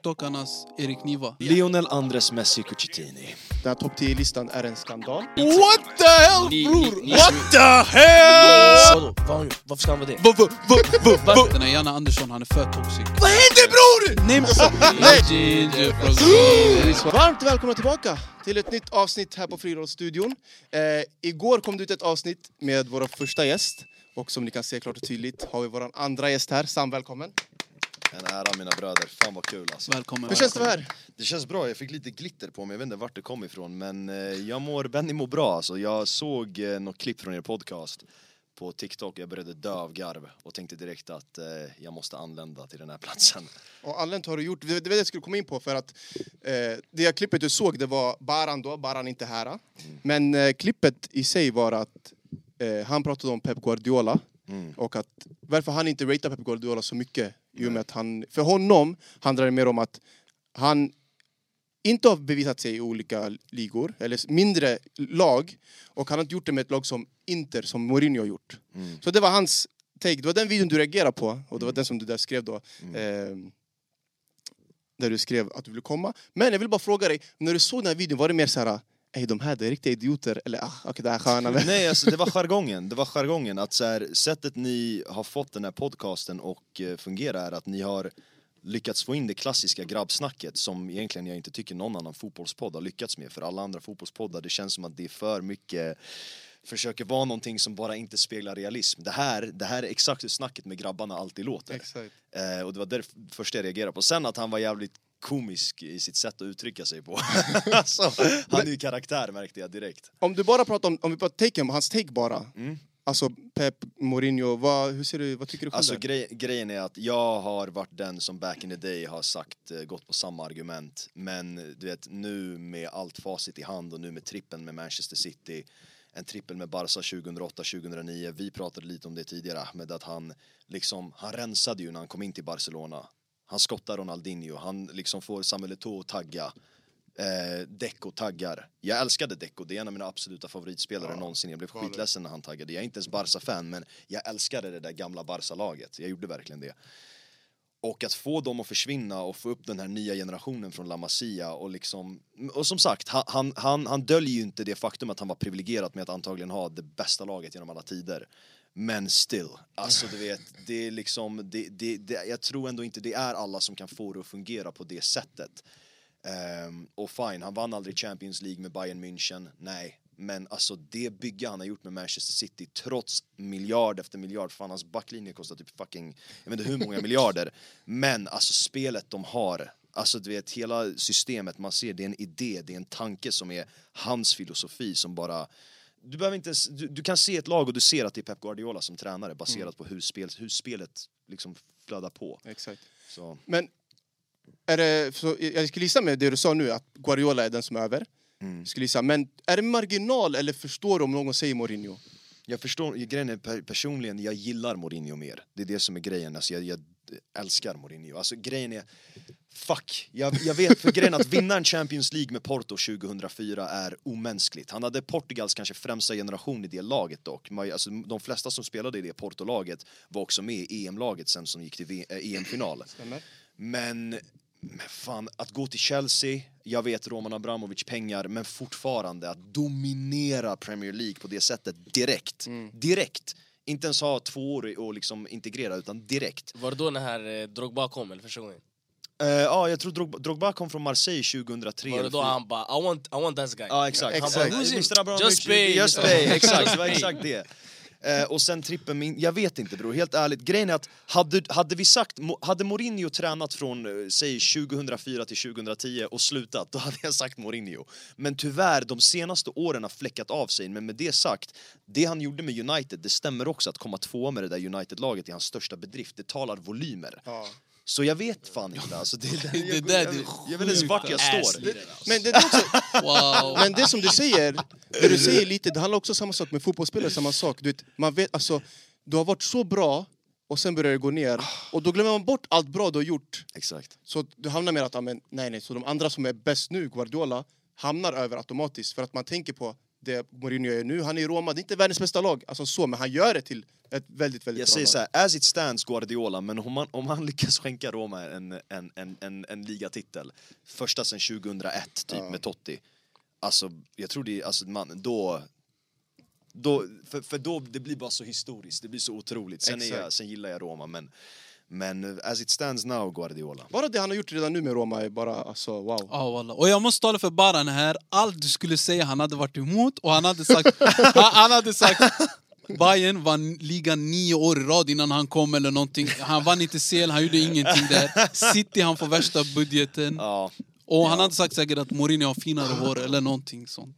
TikTokarnas Erik Niva. Lionel Andres Messi Cucitini. Den här topp 10-listan är en skandal. What the hell Ni- bror? ni- ni- What the hell? Vadå? Vad har han gjort? Varför ska han vara det? Va, va, va, va, va? Den här Janne Andersson, han är för toxic. Vad händer bror? Nej, men- Nej. Ginger from Sweden. Varmt välkomna tillbaka till ett nytt avsnitt här på Friidrottsstudion. Eh, igår kom det ut ett avsnitt med vår första gäst. Och som ni kan se klart och tydligt har vi vår andra gäst här. Sam, välkommen. En ära mina bröder, fan vad kul alltså. Välkommen. Hur känns det att vara här? Det känns bra, jag fick lite glitter på mig, jag vet inte vart det kom ifrån men eh, jag mår, Benny mår bra alltså. Jag såg eh, något klipp från er podcast på TikTok, jag började dö av garv och tänkte direkt att eh, jag måste anlända till den här platsen. Och anledningen har du gjort, det var det jag skulle komma in på för att eh, det jag klippet du såg det var Baran då, Baran inte här. Men eh, klippet i sig var att eh, han pratade om Pep Guardiola Mm, och att varför han inte ratear Pep Guardiola så mycket i och med att han, för honom handlar det mer om att han inte har bevisat sig i olika ligor, eller mindre lag. Och han har inte gjort det med ett lag som Inter, som Mourinho har gjort. mm. Så det var hans take. Det var den videon du reagerade på, och det var den som du där skrev då. ehm, där du skrev att du ville komma. Men jag vill bara fråga dig, när du såg den här videon, var det mer så här... Ej, de här det är riktiga idioter, eller ah, okej, det här är sköna. men- Nej alltså det var jargongen, det var jargongen att så här, sättet ni har fått den här podcasten och eh, fungera är att ni har lyckats få in det klassiska grabbsnacket som egentligen jag inte tycker någon annan fotbollspodd har lyckats med för alla andra fotbollspoddar det känns som att det är för mycket försöker vara någonting som bara inte speglar realism. Det här, det här är exakt hur snacket med grabbarna alltid låter. Exakt. Eh, och det var det första jag reagerade på. Sen att han var jävligt komisk i sitt sätt att uttrycka sig på. alltså, han är ju karaktär märkte jag direkt. Mm. Om du bara pratar om, om vi pratar take, hans take bara. Alltså Pep, Mourinho, vad, hur ser du, vad tycker du själv? Alltså där? grej, grejen är att jag har varit den som back in the day har sagt, eh, gått på samma argument. Men eh, du vet nu med allt facit i hand och nu med trippen med Manchester City, en trippel med Barca 2008-2009, vi pratade lite om det tidigare Ahmed, att han liksom, han rensade ju när han kom in till Barcelona. Han skottar Ronaldinho, han liksom får Samuel Eto'o att tagga. Eh, Deco taggar. Jag älskade Deco, det är en av mina absoluta favoritspelare någonsin. Jag blev skitledsen när han taggade. Jag är inte ens Barca-fan men jag älskade det där gamla Barca-laget. Jag gjorde verkligen det. Och att få dem att försvinna och få upp den här nya generationen från La Masia och liksom Och som sagt, han- han, han, han döljer ju inte det faktum att han var privilegierad med att antagligen ha det bästa laget genom alla tider Men still, alltså du vet, det är liksom, det, det, det, jag tror ändå inte det är alla som kan få det att fungera på det sättet Ehm, och fine, han vann aldrig Champions League med Bayern München, nej. Men alltså det bygge han har gjort med Manchester City trots miljard efter miljard, fan hans backlinje kostar typ fucking, jag vet inte hur många miljarder. Men alltså spelet de har, alltså du vet hela systemet man ser, det är en idé, det är en tanke som är hans filosofi som bara du, behöver inte ens, du, du kan se ett lag och du ser att det är Pep Guardiola som tränare baserat på hur, spel, hur spelet liksom flödar på. Exakt. Så. Men är det, så, jag skulle gissa med det du sa nu, att Guardiola är den som är över. Jag Skulle gissa. Men är det marginal eller förstår du om någon säger Mourinho? Jag förstår, grejen är per, personligen, jag gillar Mourinho mer. Det är det som är grejen, alltså jag, jag älskar Mourinho. Alltså grejen är, fuck. Jag, jag vet, för grejen är att vinna en Champions League med Porto 2004 är omänskligt. Han hade Portugals kanske främsta generation i det laget dock. Man- Alltså, de flesta som spelade i det Porto-laget var också med i EM-laget sen som gick till V- eh, EM-final. Men, men fan, att gå till Chelsea, jag vet Roman Abramovic pengar, men fortfarande att dominera Premier League på det sättet direkt. Mm. Direkt! Inte ens ha två år och liksom integrera, utan direkt. Var det då den här eh, Drogba kom eller första gången? Eh, ja, jag tror Drogba, Drogba kom från Marseille 2003. Var det då han bara I want, I want this guy? Ja, exakt. Han Exakt. bara, Who's it? Mr Abramovic, Just pay. Just pay, exakt. Det var Just pay. exakt det. Eh, och sen trippen min, jag vet inte bror, helt ärligt. Grejen är att hade, hade vi sagt, Mo- hade Mourinho tränat från eh, säg 2004 till 2010 och slutat, då hade jag sagt Mourinho. Men tyvärr, de senaste åren har fläckat av sig, men med det sagt, det han gjorde med United, det stämmer också att komma tvåa med det där United-laget är hans största bedrift, det talar volymer. Ja. Så jag vet fan inte alltså. Det, det, Det jag, där, jag, det är jag vet inte ens vart jag sjukt står. ass-leader, alltså. Men det, det, är också, Wow. men det som du säger, det du säger lite, det handlar också om samma sak med fotbollsspelare. Samma sak. Du, vet, man vet, alltså, du har varit så bra och sen börjar det gå ner. Och då glömmer man bort allt bra du har gjort. Exakt. Så du hamnar med att ja, men, nej, nej, så de andra som är bäst nu, Guardiola, hamnar över automatiskt för att man tänker på det Mourinho gör nu. Han är i Roma, det är inte världens bästa lag, alltså så, men han gör det till ett väldigt, väldigt Jag bra säger lag. så här, as it stands Guardiola, men om han, om han lyckas skänka Roma en, en, en, en, en ligatitel, första sedan 2001 typ Ja. med Totti, alltså jag tror det, alltså man, då, då för, för då det blir bara så historiskt, det blir så otroligt. Sen, är jag, Exakt. sen gillar jag Roma, men, men as it stands now Guardiola. Bara det han har gjort redan nu med Roma är bara, alltså wow. Ja, wallah. Och jag måste tala för Baran här, allt du skulle säga han hade varit emot och han hade sagt... han, han hade sagt Bayern vann ligan nio år i rad innan han kom eller någonting. Han vann inte CL, han gjorde ingenting där. City, han får värsta budgeten. Ja, Och han hade sagt säkert att Mourinho har finare hår eller någonting sånt.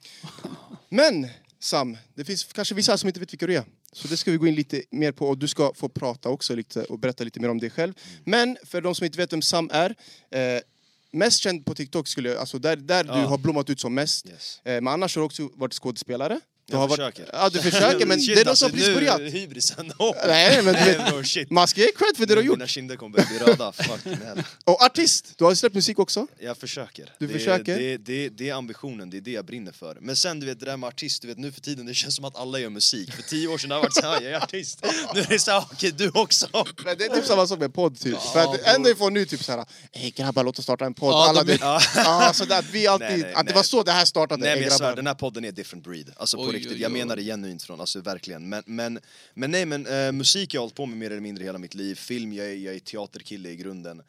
Men Sam, det finns kanske vissa här som inte vet vilka du är. Så det ska vi gå in lite mer på och du ska få prata också lite och berätta lite mer om dig själv. Men för de som inte vet vem Sam är, eh, mest känd på TikTok skulle jag, alltså där, där du har blommat ut som mest. Yes. Eh, men annars har du också varit skådespelare. Du Jag har försöker. Varit, ja, du försöker men det är de som har Alltså, precis nu- börjat. Hybrisen, oh. Nej, men du Nej, vet, bro, shit. man ska ge cred för det du har gjort. Mina kinder kommer börja bli röda, fucking hell. Och artist, du har släppt musik också. Jag försöker. Du det, försöker? Det, det, det är ambitionen, det är det jag brinner för. Men sen du vet det där med artist, du vet nu för tiden det känns som att alla gör musik. För tio år sedan har det varit såhär, jag är artist. Nu är det såhär, okej du också. Men det är typ samma sak med podd typ. för att ändå får nu typ såhär, hej grabbar låt oss starta en podd. Ja, Alla de- vet. Ja, så där, att vi alltid, Nej, nej, att det nej. var så det här startade. Nej men "Hej, jag svär, grabbar." den här podden är different breed. Alltså på Oj, riktigt, oj, jag oj. menar det genuint från, alltså verkligen. Men, men, men nej men eh, musik har jag hållit på med mer eller mindre hela mitt liv. Film, jag är, jag är teaterkille i grunden.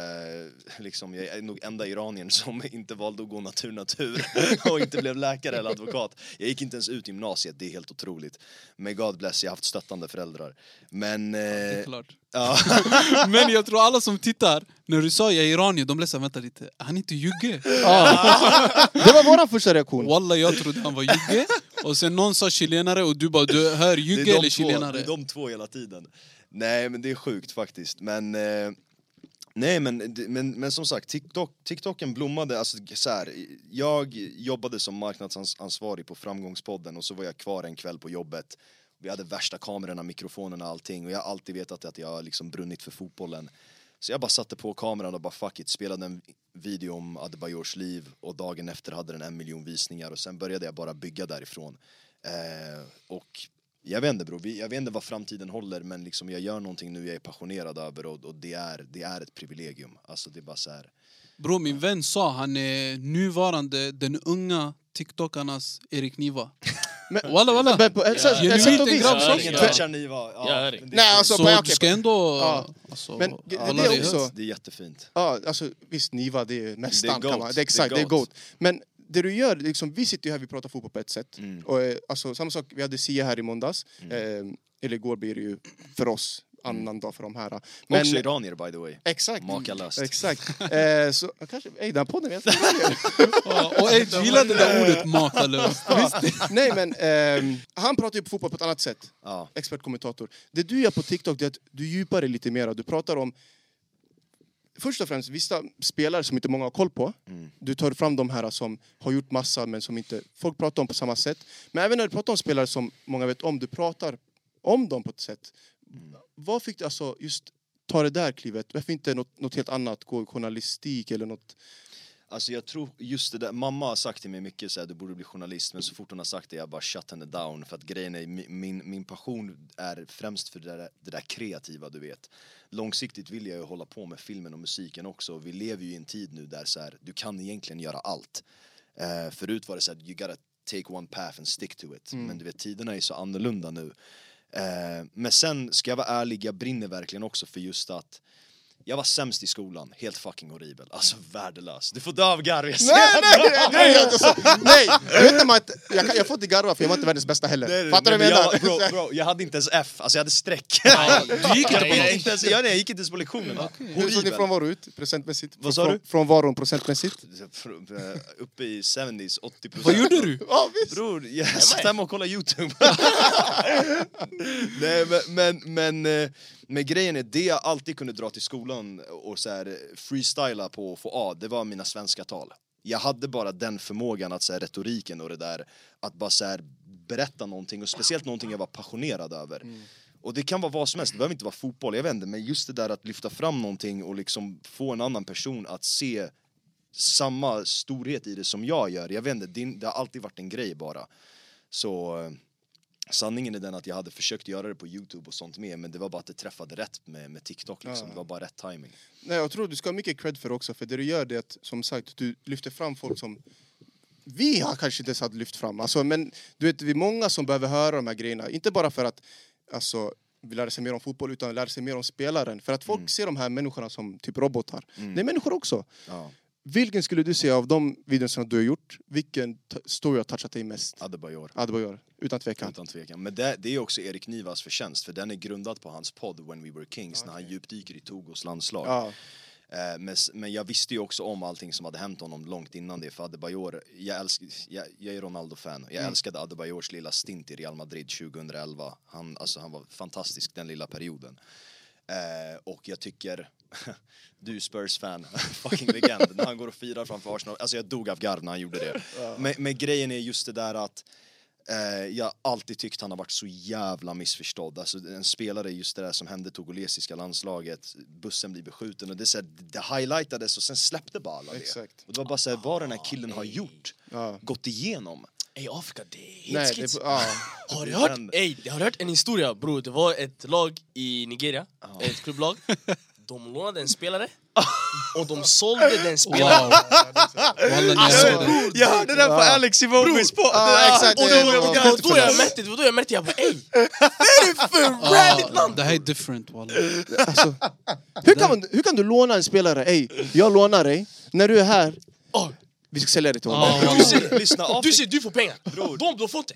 Eh, liksom, jag är nog enda iraniern som inte valde att gå natur natur och inte blev läkare eller advokat. Jag gick inte ens ut gymnasiet, det är helt otroligt. Men God bless, jag har haft stöttande föräldrar. Men... Det är Eh, klart. ja, Men jag tror alla som tittar, när du sa jag är iranier, de blev såhär vänta lite, han är inte jugge? Det var våran första reaktion. Wallah jag trodde han var jugge, och sen någon sa chilenare och du bara du hör det, är jugge de eller två, det chilenare? är de två hela tiden. Nej men det är sjukt faktiskt. Men... Eh, Nej men, men, men som sagt, TikTok, TikToken blommade, alltså så här, jag jobbade som marknadsansvarig på Framgångspodden och så var jag kvar en kväll på jobbet. Vi hade värsta kamerorna, mikrofonerna och allting och jag har alltid vetat att jag har liksom brunnit för fotbollen. Så jag bara satte på kameran och bara fuck it, spelade en video om Adebayors liv och dagen efter hade den en miljon visningar och sen började jag bara bygga därifrån. Eh, och jag vet inte bro, Vi- jag vet inte vad framtiden håller men liksom jag gör någonting nu jag är passionerad över och, och det, är, det är ett privilegium. Alltså det är bara så här. Bro, min vän sa han är nuvarande den unga TikTokarnas Erik Niva. Men- Walla walla! Men på ett sätt- Genuint ett sätt och en vis. grabb som- Ingen Ja. touchar ni va? Ja, Jag hör dig. men det är Nej fint. alltså, Så men, du okej. ska ändå... Ja. Alltså, Men det- det alla är det. också- Det är jättefint. ja, alltså, visst, Niva det är Det är mästaren kan GOAT. man, det är exakt, det är GOAT. Men det du gör, liksom, vi sitter ju här, vi pratar fotboll på ett sätt. Mm. Och, eh, alltså, samma sak, vi hade Sia här i måndags, eh, eller igår blir det ju för oss, annan dag för de här. Men, Också iranier by the way. exakt, Makalöst. exakt. eh, så, kanske, ey, den här podden, jag tror det. Ja, och Edge gillar det där ordet makalöst. Nej men, ehm, han pratar ju på fotboll på ett annat sätt. Ja. expertkommentator. Det du gör på TikTok det är att du djupar dig lite mer. Du pratar om först och främst vissa spelare som inte många har koll på. Mm. Du tar fram de här som har gjort massa men som inte folk pratar om på samma sätt. Men även när du pratar om spelare som många vet om, du pratar om dem på ett sätt. Vad fick du alltså just ta det där klivet? Varför inte något, något helt annat? Gå journalistik eller något? Alltså jag tror just det där, mamma har sagt till mig mycket så här, du borde bli journalist men så fort hon har sagt det jag bara shut henne down för att grejen är, mi- min, min passion är främst för det där, det där kreativa du vet. Långsiktigt vill jag ju hålla på med filmen och musiken också vi lever ju i en tid nu där så här, du kan egentligen göra allt. Eh, förut var det så här, you gotta take one path and stick to it. Mm. Men du vet tiderna är så annorlunda nu. Eh, men sen ska jag vara ärlig, jag brinner verkligen också för just att jag var sämst i skolan, helt fucking horribel, alltså värdelös. Du får dö av garv, jag ser Nej, nej, nej, nej, alltså, nej. Jag, vet inte, man, jag, kan, jag får inte garva för jag var inte världens bästa heller. Nej, nej, Fattar du vad nej, jag men menar? jag, bro, bro, jag hade inte ens F, alltså jag hade streck. Du gick inte på jag, något. gick inte ens, jag, nej, jag gick inte ens på lektionerna. Hur såg din Horribel. frånvaro ut procentmässigt? Vad sa Från- du? Frånvaron procentmässigt? Fr- eh, Uppe i 70s, 80 procent. Vad gjorde du? Ja, visst! Bror, jag satt hemma och kollade Youtube. Nej men, men, men, eh, men grejen är, det jag alltid kunde dra till skolan och så här eh, freestyla på och få A, det var mina svenska tal. Jag hade bara den förmågan att så här, retoriken och det där, att bara så här, berätta någonting och speciellt någonting jag var passionerad över. Mm. Och det kan vara vad som helst, det behöver inte vara fotboll, jag vet inte, men just det där att lyfta fram någonting och liksom få en annan person att se samma storhet i det som jag gör. Jag vet inte, det, det har alltid varit en grej bara. Så eh, sanningen är den att jag hade försökt göra det på Youtube och sånt med men det var bara att det träffade rätt med, med TikTok liksom. Ja. Det var bara rätt timing. Nej, jag tror du ska ha mycket cred för det också, för det du gör det är att, som sagt, du lyfter fram folk som vi har kanske inte ens hade lyft fram. Alltså, men du vet, vi är många som behöver höra de här grejerna. Inte bara för att alltså, vi lär sig mer om fotboll, utan lär sig mer om spelaren. För att Mm. folk ser de här människorna som typ robotar. Det är människor också. Ja, Vilken skulle du säga av de videorna du har gjort, vilken t- story har touchat dig mest? Adebayor. Adebayor, utan tvekan. Utan tvekan. Men det, det är också Erik Nivas förtjänst för den är grundad på hans podd When We Were Kings när han djupdyker i Togos landslag. Ja, Eh, Men, s- men jag visste ju också om allting som hade hänt honom långt innan det för Adebayor, jag, älsk, jag, jag är Ronaldo-fan jag älskade Adebayors lilla stint i Real Madrid 2011. Han, alltså, han var fantastisk den lilla perioden. Eh, och jag tycker, du Spurs-fan, fucking legend, när han går och firar framför Arsenal, alltså jag dog av garv när han gjorde det. Men, men grejen är just det där att Eh, jag har alltid tyckt han har varit så jävla missförstådd. Alltså en spelare, just det där som hände togolesiska landslaget, bussen blir beskjuten och det, är så här, det highlightades och sen släppte bara alla det. Exakt. Och det var bara såhär, vad den här killen har gjort, Ja. gått igenom. Ey Afrika, det är helt nej, skits. det, ja. Har du det hört? händer. Ey, har du hört en historia bror? Det var ett lag i Nigeria, ett klubblag. De lånade en spelare och de sålde den Wow. spelaren. Wallah, ni Alltså, hörde. jag hörde den på Alex Ivomis podd! Ja, exakt. Och det är då, en och konflikt då för jag oss. märkte, det var då jag märkte, jag bara ey! Det är för randigt Ah, land! det här är different wallah. Hur kan, man, hur kan du låna en spelare? Ey, jag lånar dig. När du är här, Oh, vi ska sälja dig till honom. Ah, Du wallah. ser, lyssna, du Afrika, ser, du får pengar. De, de får inte.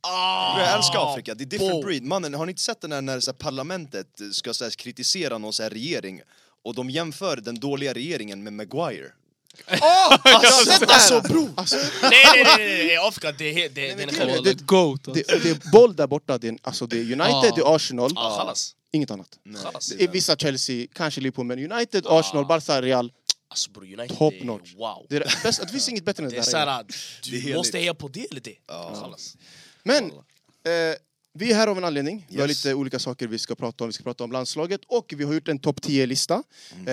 Ah, jag älskar Afrika, det är different Bo. breed. Mannen, har ni inte sett den här när så här, parlamentet ska så här, kritisera någon så här, regering och de jämför den dåliga regeringen med Maguire? Ah. Alltså, alltså, bro. Nej, nej, nej, nej, nej. Afrika, det är helt... Det, det är grejen själva... Wallah, goat. Det, alltså. det är boll där borta, det är, alltså, det är United, Ah. det är Arsenal, Ah, Chalas. inget annat. Chalas. I Vissa Chelsea, kanske Liverpool, men United, Arsenal, Barca, Real. Alltså bror, United, Top det är- notch. wow. Det, är det, bästa, det finns inget bättre än Det är det där. såhär, ah, Det är du heligt. måste heja på det eller det. Chalas. Men eh, vi är här av en anledning. Vi har Yes. lite olika saker vi ska prata om. Vi ska prata om landslaget och vi har gjort en topp 10-lista eh,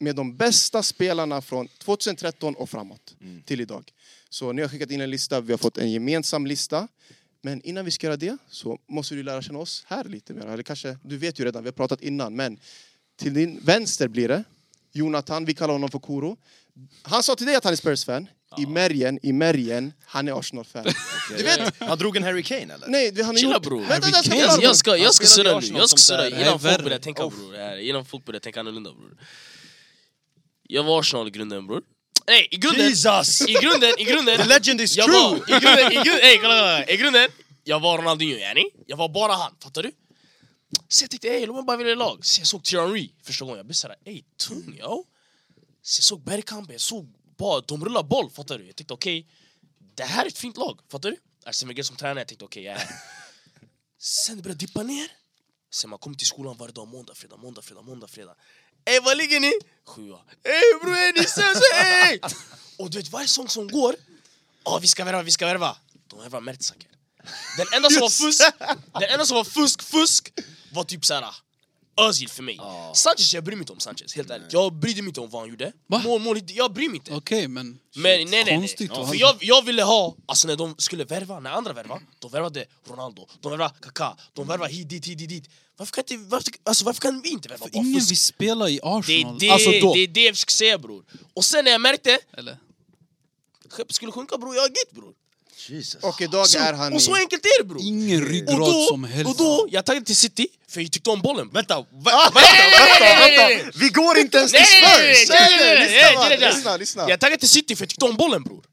med de bästa spelarna från 2013 och framåt till idag. Så ni har skickat in en lista, vi har fått en gemensam lista. Men innan vi ska göra det så måste du lära känna oss här lite mer. Eller kanske, du vet ju redan, vi har pratat innan, men till din vänster blir det Jonathan, vi kallar honom för Koro. Han sa till dig att han är Spurs-fan. I märgen, i märgen, han är Arsenal-fan. Du vet, han drog en Harry Kane eller? Nej, det han har Chilla gjort... bror. Vänta, vänta, Harry vänta, Kane, Jag ska, jag ska Han spelade i surra nu, Arsenal jag ska som surra där- Det här är innan folk värre. börjar tänka bror. Det här- Innan folk börjar tänka annorlunda bror. Jag var Arsenal i grunden bror. Nej, i grunden! Jesus! I grunden, i grunden! The legend is Jag true! var, i grunden, i grunden, ey, kolla, kolla, kolla. i grunden, jag var Ronaldinho yani. Jag var bara han, fattar du? Så jag tänkte ey, låt mig bara välja lag. Så jag såg Thierry första gången, jag blev såhär ey, tung yo. Så jag såg Bergkamp, jag såg bara, de rullar boll, fattar du? Jag tänkte okej, det här är ett fint lag, fattar du? Arsene Wenger som tränare, jag tänkte okej, jag är här. Sen det började dippa ner. Sen man kom till skolan varje dag, måndag, fredag, måndag, fredag, måndag, fredag. Ey, vad ligger ni? Sjua. Ey bror, är ni sämst? Ey! Och du vet, varje sång som går, Åh, vi ska värva, vi ska värva. De värvar Mertzaker. Den enda som var fusk, den enda som var fusk, fusk var typ såhär Özil för mig. Sanchez, jag bryr mig inte om Sanchez, helt ärligt. Jag brydde mig inte om vad han gjorde. Va? Mål, mål, jag bryr mig inte. Okej men... Men nej nej, nej. Konstigt. För jag, jag ville ha, alltså när de skulle värva, när andra värva, de värvade Ronaldo, de värvade Kaká, de värvade hit, dit, hit, dit, dit. Varför kan, inte, varför, alltså, varför kan vi inte värva? För ingen vill spela i det, är Arsenal. det, Alltså då. det är det jag försöker säga bror. Och sen när jag märkte, Eller? skeppet skulle sjunka bror, jag är gitt bror. Jesus. Och idag Så, är han och så i... enkelt är det bror. Ingen Och ryggrad då, som och helst. då, jag taggade till City, för jag tyckte om bollen. Vänta, vä- vänta, nej, nej, nej, vänta, nej, vänta! Vi går inte ens till Nej, nej, nej, Spurs! nej, nej, nej, nej, nej, nej, nej, nej. Lyssna, lyssna. Jag taggade till City för jag tyckte om bollen bror.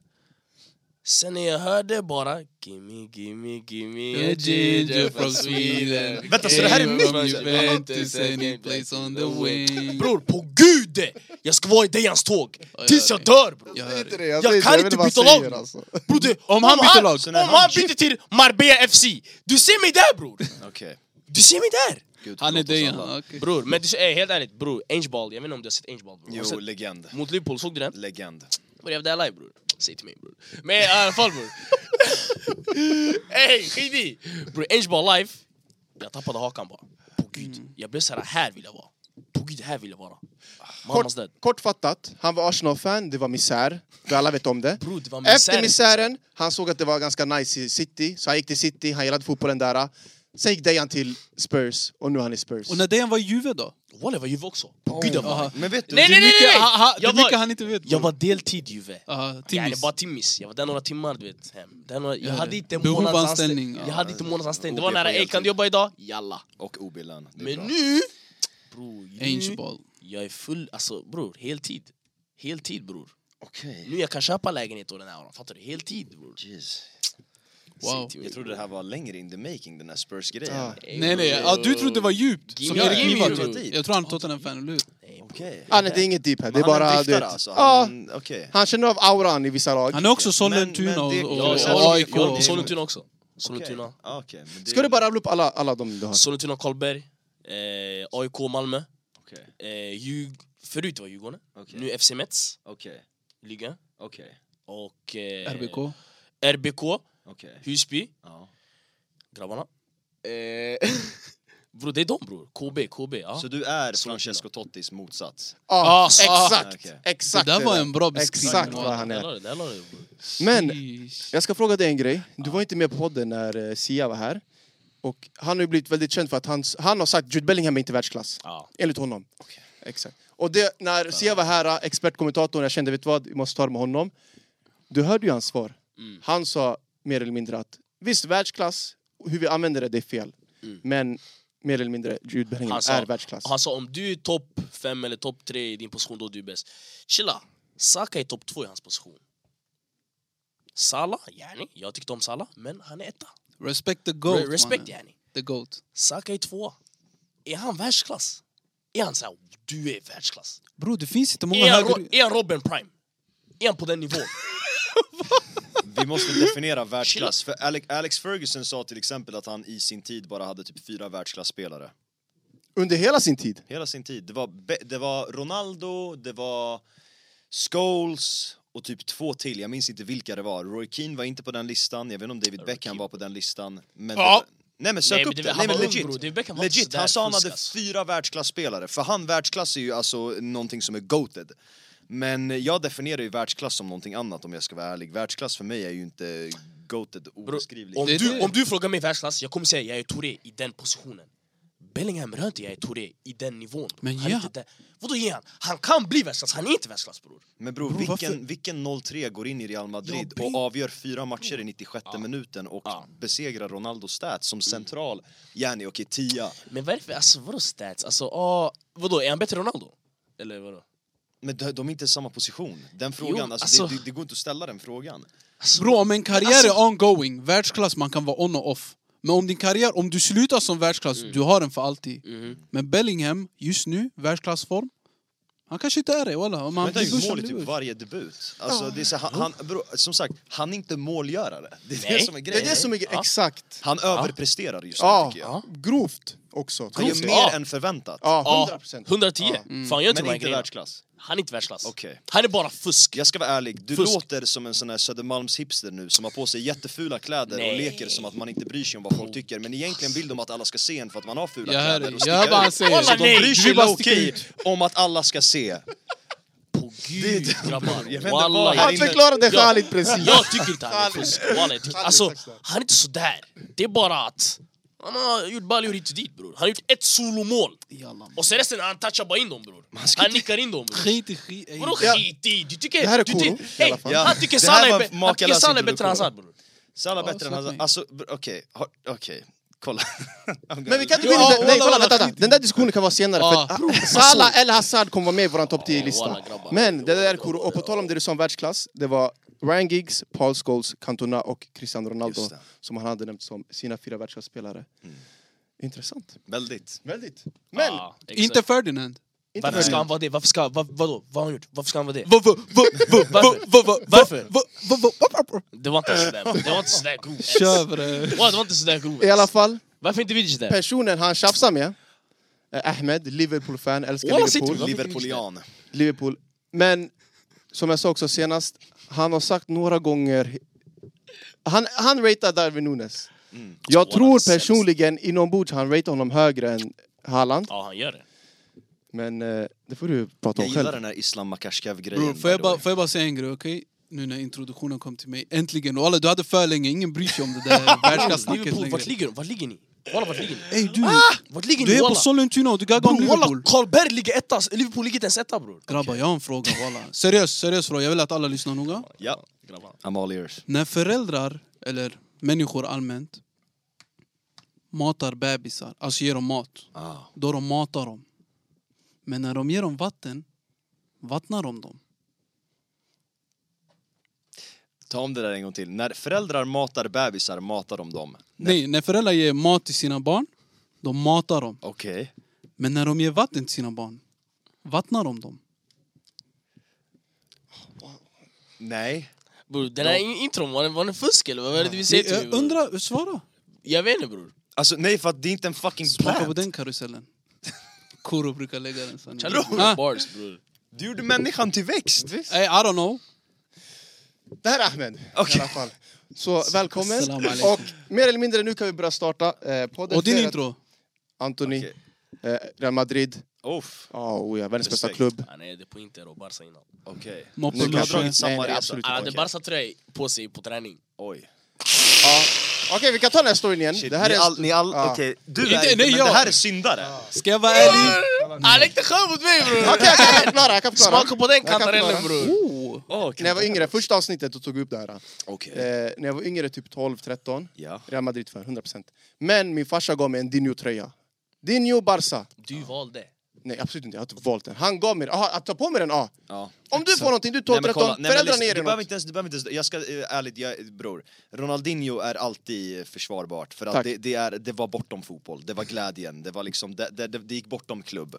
Sen när jag hörde bara Gimme, gimme, gimme a ginger from Sweden Vänta, så det här är Came mitt? from Juventus and he plays on the wing. Bror, på gud! Jag ska vara i Dejans tåg ja, tills jag dör bror! Jag Jag hör inte dig. det, jag Jag säger det, kan jag inte vet inte byta vad han lag. säger, alltså. Bror, det, Om han byter lag, Om så när han, han- byter till Marbella FC, du ser mig där bror! Okej, Du ser mig där! gud Han är förlåt oss Dejan. alla. okej. Bror, men du, eh, helt ärligt bror, Angeball, jag vet inte om du har sett Angeball bror? Har du Jo, sett- legend. Mot Liverpool, såg du den? Legend. Vad är det där live bror? Säg till mig bror. Men i alla fall bror. Ey skit i! Bror Angeball live, jag tappade hakan bara. På gud, jag blev såhär, här vill jag vara. På gud, här vill jag vara. Mammas död. Kortfattat, han var Arsenal-fan, det var misär. Vi alla vet om det. Bror, det var Efter misär. misären, han såg att det var ganska nice i City, så han gick till City, han gillade fotbollen där. Sen gick Dejan till Spurs, och nu är han i Spurs. Och när Dejan var i Juve då? Walla, jag var Juve också. Gud, jag var- Aha. Men vet du, Nej, Det nej, är nej, mycket, nej! ha, ha, det Jag är var- mycket han inte vet. Jag var deltid Juve. Aha, Yani timmis. bara timmis. Jag var där några timmar, du vet. Hem. Där några, jag Ja, hade det. inte Behovanställning, månadsanställning. ja. Jag hade inte månadsanställning. Det var OB på nära, ey heltid." kan du jobba idag? Jalla. och obillan. Det är Men bra. nu... Bror, Ainge nu... ball. Jag är full, alltså bror, heltid. Heltid bror. Okej, Nu jag kan köpa lägenhet och den här, fattar du? Heltid bror. jeez. Wow. City, Jag trodde det här var längre in the making, den här Spurs-grejen. Ja. Ey, Nej, nej. bror. Ja, du trodde det var djupt. Gimme Som your- Erik gimme Niva your trodde. deep. Jag tror han är Tottenham-fan, eller hur? Nej, bror. Okej. Ah, nej, det är inget deep här, det är Men han bara... driftar Du vet, alltså? Ja, Han, okej. han känner av auran i vissa lag. Han är också men Sollentuna och, det- och, Ja, och jag- jag jag- AIK. håller på jag- Sollentuna också. Okej. Sollentuna. Ah, okej, men det- Ska du bara rabbla upp alla, alla de du har? Sollentuna, Karlberg, eh, AIK, Malmö. Okej, Eh, Ljug... Förut var Djurgården, okej, nu FC Metz, okej, ligan. okej, Och... Eh, RBK. RBK, okej. Husby, Ja. grabbarna. Eh, bror, det är de bror. KB, KB. Ja. Så du är Sollentuna. Francesco Tottis motsats? Ja, Ah, så- exakt! ah, okej. Det Exakt! där var det. en bra beskrivning. Exakt av- vad han Där är. la du det, där la du det, bror. Men Sheesh. jag ska fråga dig en grej. Du var inte med på podden när eh, Sia var här. Och han har ju blivit väldigt känd för att han, han har sagt Jude Bellingham är inte världsklass. Ja. Enligt honom. Exakt. Och det, när Sia var här, eh, expertkommentatorn, jag kände vet du vad, vi måste ta det med honom. Du hörde ju hans svar. Mm. Han sa mer eller mindre att visst, världsklass, hur vi använder det, det är fel. Men mer eller mindre, Jude Bellingham Mm. Han sa- är världsklass. Han sa om du är topp fem eller topp tre i din position, då är du bäst. Chilla, Saka är topp två i hans position. Salah, yani, jag tyckte om Salah, men han är etta. Respect the Re- GOAT. Respect mannen. yani. The GOAT. Saka är tvåa. Är han världsklass? Är han såhär, du är världsklass? Bro, det finns inte många Är han, Ro- högre... är han Robin Prime? Är han på den nivån? Vi måste definiera världsklass. För Alex, Alex Ferguson sa till exempel att han i sin tid bara hade typ fyra världsklasspelare. Under hela sin tid. Hela sin tid. Det var, Be- det var Ronaldo, det var Scholes och typ två till. Jag minns inte vilka det var. Roy Keane var inte på den listan. Jag vet inte om David Beckham var på den listan. Men det Ja. var... Nej men sök Nej, men upp det- det. han Nej, men var ung, legit. bro. David Beckham var inte legit. sådär Han sa han hade fuskas. fyra världsklasspelare. För han världsklass är ju alltså någonting som är goated. Men jag definierar ju världsklass som någonting annat om jag ska vara ärlig. Världsklass för mig är ju inte goated obeskrivligt. Om Det är du, det. om du frågar mig världsklass, jag kommer säga jag är Touré i den positionen. Bellingham rör inte jag är Touré i den nivån. bror. Men han ja. är inte där. Vadå är han? Han kan bli världsklass, han är inte världsklass bror. Men bror, Bror, varför- vilken, vilken 0-3 går in i Real Madrid Ja, och avgör fyra matcher i 96 minuten och Ja. Mm. besegrar Ronaldo stats som central, yani okej tia. Men varför, alltså vadå stats? Alltså, ah, vadå, är han bättre än Ronaldo? Eller vadå? Men de, de är inte i samma position. Den frågan, alltså, alltså- Det, det, det går inte att ställa den frågan. Alltså, Bro, om en karriär Alltså- är ongoing, världsklass, man kan vara on och off. Men om din karriär, om du slutar som världsklass, du har den för alltid. Mhm. Men Bellingham, just nu, världsklassform. Han kanske inte är det, walla. Om han Men han blir gör ju bushad, mål i blir typ bushad. varje debut. Alltså, det är så, här, han, han, bror, som sagt, han är inte målgörare. Det är Nej. det som är Det grejen. är det som är Ja. exakt. Han överpresterar just nu Ja, tycker jag. grovt också. Han gör Grovt. mer Ja. än förväntat. Ja, ah, 100%. 110? Ja. Fan, jag inte de Men här inte grejerna. världsklass. Han är inte världsklass. Okej. Han är bara fusk. Jag ska vara ärlig, du Fusk. låter som en sån här Södermalmshipster nu som har på sig jättefula kläder och Nej. leker som att man inte bryr sig om vad folk tycker men egentligen vill de att alla ska se en för att man har fula Jag hör kläder dig. och sticker Jag hör vad han ut. säger. Så Kolla, nej, de bryr du sig vill bara sticka low-key om att alla ska se. På gud vet grabbar, inte vad walla. han Han förklarade Khalid precis. Jag tycker inte han är fusk. Walla, jag tycker- Han är Alltså, exakt där. han är inte sådär. Det är bara att han har gjort baljor hit och dit bror. Han har gjort ett solomål. Jalla, man. Och sen resten, han touchar bara in dem bror. ska Han nickar in dem bror. Skit i skit. ey. Vadå Ja. skit i? Du tycker... Det här är du Koro, tycker- i alla fall. Hey, Ja. Han tycker Det här Salah är, var bä- han tycker makalös Salah är bättre än introduktion. Hazard bror. Salah Ja, bättre än släpp Hazard. mig. Alltså, br- okej, har- okej, kolla. Men vi kan inte Ja, gå in i det. Nej, walla, kolla, walla, vänta, vänta. skit. Den där diskussionen kan vara senare. Ja. För att Salah eller Hazard kommer vara med i vår topp Ja, 10-lista. walla, grabbar. Men det där är kor. Och på tal om det du sa om världsklass, det var Ryan Giggs, Paul Scholes, Cantona och Cristiano Ronaldo Just det. som han hade nämnt som sina fyra världsklasspelare. Intressant. Väldigt. Väldigt. Men, Ja, exakt. Inte Ferdinand. inte Varför ska världsklass. han vara det? Varför ska... Vad, vadå? Vad har han gjort? Varför ska han vara det? Va, va, va, va, va, va, va, Varför? va, va, va, va, va. Det var inte sådär bror. Det var inte sådär grovt. Kör bre. Walla, det var inte sådär grovt. I alla fall, Varför inte Vidic där? personen han tjafsar med, är Ahmed, Liverpool-fan, älskar Walla, sitter Liverpool. du- Liverpoolian. Liverpool. Men som jag sa också senast, han har sagt några gånger... Han, han ratear Darwin Nunes. Jag Åh, han är tror sämst. personligen inombords han ratear honom högre än Haaland. Ja, han gör det. Men eh, det får du prata Jag om gillar själv. den här Islam Makash-grejen. Bror, får, jag bara- får jag bara säga en grej, okej? Nu när introduktionen kom till mig, äntligen! Walla, du hade för länge, ingen bryr sig om det där världskapssnacket Liverpool, längre. vart ligger de? Vart ligger ni? Walla, vart ligger ni? Ey du! Vart ligger Du ni är på walla? Sollentuna och du gaggar om Bror walla, Liverpool. Karlberg ligger etta, Liverpool ligger inte ens etta bror. Grabbar, jag har en fråga walla. Seriös, seriös fråga, jag vill att alla lyssnar noga. Ja, Grabbar. I'm all ears. När föräldrar, eller människor allmänt, matar bebisar, alltså ger dem mat, Ah. då de matar dem. Men när de ger dem vatten, vattnar de dem. Ta om det där en gång till. När föräldrar matar bebisar matar de dem. Nej, när föräldrar ger mat till sina barn, de matar dem. Okej. Men när de ger vatten till sina barn, vattnar de dem. Nej. Bror den här in- intron, var den, var den fusk eller vad är det vi säger till mig? Jag bror? undrar, svara! Jag vet inte bror. Alltså nej för att det är inte en fucking Snacka på plant. den karusellen. Koro brukar lägga den sanningen. Chalou, Ah, bars bror. Du gjorde människan till växt. ey, I don't know. Det här är Ahmed Okej. i alla fall. Så välkommen. Assalamu alaikum. Och mer eller mindre nu kan vi börja starta eh, podden. Och din Flera- intro? Anthony, Okej. eh, Real Madrid. Uff. Ja, oh, ja, världens bästa Respekt. klubb. Han är det på Inter och Barca innan. Okej. Moppe Så du har kanske. dragit samma Nej, nej, resa? absolut Han hade Okej. Barca-tröja på sig på träning. Oj. Ja. Okej, vi kan ta den här storyn igen. Shit, det här ni är... all, ni all, Ja. okej. Du Inte- är inte, nej, men jag. det här är syndare. Ska jag vara ärlig? Han lekte skön mot mig bror! Okej, jag kan förklara. Jag kan förklara. Smaka på den Jag kan förklara. kantarellen bror! Oh. Oh, När jag var yngre, första avsnittet, då tog vi upp det här. Okej. Eh, när jag var yngre, typ 12-13. Ja. Real Madrid för 100%. Men min farsa gav mig en Dinho-tröja. Dinho Barca. Du valde. Nej, absolut inte. Jag har inte valt den. Han gav mig den. Aha, att ta på mig den? Ja. Ja. Om du får någonting, du är 12-13, Nej, men kolla. Nej, men föräldrarna lyssna, ger du dig behöver något. inte ens, du behöver inte ens, jag ska eh, ärligt, jag, bror. Ronaldinho är alltid eh, försvarbart för att Tack. det, det, är, det var bortom fotboll, det var glädjen, det var liksom, det, det, det, det gick bortom klubb.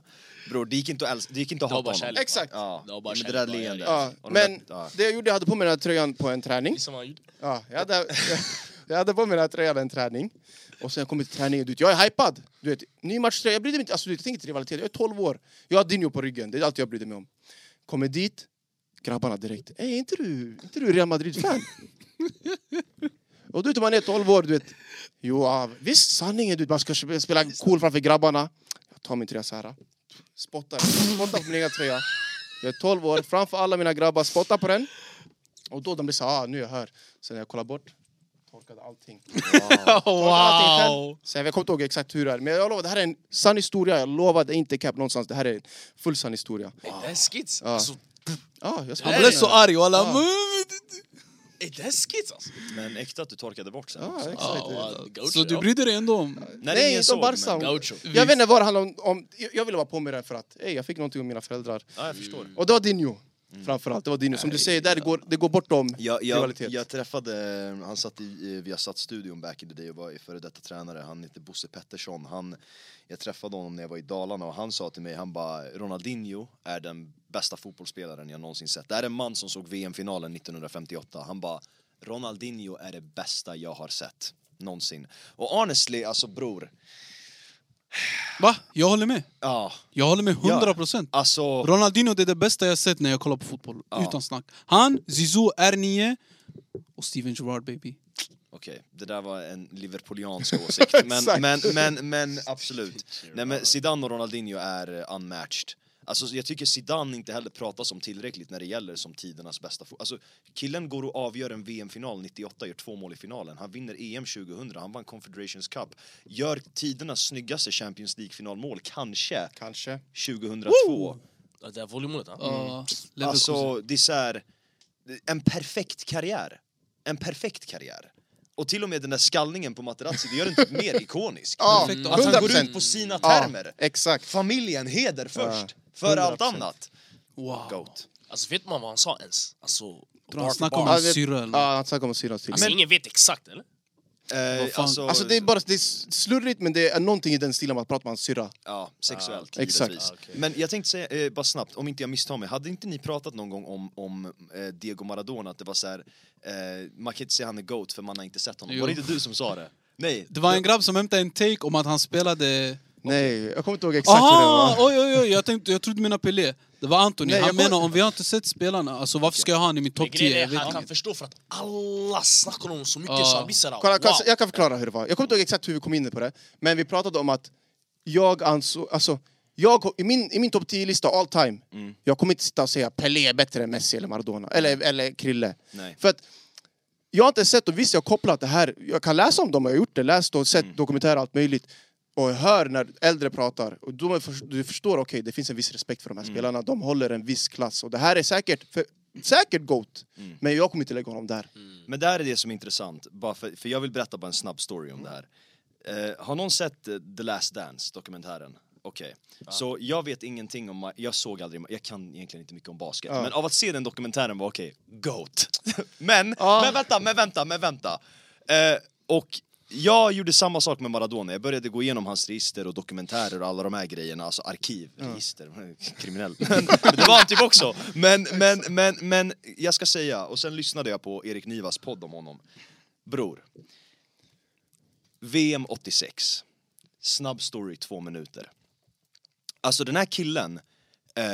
Bror, det gick inte att älska, det gick inte att Det var hata bara honom. kärlek. Exakt. Ja, Det var bara men det kärlek, där bara, ja, leendet. Ja, ja, Och de där- men ja. det jag gjorde, jag hade på mig den här tröjan på en träning. Det som han gjorde. Ja, jag, hade, jag hade på mig den här tröjan en träning. Och sen jag kommer till träningen, du vet, jag är hypad. Du vet, ny matchtröja, jag brydde mig inte. Alltså, du vet, jag tänker inte rivalitet, jag är 12 år. Jag har Dinho på ryggen, det är allt jag brydde mig om. Kommer dit, grabbarna direkt. Ey, är inte du, inte du Real Madrid-fan? och du vet, man är 12 år, du vet. Jo, ja, visst, sanningen, du vet, man ska spela cool framför grabbarna. Jag tar min tröja så här. Spottar, spottar på min egna tröja. Jag är 12 år, framför alla mina grabbar, spottar på den. Och då de blir så här, ah, nu är jag här. Sen när jag kollar bort, torkade allting. Torkade allting själv. Så jag kommer inte ihåg exakt hur det är. Men jag lovar, det här är en sann historia. Jag lovar, det är inte cap någonstans. Det här är en full sann historia. Ey, Det här är skits. Ja. Alltså, Ja, jag Han blev så arg "Mm, Ja. walla. ey, det här är skits alltså. Men äkta att du torkade bort sen Ja, också. exakt. Ja, wow, walla. gaucho, Så du ja. brydde dig ändå om... Nej, Nej, ingen de såg, Barca- men- Gaucho. Jag vet inte vad det handlar om. om jag jag ville vara på mig det för att ey, jag fick någonting av mina föräldrar. Ja, jag förstår. Och det var Dinho. Framförallt, det var Dinho. Som du säger, där det går, det går bortom Jag, jag, rivalitet. jag träffade, han satt i Viasat-studion back in the day och var före detta tränare, han hette Bosse Pettersson. Han, jag träffade honom när jag var i Dalarna och han sa till mig, han bara Ronaldinho är den bästa fotbollsspelaren jag någonsin sett. Det här är en man som såg VM-finalen 1958. Han bara Ronaldinho är det bästa jag har sett någonsin. Och honestly, alltså bror, Va? Jag håller med. ja, Jag håller med 100 procent. alltså Ronaldinho det är det bästa jag sett när jag kollar på fotboll. Ja. Utan snack. Han, Zizou, R9 och Steven Gerrard baby. Okej, det där var en liverpooliansk åsikt. Men, Exakt. men, men, men absolut. Nej, men Zidane och Ronaldinho är eh, unmatched. Alltså, jag tycker Zidane inte heller pratas om tillräckligt när det gäller som tidernas bästa fo- Alltså, killen går och avgör en VM-final 98, gör två mål i finalen. Han vinner EM 2000, han vann Confederations Cup. Gör tidernas snyggaste Champions League-finalmål, kanske, Kanske. 2002. Ja, Det här volleymålet han. Ja, Mm. Leverkusen. Alltså, det är så här, en perfekt karriär. En perfekt karriär. Och till och med den där skallningen på Materazzi, det gör den typ mer ikonisk. Ja, Perfekt. Att han går 100%. ut på sina Ja, termer. exakt. Familjen, heder först. Ja, Före allt 100%. annat. Wow. Goat. Alltså vet man vad han sa ens? Alltså, Tror bar han för snackar bar. om Ja, hans det- syrra eller? Ja, han snackar om syrran. Alltså ingen vet exakt eller? Eh, Vad fan. alltså, Alltså det är bara det är slurrigt men det är någonting i den stilen med att prata med hans syrra. Ja, sexuellt Ah, exakt. givetvis. Ah, okej. Men jag tänkte säga, eh, bara snabbt, om inte jag misstar mig, hade inte ni pratat någon gång om, om eh, Diego Maradona, att det var så här, eh, man kan inte säga han är GOAT för man har inte sett honom. Jo. Var det inte du som sa det? Nej. Det var en grabb som hämtade en take om att han spelade... Nej, jag kommer inte ihåg exakt hur det Aha! var. Oj, oj, oj, jag, tänkte, jag trodde mina Pelé. Det var Anthony. Nej, han jag kom- menar om vi har inte sett spelarna, alltså varför ska jag ha han i min Men topp grejen 10? Jag är, han vet kan inte. förstå för att alla snackar om honom så mycket Ja. så han blir såhär Kolla, wow. kolla, jag kan förklara hur det var. Jag kommer inte ihåg exakt hur vi kom in på det. Men vi pratade om att jag ansåg... Alltså, Jag, kom- I min, i min topp 10-lista all time, jag kommer inte sitta och säga Pelé är bättre än Messi eller Maradona, eller, eller Krille. Nej. För att jag har inte sett, och visst jag har kopplat det här, jag kan läsa om dem, jag har gjort det, läst och sett dokumentärer och allt möjligt. Och jag hör när äldre pratar, och då man förs- du förstår, okej det finns en viss respekt för de här spelarna, de håller en viss klass. Och det här är säkert, för, säkert GOAT, men jag kommer inte lägga honom där. Men där är det som är intressant, bara för, för jag vill berätta bara en snabb story om det här. Eh, har någon sett eh, The Last Dance-dokumentären? Okej, så jag vet ingenting om, ma- jag såg aldrig, ma- jag kan egentligen inte mycket om basket, men av att se den dokumentären var okej, GOAT. men, men vänta, men vänta, men vänta. Eh, och jag gjorde samma sak med Maradona, jag började gå igenom hans register och dokumentärer och alla de här grejerna, alltså arkiv, register, kriminell. Men, det var han typ också. Men, men, men, men jag ska säga, och sen lyssnade jag på Erik Nivas podd om honom. Bror, VM 86, snabb story, två minuter. Alltså den här killen, eh,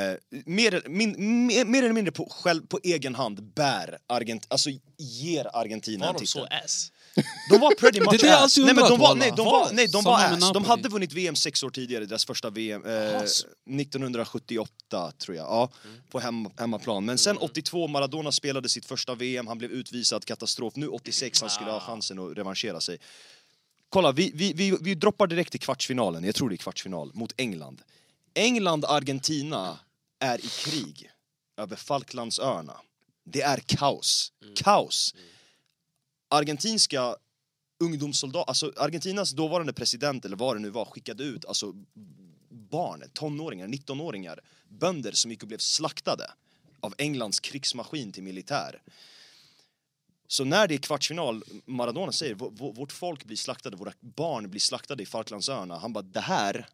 mer, min, mer, mer eller mindre på, själv, på egen hand bär Argent, alltså ger Argentina Var en de så titel. ass? De var pretty much Det är det jag ass. alltid Nej, men undrat de var, på, nej, de alla. var, nej, de Samma var med ass. De Napoli. hade vunnit VM sex år tidigare, deras första VM. Eh, 1978 tror jag, ja, på hem, hemmaplan. Men sen 82, Maradona spelade sitt första VM, han blev utvisad, katastrof. Nu 86, han skulle ha chansen att revanschera sig. Kolla, vi, vi, vi, vi droppar direkt till kvartsfinalen, jag tror det är kvartsfinal, mot England. England-Argentina är i krig över Falklandsöarna. Det är kaos. Kaos! Argentinska ungdomssoldater, alltså Argentinas dåvarande president eller vad det nu var skickade ut alltså barn, tonåringar, 19-åringar, bönder som gick och blev slaktade av Englands krigsmaskin till militär. Så när det är kvartsfinal, Maradona säger "Vå- vå- vårt folk blir slaktade, våra barn blir slaktade i Falklandsöarna. Han bara, det här,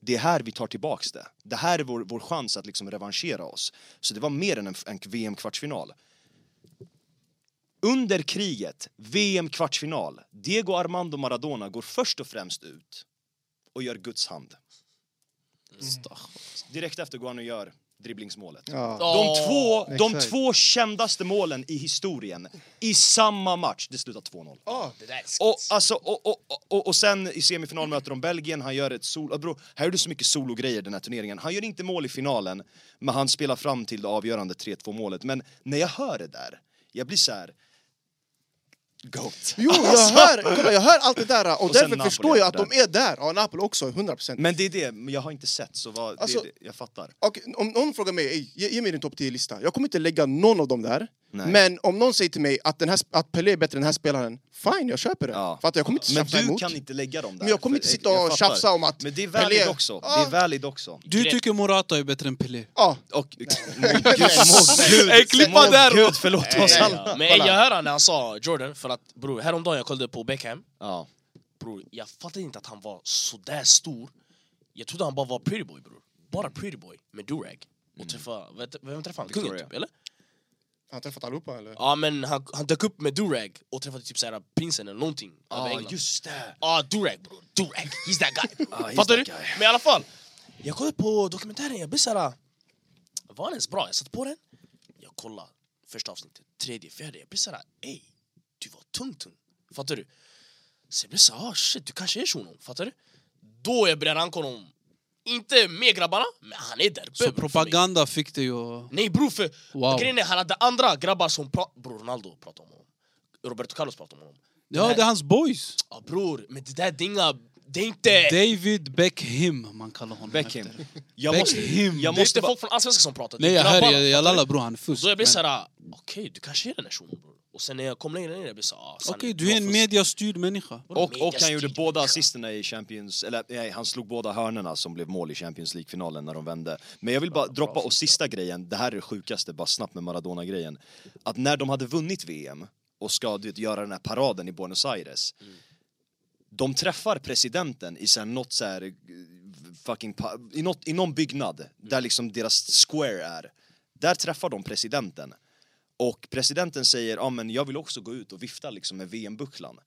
det är här vi tar tillbaks det. Det här är vår, vår chans att liksom revanschera oss. Så det var mer än en, en VM-kvartsfinal. Under kriget, VM-kvartsfinal, Diego Armando Maradona går först och främst ut och gör Guds hand. Mm. Direkt efter går han och gör dribblingsmålet. Ja. De, Åh. två, de Exakt. två kändaste målen i historien i samma match. Det slutar 2-0. Det där är skit. Och, alltså, och, och, och, och sen i semifinal möter de Belgien, han gör ett sol... ah, Bro, här är det så mycket sologrejer den här turneringen. Han gör inte mål i finalen, men han spelar fram till det avgörande 3-2 målet. Men när jag hör det där, jag blir så här. Goat. Jo, jag hör, kolla, jag hör allt det där och, Alltså. Och sen därför Napoli förstår jag att efter de är där. Ja, Napoli också, 100 procent. Men det är det, men jag har inte sett så vad, Alltså- det, är det, jag fattar. Och om någon frågar mig, "Ey, ge, ge mig din topp 10-lista. Jag kommer inte lägga någon av dem där. Nej. Men om någon säger till mig att, den här, sp- att Pelé är bättre än den här spelaren, fine, jag köper det. Ja. För att jag kommer inte Men tjafsa du emot. kan inte lägga dem där. Men jag kommer för- inte sitta jag och fattar. tjafsa om att Men det är valid Pelé- också. Det Ah. är valid också. Du tycker Morata är bättre än Pelé? Ja, Och... Men gud, må gud, Ey, klippa må där då. gud förlåt oss Ja, alla. Men jag hör han när han sa Jordan, för att bror, häromdagen jag kollade på Beckham, Ja. bror, jag fattade inte att han var sådär stor. Jag trodde han bara var pretty boy bror. Bara pretty boy med durag. Och träffa, vet, vem träffade han? Kungen Mm. Victoria. typ, eller? han har träffat allihopa eller? Ja men han, han dök upp med durag och träffade typ såhär prinsen eller någonting. över Ja, England. Ah, just det. Ah, Durag bro, Durag, he's that guy. Ah, he's Fattar that du? guy. Men i alla fall, jag kollade på dokumentären, jag blev såhär... Var den ens bra? Jag satte på den, jag kollade första avsnittet, tredje, fjärde, jag blev såhär ey, du var tung tung. Fattar du? Så jag blev såhär, ah, shit du kanske är shunon, fattar du? Då jag började ranka honom, inte med grabbarna, men han är där uppe, Så bro, för mig. propaganda fick dig att... Nej bror, för Wow. grejen är han hade andra grabbar som pratade, bror Ronaldo pratade om honom. Roberto Carlos pratade om honom. Ja, Nej. det är hans boys. Ja bror, men det där det är inga, det är inte... David Beckham, man kallar honom Beckham. efter. Jag måste, Beckham. jag Det måste är inte bara... folk från allsvenskan som pratar, det är Nej, jag hör, grabbarna, jag, jag fattar du? lallar bror, han är fusk. Då jag blir men- såhär, okej du kanske är den här shunon bror. Och sen när jag kom längre ner, jag blir såhär... ah, Sanne, Okej, du är en fusk. mediastyrd människa. Vadå Och, och han mediastil, gjorde båda människa? assisterna i Champions... Eller nej, han slog båda hörnorna som blev mål i Champions League-finalen när de vände. Men jag vill bara droppa, och sista grejen, det här är det sjukaste, bara snabbt med Maradona-grejen. Att när de hade vunnit VM och ska du vet, göra den här paraden i Buenos Aires. De träffar presidenten i så här, något så här, eh, fucking, pa- i, något, i någon byggnad där liksom deras square är. Där träffar de presidenten. Och presidenten säger, ja men jag vill också gå ut och vifta liksom med VM-bucklan.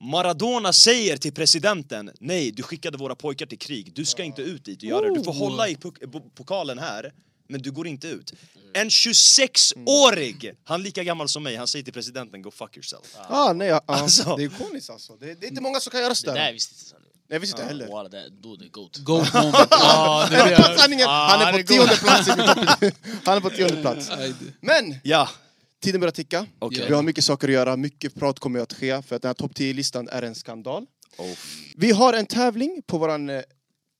Maradona säger till presidenten, nej du skickade våra pojkar till krig, du ska inte ut dit och göra det. Du får hålla i puk- bo- pokalen här, men du går inte ut. En 26-årig! Han är lika gammal som mig, han säger till presidenten, go fuck yourself. Ah, nej, ja, ja. Alltså. Det är ikoniskt alltså. Det, det är inte många som kan göra Det där sådär. visste inte Sanne. jag visste inte heller. Walla, det- då är det GOAT. Goat moment. Ja, det är det. Sanningen, han är på tionde plats i min topp. Han är på tionde plats. Nej, det- Men! Ja, Tiden börjar ticka. okej. Ja. Vi har mycket saker att göra, mycket prat kommer att ske för att den här topp 10-listan är en skandal. Oh. Vi har en tävling på våran eh,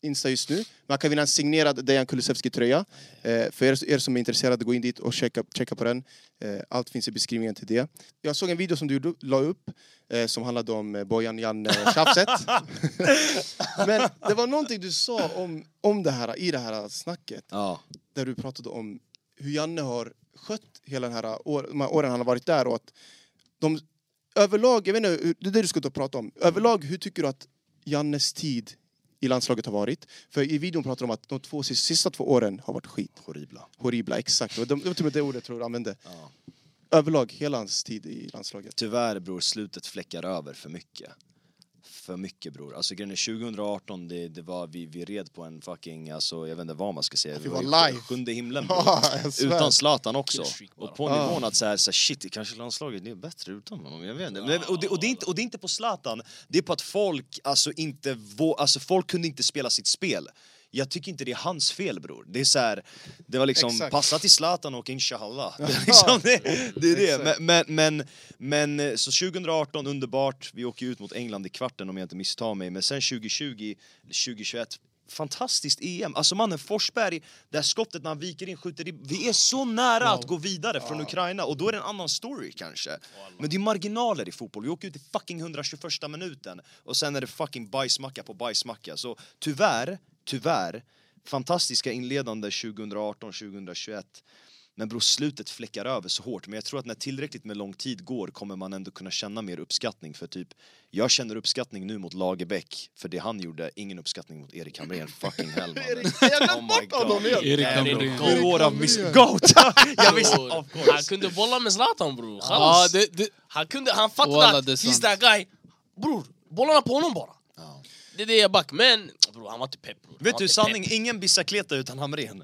Insta just nu. Man kan vinna en signerad Dejan Kulusevski-tröja. Eh, för er, er som är intresserade, gå in dit och checka, checka på den. Eh, allt finns i beskrivningen till det. Jag såg en video som du gjorde- la upp eh, som handlade om eh, Bojan Janne-tjafset. Men det var någonting du sa om, om det här, i det här snacket Ja. där du pratade om hur Janne har skött hela den här år, de här åren han har varit där och att de överlag, jag vet inte, hur- det är det du ska ta och prata om. Överlag, hur tycker du att Jannes tid i landslaget har varit? För i videon pratar de om att de två sista, sista två åren har varit skit. Horribla. Horribla, exakt. Det var- det var till och med det ordet jag tror du använde. Ja. Överlag, hela hans tid i landslaget. Tyvärr bror, slutet fläckar över för mycket. För mycket bror. Alltså grejen är 2018, det, det var, vi, vi red på en fucking, alltså jag vet inte vad man ska säga. vi var ju live. Sjunde himlen bror. Ja, jag svär. Utan Zlatan också. Killstreak bara. Och på Ja. nivån att så här, så här, shit, det kanske landslaget det är bättre utan honom. Jag vet inte. Men, och, det, och, det är inte och det är inte på Zlatan, det är på att folk, alltså inte, vå, alltså folk kunde inte spela sitt spel. Jag tycker inte det är hans fel bror. Det är så här, det var liksom Exakt. passa till Zlatan och inshallah. Det är, liksom, det, det, är det. Exakt. Men, men, men, men eh, så 2018, underbart. Vi åker ut mot England i kvarten om jag inte misstar mig. Men sen 2020, 2021, fantastiskt EM. Alltså mannen Forsberg, det här skottet när han viker in, skjuter i. Vi är så nära att gå vidare från Ukraina och då är det en annan story kanske. Men det är marginaler i fotboll. Vi åker ut i fucking 121 minuten och sen är det fucking bajsmacka på bajsmacka. Så tyvärr, tyvärr, fantastiska inledande 2018, 2021. Men bror, slutet fläckar över så hårt. Men jag tror att när tillräckligt med lång tid går kommer man ändå kunna känna mer uppskattning. För typ, jag känner uppskattning nu mot Lagerbäck för det han gjorde. Ingen uppskattning mot Erik Hamrén. Fucking hell mannen. Oh Jag har glömt bort honom igen. Erik Ja, det är Hamrén. GOAT. Två år av miss... Hamrén. Goat! jag visste, bror. of course. Han kunde bolla med Zlatan bror. Ja, Chalas. det, det, Han kunde, han fattade Walla, att det är he's sant. that guy. Bror, bollarna på honom bara. Ja. Det är det jag back. Men bror, han var inte pepp bror. Han Vet var du, inte sanning, ingen bicicleta utan Hamrén.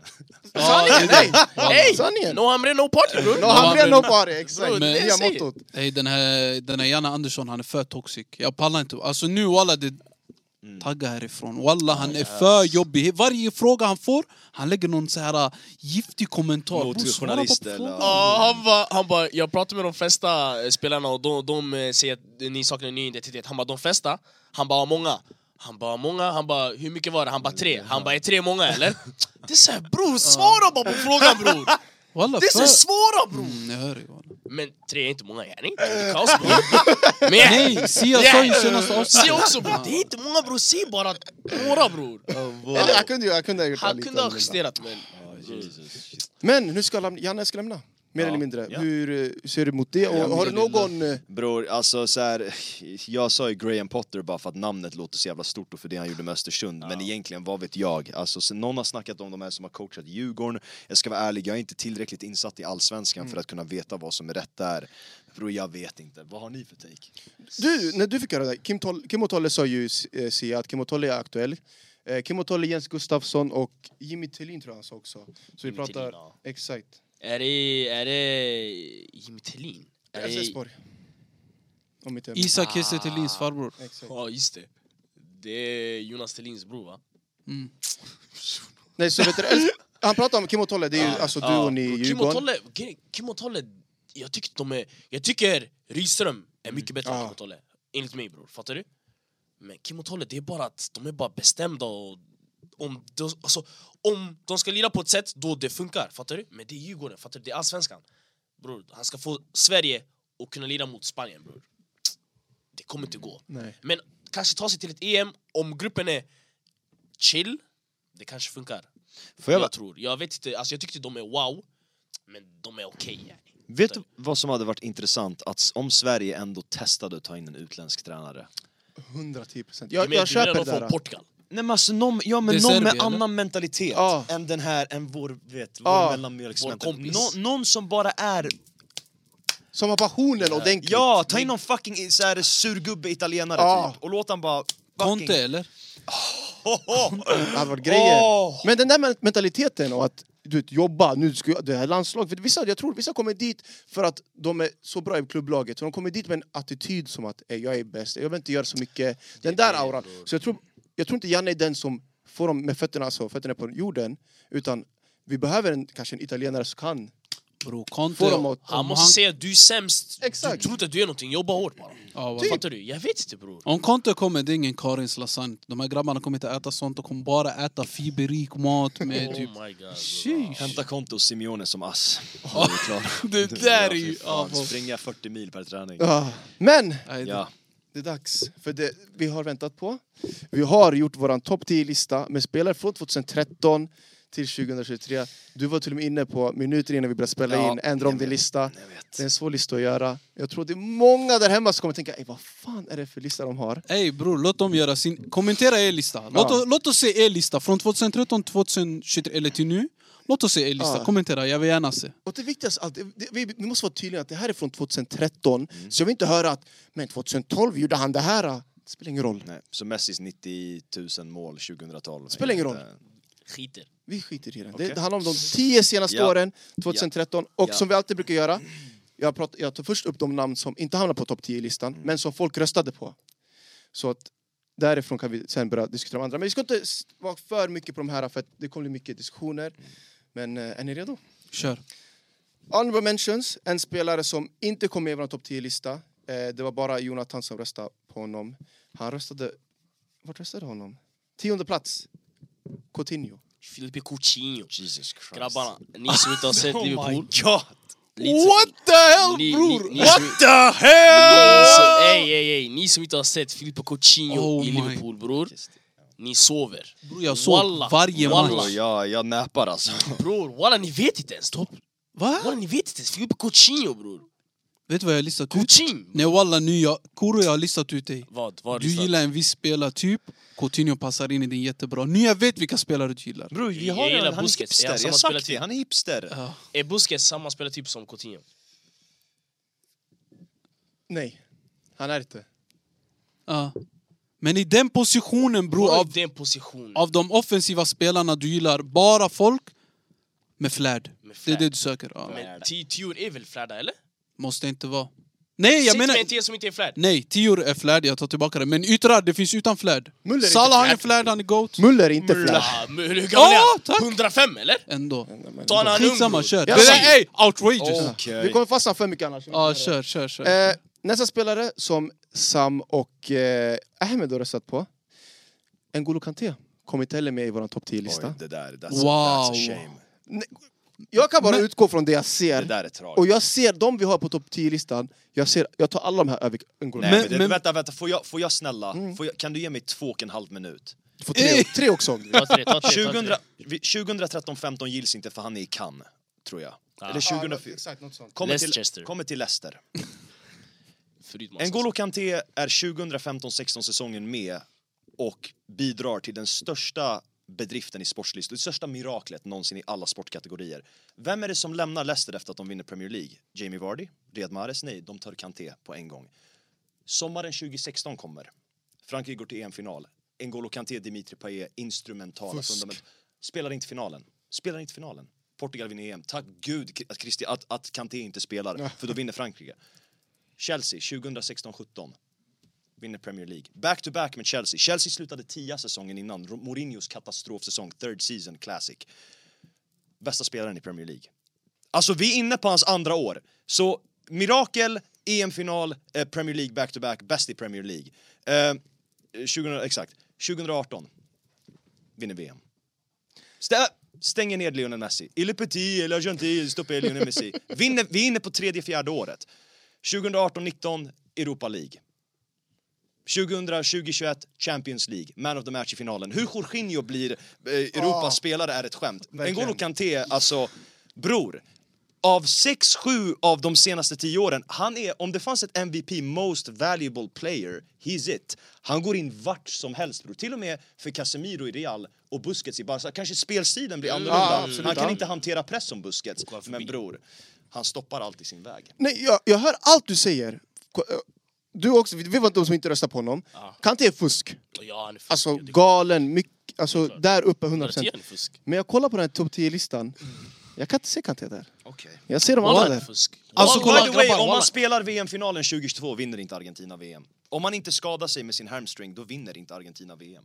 ja, det, det, pepp. Ey! Sanningen! No Hamrén, no party bror. No, han blev Hamrén. nog bara, exakt. Bro, det är det Nya jag säger. mottot. Ey, den här, den här Janne Andersson, han är för toxic. Jag pallar inte. Alltså nu walla, det... Tagga härifrån. Walla, han är för jobbig. Varje fråga han får, han lägger någon så här äh, giftig kommentar. Mot Bror, svara på journalister eller- frågan. Ja, han bara, han bara, jag pratar med de flesta eh, spelarna och de, de eh, säger att ni saknar en ny identitet. Han bara, de flesta? Han bara, många. Han bara, många? Han bara, hur mycket var det? Han bara, tre. Han bara, är tre många eller? Det är såhär, bror, svara bara på frågan bror! Walla, Det är så för- svåra bror! Mm, jag hör dig, walla. Men tre är inte många yani, det är kaos bror. Men yani, Nej, Sia sa ju Yeah. senaste se avsnittet. också bror, det är inte många bror, se bara några bror. Eller jag kunde ju, jag kunde ha gjort det Han lite kunde ha annorlunda. justerat men... Men nu ska lämna, Janne ska lämna. Mer Ja. eller mindre. Ja. Hur eh, ser du mot det? Och har du någon... eh, Bror, alltså så här, jag sa ju Graham Potter bara för att namnet låter så jävla stort och för det han gjorde med Östersund, men egentligen, vad vet jag? Alltså, så någon har snackat om de här som har coachat Djurgården, jag ska vara ärlig, jag är inte tillräckligt insatt i allsvenskan för att kunna veta vad som är rätt där. Bror, jag vet inte. Vad har ni för take? Du, när du fick höra det här, Kim, Toll, Kim och Tolle sa ju eh, Sia att Kim och Tolle är aktuell. Eh, Kim och Tolle, Jens Gustafsson och Jimmy Tillin tror jag han sa också. Så vi Jimmy pratar... Tillin, ja. Exakt. Är det... Är det... Jimmy Tillin? Är det- Elfsborg. Om inte jag minns. Isak Kiese Thelins farbror. Exakt. Ja, just det. Det är Jonas Thelins bror va? Mm. Nej, så vet du, Elfs- han pratar om Kim och Tolle, det är ju alltså duon i Ja, Djurgården. Kim och Tolle, grejen- Kim och Tolle, jag tycker de är... Jag tycker Rydström är mycket bättre Ja. än Kim och Tolle. Enligt mig bror, fattar du? Men Kim och Tolle, det är bara att de är bara bestämda och... Om de, alltså, om de ska lira på ett sätt, då det funkar, fattar du? Men det är Djurgården, fattar du? Det är allsvenskan. Bror, han ska få Sverige och kunna lira mot Spanien bror. Det kommer inte gå. Nej. Men kanske ta sig till ett EM om gruppen är chill, det kanske funkar. Får jag jag bara- tror. Jag vet inte, alltså jag tyckte de är wow, men de är okej. yani. Vet du vad som hade varit intressant? Att s- om Sverige ändå testade att ta in en utländsk tränare. 110 procent. Du Jag, menar- jag du menar köper de det där. från Portugal? Nej men alltså någon, ja, men Det är någon Serbien, med eller? annan mentalitet Ja. än den här, än vår, vet, vår Ja. Vår mellanmjölksmental. kompis. Nå- någon som bara är Som har passionen ordentligt. Ja, ta in någon fucking så här, surgubbe italienare Ja. typ och låt han bara... fucking- Conte eller? Ho, ho. Det hade varit grejer. Åh! Men den där men- mentaliteten och att du vet, jobba, nu ska jag, det här landslaget. För vissa, jag tror vissa kommer dit för att de är så bra i klubblaget. Så de kommer dit med en attityd som att "Ey, jag är bäst, jag behöver inte göra så mycket. Den där auran. Så jag tror jag tror inte Janne är den som får dem med fötterna, alltså, fötterna på jorden. Utan vi behöver en, kanske en italienare som kan. Bro, Conte... Får de åt- om Han måste säga att du är sämst, Exakt. du tror inte att du är någonting, jobba hårt bara. Ja, Typ. vad- Fattar du? Jag vet inte bror. Om Conte kommer, det är ingen Karins lasagne. De här grabbarna kommer inte äta sånt. De kommer bara äta fiberrik mat med typ... Oh my god. bror. Sheesh. Hämta Conte och Simeone som ass. Ja, det är klart. Det där är ju- Ja, fy fan. ja, vad- Springa 40 mil per träning. Ah, Men! Nej, det- Ja. Det är dags för det vi har väntat på. Vi har gjort vår topp 10-lista med spelare från 2013 till 2023. Du var till och med inne på minuter innan vi började spela Ja, in, ändra om jag din vet, lista. Jag vet. Det är en svår lista att göra. Jag tror det är många där hemma som kommer tänka, "Ey, vad fan är det för lista de har? Ey bror, låt dem göra sin... Kommentera er lista. Låt, Ja. oss, låt oss se er lista från 2013 till 2023, eller till nu. Låt oss se er lista. Ja. Kommentera, jag vill gärna se. Och det viktigaste, av allt, det, vi, vi måste vara tydliga att det här är från 2013. Mm. Så jag vill inte höra att, men 2012 gjorde han det här. Det spelar ingen roll. Nej. Så Messis 90 000 mål eh, 2012. Spelar ingen roll. Skiter. Vi skiter i den. Det, Okej. det handlar om de tio senaste Ja. åren, 2013. Och Ja. som vi alltid brukar göra, jag, pratar, jag tar först upp de namn som inte hamnar på topp 10-listan, Mm. men som folk röstade på. Så att därifrån kan vi sen börja diskutera de andra. Men vi ska inte s- vara för mycket på de här, för att det kommer bli mycket diskussioner. Mm. Men eh, är ni redo? Kör. Honorable mentions, en spelare som inte kom med i vår topp 10-lista. Eh, det var bara Jonathan som röstade på honom. Han röstade... Vart röstade honom? Tionde plats. Coutinho. Filipe Coutinho. Jesus Christ. Grabbarna, ni som inte har sett Liverpool. God! Lite- the hell Ni- ni- ni- What the hell! Ni som- Ey, ey, ey. Ni som inte har sett Filipe Coutinho Oh i my- Liverpool bror. Ni sover. Bror jag såg Walla. varje Walla. match. Bro, jag, jag näpar alltså. Bror walla ni vet inte ens. Topp. Va? Walla ni vet inte ens. Filipe Coutinho bror. Vet du vad jag har listat ut? Coutinho. Nej walla nu, jag, Kuro jag har listat ut dig. Vad? Vad har Du listat? gillar en viss spelartyp, Coutinho passar in i din jättebra. Nu jag vet vilka spelare du gillar. Bro, vi Jag har gillar en, han är Busquets. hipster. Är han Jag har samma sagt spelartyp? det, han är hipster. Ja. Är E Busquets samma spelartyp som um Coutinho? Nej, han är inte. Ja. Men i den positionen bror, Av av, den positionen. av de offensiva spelarna du gillar, bara folk med flärd. Med Det är flärd. det du söker. Ja. Men Ti- Tior är väl flärda eller? Måste inte vara. Nej jag Säg till menar... mig en till som inte är flärd. Nej, Tior är flärd, jag tar tillbaka det. Men yttrar, det finns utan flärd. Müller är inte Salah han är flärd. flärd, han är GOAT. Muller är inte flärd. Ah, men Hur gammal Ja, är tack. han? 105 eller? Ändå. Ta en annan ung Skitsamma, bror. kör. Ja. Det där är outrageous! Okej. Vi kommer fastna för mycket annars. Ja, kör, kör, kör. Eh, nästa spelare som Sam och eh, Ahmed har röstat på, N'Golo Kanté, kom inte heller med i vår topp Oj, 10-lista. det där, that's, Wow. that's a shame. Jag kan bara Men- utgå från det jag Det ser. där är Och tragiskt. jag ser de vi har på topp 10-listan, jag, ser- jag tar alla de här över N'Golo. Nej, Men- men, det, men- vänta, vänta, får jag, får jag snälla, får jag, kan du ge mig två och en halv minut? Du får tre, tre också om du vill. Ta tre, ta tre, ta tre. 2013-15 gills inte för han är i Cannes, tror jag. Eller 2004. Exakt, något sånt. Kommer Ah. Leicester. till, kommer till Leicester. Förutom hans- N'Golo Kanté är 2015-16 säsongen med och bidrar till den största bedriften i sportslistan, det största miraklet någonsin i alla sportkategorier. Vem är det som lämnar Leicester efter att de vinner Premier League? Jamie Vardy? Riyad Mahrez? Nej, de tar Kanté på en gång. Sommaren 2016 kommer. Frankrike går till EM-final. N'Golo Kanté, Dimitri Payet, instrumentala fundament. Spelar inte finalen. Spelar inte finalen. Portugal vinner EM. Tack gud att, Christi, att, att Kanté inte spelar, för då vinner Frankrike. Chelsea 2016-17 vinner Premier League. Back-to-back med Chelsea. Chelsea slutade tia säsongen innan. Ro- Mourinhos katastrofsäsong, third season classic. Bästa spelaren i Premier League. Alltså vi är inne på hans andra år. Så mirakel, EM-final, eh, Premier League back-to-back, bäst i Premier League. Eh, 2000, exakt, 2018 vinner VM. Stä- stänger ner Lionel Messi. Ile Petit, eller Gentil, stoppar Lionel Messi. Vinner, vi är inne på tredje, fjärde året. 2018-19, Europa League. 2020-21, Champions League, man of the match i finalen. Hur Jorginho blir eh, Europas spelare är ett skämt. verkligen. N'Golo Kanté, alltså, bror. Av 6-7 av de senaste 10 åren, han är, om det fanns ett MVP, most valuable player, he's it. Han går in vart som helst bror. Till och med för Casemiro i Real och Busquets i Barca. Kanske spelstilen blir Mm. Ja, annorlunda. absolut. han kan Ja. inte hantera press som Busquets. Men bror, han stoppar allt i sin väg. Nej, jag, jag hör allt du säger. Ko- eh, Du också, vi vi var inte de som inte röstade på honom. Ja. Kanté är fusk. Ja, han är fusk. Ah, Alltså Ja, det- galen, mycket, alltså klart. där uppe 100 Garanterat procent. han är fusk. Men jag kollar på den här topp 10-listan. Jag kan inte se Kanté där. Okej. Okay. Jag ser de andra Walla, han är där. fusk. Alltså, Walla, kolla, by the way, grabbar, om walla. man spelar VM-finalen 2022 vinner inte Argentina VM. Om man inte skadar sig med sin hamstring, då vinner inte Argentina VM.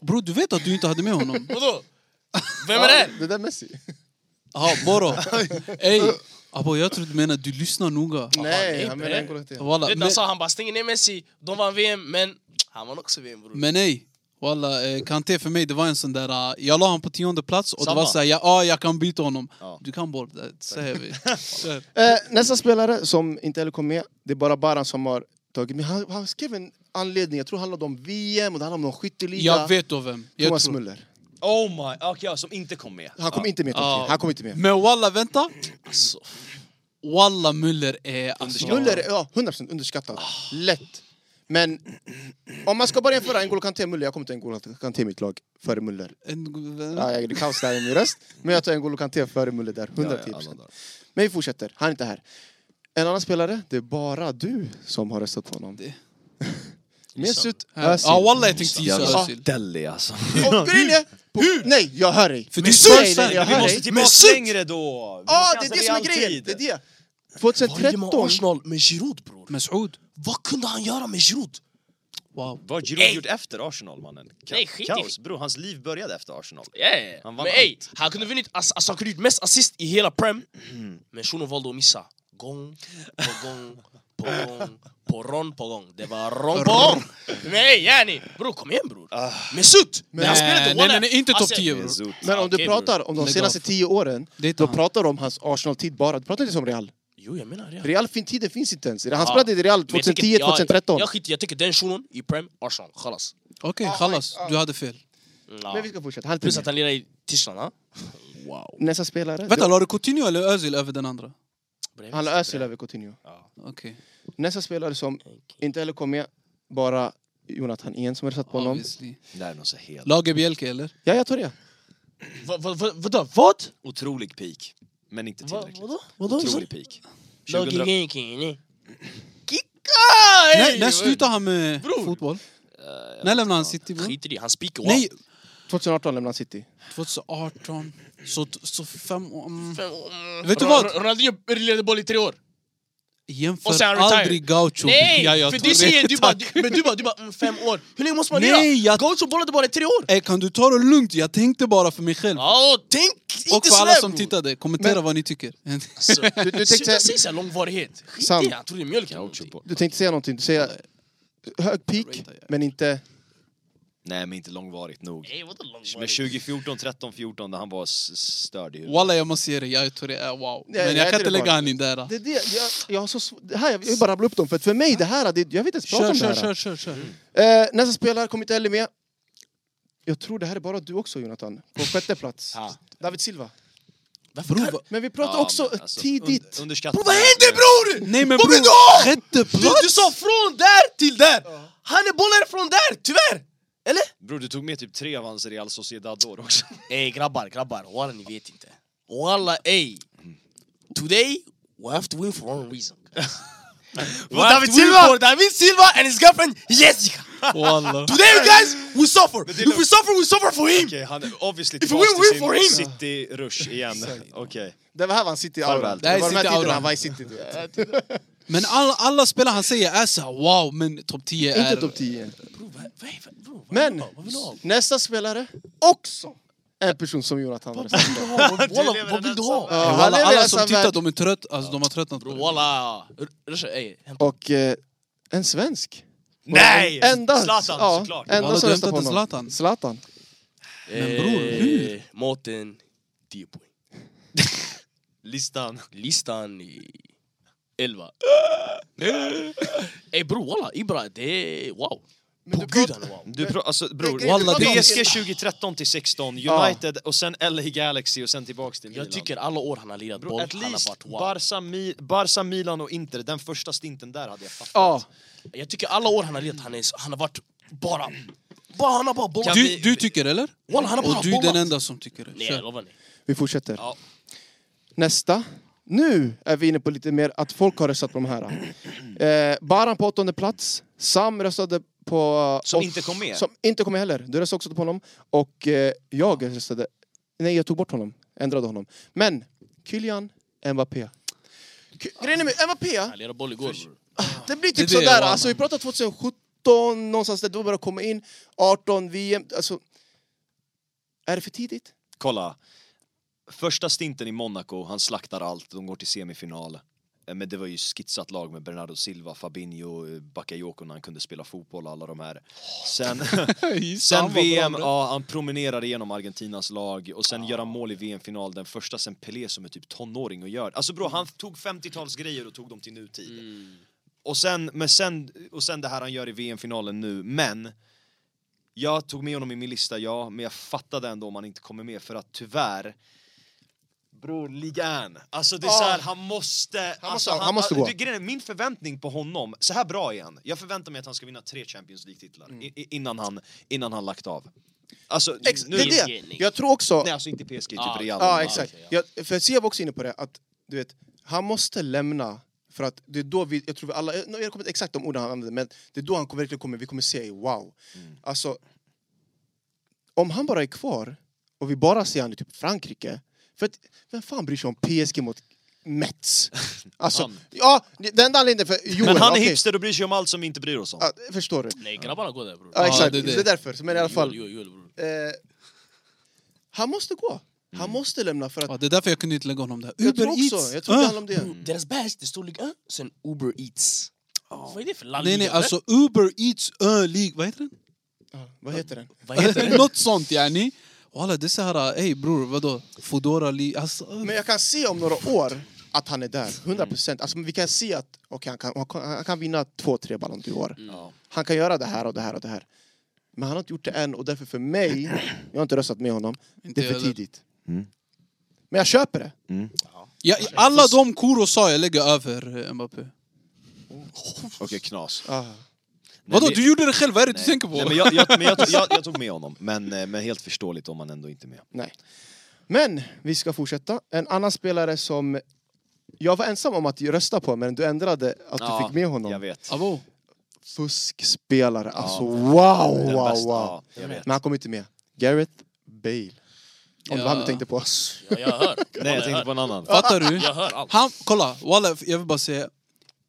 Bro, du vet att du inte hade med honom? Vadå? Vem är det? Det där är Messi. Ja, Boro. Ey, abo, jag tror du menar du lyssnar noga. Nej, nej, han bre. menar Ancelotti. Walla, Det men- där sa han bara stänger ner Messi, de vann VM, men han vann också VM bror. Men nej, walla, eh, Kanté för mig det var en sån där... eh, jag la honom på tionde plats och Samma. det var såhär, ja, ah, jag kan byta honom. Ja. Du kan bort det, säger vi. Kör. Eh, nästa spelare som inte heller kom med, det är bara Baran som har tagit med. Han, han skrev en anledning, jag tror det handlade om VM och det handlade om någon skytteliga. Jag vet då vem. Jag Thomas tror. Müller. Oh my, okej ja, som inte kom med. Han kom Ja. inte med, Ja. Totti. han kom inte med. Men walla, vänta. Alltså, Walla Müller är... Alltså, Müller, är- ja, 100% underskattad. Lätt. Men om man ska bara jämföra N'Golo Kanté och Müller, jag kommer ta N'Golo Kanté i mitt lag före Müller. en, Ja, jag är kaos där i min röst. Men jag tar N'Golo Kanté före Mulle där, 110%. Ja, ja, alla dagar. Men vi fortsätter, han är inte här. En annan spelare, det är bara du som har röstat på honom. Det- Mesut Ja, Özil. ah, walla jag tänkte gissa Jävla Özil. deli alltså. Och grejen är- på- Nej, jag hör dig! För Nej, du sa ju nej, sen- jag Vi hör måste dig! tillbaka Mesut! längre då! Vi Ja, det måste är det som är alltid. grejen! Det är det. vad gjorde 2013... man Arsenal med Giroud bror? Mesut. Vad kunde han göra med Giroud? Wow. Vad har Giroud Ey! gjort efter Arsenal mannen? Ka- Nej, skit i- Kaos bror, hans liv började efter Arsenal. Ja, ja, ja. Han Men vann ey, han kunde vunnit, ass- alltså han kunde gjort mest assist i hela Prem Men shunon valde att missa Gång på gång på gång på ron på gång Det var ron på gång Nej yani, bror kom igen bror Mesut! Men han Nej, spelade nej, one- nej, nej, inte topp Alltså, 10, bror. Mesut. Men om du Okej, bror. pratar om de Lägg senaste av. tio åren, Det är inte då han. pratar du om hans Arsenal-tid bara. Du pratar inte om Real. Jo jag menar det Real fin tiden finns inte ens. Han Ja. spelade i Real Men jag tycker- 2010, ja, 2013. Jag skiter jag tycker den shunon i Prem, Arsenal, khalas Okej, Ah, chalas. ah. Du hade fel. Mm, ja. Men vi ska fortsätta, han är Plus inte att han lirar i Tyskland, ha? med. Nästa spelare, Vänta, la du Coutinho eller Özil över den andra? Bredvid. han har Özil över Coutinho. Okej. Nästa spelare som inte heller kom med, bara Jonathan igen som har satt på honom. Obviously. Det här är någon så helt Lager Bielke eller? Ja, jag tar det. Va- va- va- Vadå, vad? otrolig peak. Men inte Va- tillräckligt. Vadå? Vadå? Otrolig peak. 2000 Lagig kille. Nej, Kicka! när slutar han med Bror. Eh, fotboll? När lämnar han City? Bro? Skiter i, han spikar Nej, 2018 lämnade han City. 2018. Så, så fem år... Mm. Fem- Vet du Ro- vad? Ro- Ronaldinho lirade boll i tre år. Jämför Och sen han retired. aldrig Gaucho. Nej! Ja, jag för tror du säger, det. du bara, du, men du bara, du bara mm, fem år. Hur länge måste man lira? Nej, jag- Gaucho bollade bara i tre år. Eh, kan du ta det lugnt? Jag tänkte bara för mig själv. Ja, tänk Och inte för sådär alla som bror. tittade, kommentera vad ni tycker. Alltså, Du, du, Sluta tänkte, säga såhär långvarighet. Skit Sam. i han trodde mjölk eller någonting. du tänkte säga någonting, du säger hög peak, men inte... Nej, men inte långvarigt nog. Nej, vadå Men långvarigt? 2014, 13, 14 när han var s- s- störd i huvudet. Walla jag måste säga det, jag tror det är wow. Nej, Men jag jag kan tror inte det lägga var- han in där. Det är det, jag, jag har så sv- det här, jag vill bara rabbla upp dem, för att för mig det här, det, jag vet inte ens prata Kör, om det kör, här. kör, kör, kör. Eh, nästa spelare kom inte heller med. Jag tror det här är bara du också Jonathan, på sjätte plats. Ja. David Silva. Varför Bror, kan- vad- Men vi pratar Ja, också men alltså, tidigt. un- underskattat. Bror vad händer bror? Nej men Vad blir bror, det av? sjätte Du, plats! du sa från där till där! Han är bollare från där, tyvärr! Eller? Bror, du tog med typ tre av hans Real Sociedad-år också. Ey grabbar, grabbar, walla ni vet inte. Walla ey. Today we have to win for one reason. we have David to win Silva? for David Silva and his girlfriend Jessica. Walla. Today you guys, we suffer. är If we suffer, we suffer for him. Okej, han är obviously If we win tillbaka for till him! sin City-rush igen. Okej. Det var här var han City aura. Farväl. Det här är var de här City-auran. tiderna han var i City. du vet. Men alla, alla spelare han säger är såhär wow, men topp 10 är... Inte topp 10. Bro, vad- vad- vad- bro, vad Men vill du ha? Vad vill du ha? nästa spelare, också en person som Jonathan har röstat på. Walla, lever vad vill i du den ha? sanningen. Walla, Han lever i alla en som sann tittar värld. de är trött, alltså de har tröttnat på Bro, det. Walla, Rusha, ey. hämta- Och eh, en svensk. Nej! Enda, Zlatan ja, såklart! Walla, Enda som du röstar på hämtade honom. Zlatan. Zlatan. Men bror, Eh, hur? Mårten, 10 poäng. Listan. Listan i 11. Ey bror walla, Ibra det är wow. Men På du gud pratar- han är wow. Du pra- alltså, bror, Det- det- Walla, det- PSG 2013 till 16, Ja. United och sen LA Galaxy och sen tillbaks till Milan. Jag tycker alla år han har lirat Bro, boll, at han har least varit wow. Barca, Mi- Barca, Milan och Inter, den första stinten där hade jag fattat. Ja, Jag tycker alla år han har lirat, han, är, han har varit bara... bara han har bara bollat. Kan Du, vi- du tycker eller? Walla, han har bara Och du är bollat. den enda som tycker det. Nej jag Kör. lovar ni. vi fortsätter. Ja. Nästa. Nu är vi inne på lite mer att folk har röstat på de här. Eh, Baran på åttonde plats. Sam röstade på... Som och- inte kom med. Som inte kom med heller. Du röstade också på honom. Och eh, jag röstade... Nej, jag tog bort honom. Ändrade honom. Men Kylian Mbappé. Ky- Grejen är med Mbappé, Han lirade boll igår bror. det blir Det är typ det jag sådär. varnar. Alltså, vi pratar 2017, 17, någonstans där. Det var bara att komma in. 18 VM. Alltså, är det för tidigt? Kolla. Första stinten i Monaco, han slaktar allt, de går till semifinal. Eh, Men det var ju skitsat lag med Bernardo Silva, Fabinho, eh, Bakayoko när han kunde spela fotboll, alla de här. Sen, sen VM, ja, han promenerar igenom Argentinas lag och sen gör han mål i VM-final, den första sen Pelé som är typ tonåring och gör. Alltså bro, han tog 50-talsgrejer och tog dem till nutid. Och sen, men sen, och sen det här han gör i VM-finalen nu, men jag tog med honom i min lista, ja, men jag fattade ändå om han inte kommer med för att tyvärr Bror, ligan. Alltså det är såhär, han måste... Han alltså, han måste gå. det- grejen är, min förväntning på honom, så här bra igen. Jag förväntar mig att han ska vinna tre Champions League-titlar Mm. i- i- innan, han, innan han lagt av. Alltså, Ex nu, det är PSG, det. nej. Jag tror också... nej, alltså inte PSG, typ Ah, Real. Ja, Madrid. exakt. okej, Jag, för Sia var också inne på det, att du vet, han måste lämna för att det är då vi, jag tror vi alla, jag kommer inte exakt de orden han använde, men det är då han kommer, verkligen kommer, vi kommer se wow. Alltså, om han bara är kvar och vi bara ser han i typ Frankrike, för att, vem fan bryr sig om PSG mot Mets? Alltså, Han. ja, den enda anledningen för Joel, Men han är okej. Ah, hipster och bryr sig om allt som vi inte bryr oss om. Ja, förstår du? Nej, grabbarna går där bror. Ja, Ja, exakt, det är det, det. är därför. Men i alla fall, Joel, Joel, Joel, bror. eh, han måste gå. Han måste lämna för att Ja, det är därför jag kunde inte lägga honom där. jag Uber tror också, Eats! jag tror det Ah. handlar om det. Deras badge, det stod liksom, sen Uber Eats. Vad är det för lalliga? Nej, nej, alltså Uber Eats Ö League, vad heter den? Ja, vad heter den? Vad heter det? Något sånt yani. Walla det är såhär, ey bror vadå? Foodora li... Alltså, Men jag kan se om några år att han är där, 100 procent. Alltså, men vi kan se att okay, han, kan, han kan- han kan vinna två, tre Ballon d'Or. Mm. Ja. Han kan göra det här och det här och det här. Men han har inte gjort det än och därför för mig, jag har inte röstat med honom, Inte det är jag för heller. tidigt. Mm. Men jag köper det. jag, alla de Kuro sa jag lägger över eh, Mbappé. Okej, knas. Vadå, men- du gjorde det själv, vad är det du Nej. tänker på? Nej, men jag, jag, men jag, jag, jag tog med honom, men, eh, men helt förståeligt om han ändå inte är med. Nej. Men vi ska fortsätta. En annan spelare som jag var ensam om att rösta på, men du ändrade att du Ja, fick med honom. Jag vet. Abo. Fuskspelare, alltså wow, Den wow, bästa, wow. ja, jag vet. Men han kom inte med. Gareth Bale. Om det var han du Ja. tänkte på. Ja, jag hör. Nej, jag hör. tänkte på en annan. Fattar du? Jag hör allt. Han, kolla, walla, jag vill bara säga.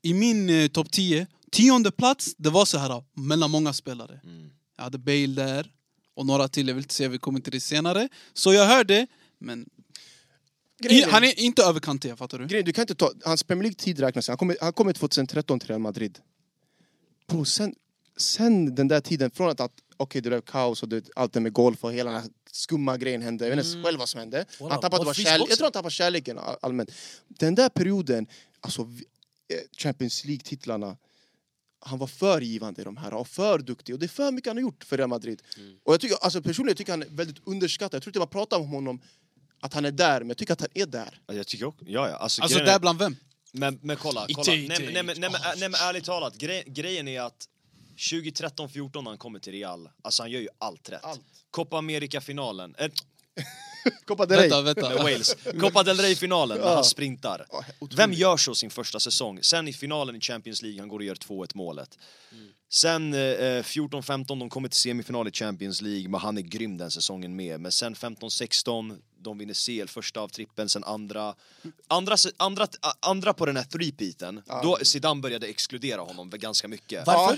I min eh, topp 10, tionde plats, det var så här ah, mellan många spelare. Jag hade Bale där, och några till, jag vill inte säga, vi kommer till det senare. Så jag hörde, men... I, Grejen är- han är inte över Kanté, fattar du? Grejen, du kan inte ta... Hans Premier League-tid räknas. Han kom, han kom 2013 till Real Madrid. Bro, sen, sen den där tiden, från att, att okej det blev kaos och det, allt det med golf och hela den här skumma grejen hände. Jag vet inte själv vad som hände. Walla, han tappade vad bara finns kärlek. boxen? Jag tror han tappade kärleken all- allmänt. Den där perioden, alltså vi- eh, Champions League-titlarna. Han var för givande i de här och för duktig. Och det är för mycket han har gjort för Real Madrid. Och jag tycker, alltså personligen jag tycker han är väldigt underskattad. Jag tror inte man pratar om honom att han är där, men jag tycker att han är där. Ja, Jag tycker också, ja, ja. Alltså, Alltså grejen är- där bland vem? men, men kolla, kolla. Inte, Nej, men- inte, nej, men- nej, men- inte. nej, men ärligt talat, gre grejen är att 2013, 14 när han kommer till Real, alltså han gör ju allt rätt. Allt. Copa America-finalen, eh, Copa del Rey. Vänta, vänta. med Wales. Copa del Rey-finalen när Ja. han sprintar. Ja, otroligt. Vem gör så sin första säsong? Sen i finalen i Champions League, han går och gör 2-1 målet. Sen eh, eh, 14-15, de kommer till semifinal i Champions League, men han är grym den säsongen med. Men sen 15-16, de vinner CL, första av trippen, sen andra. Andra, se- andra, a- andra på den här three-peaten, då Zidane började exkludera honom ganska mycket. Varför?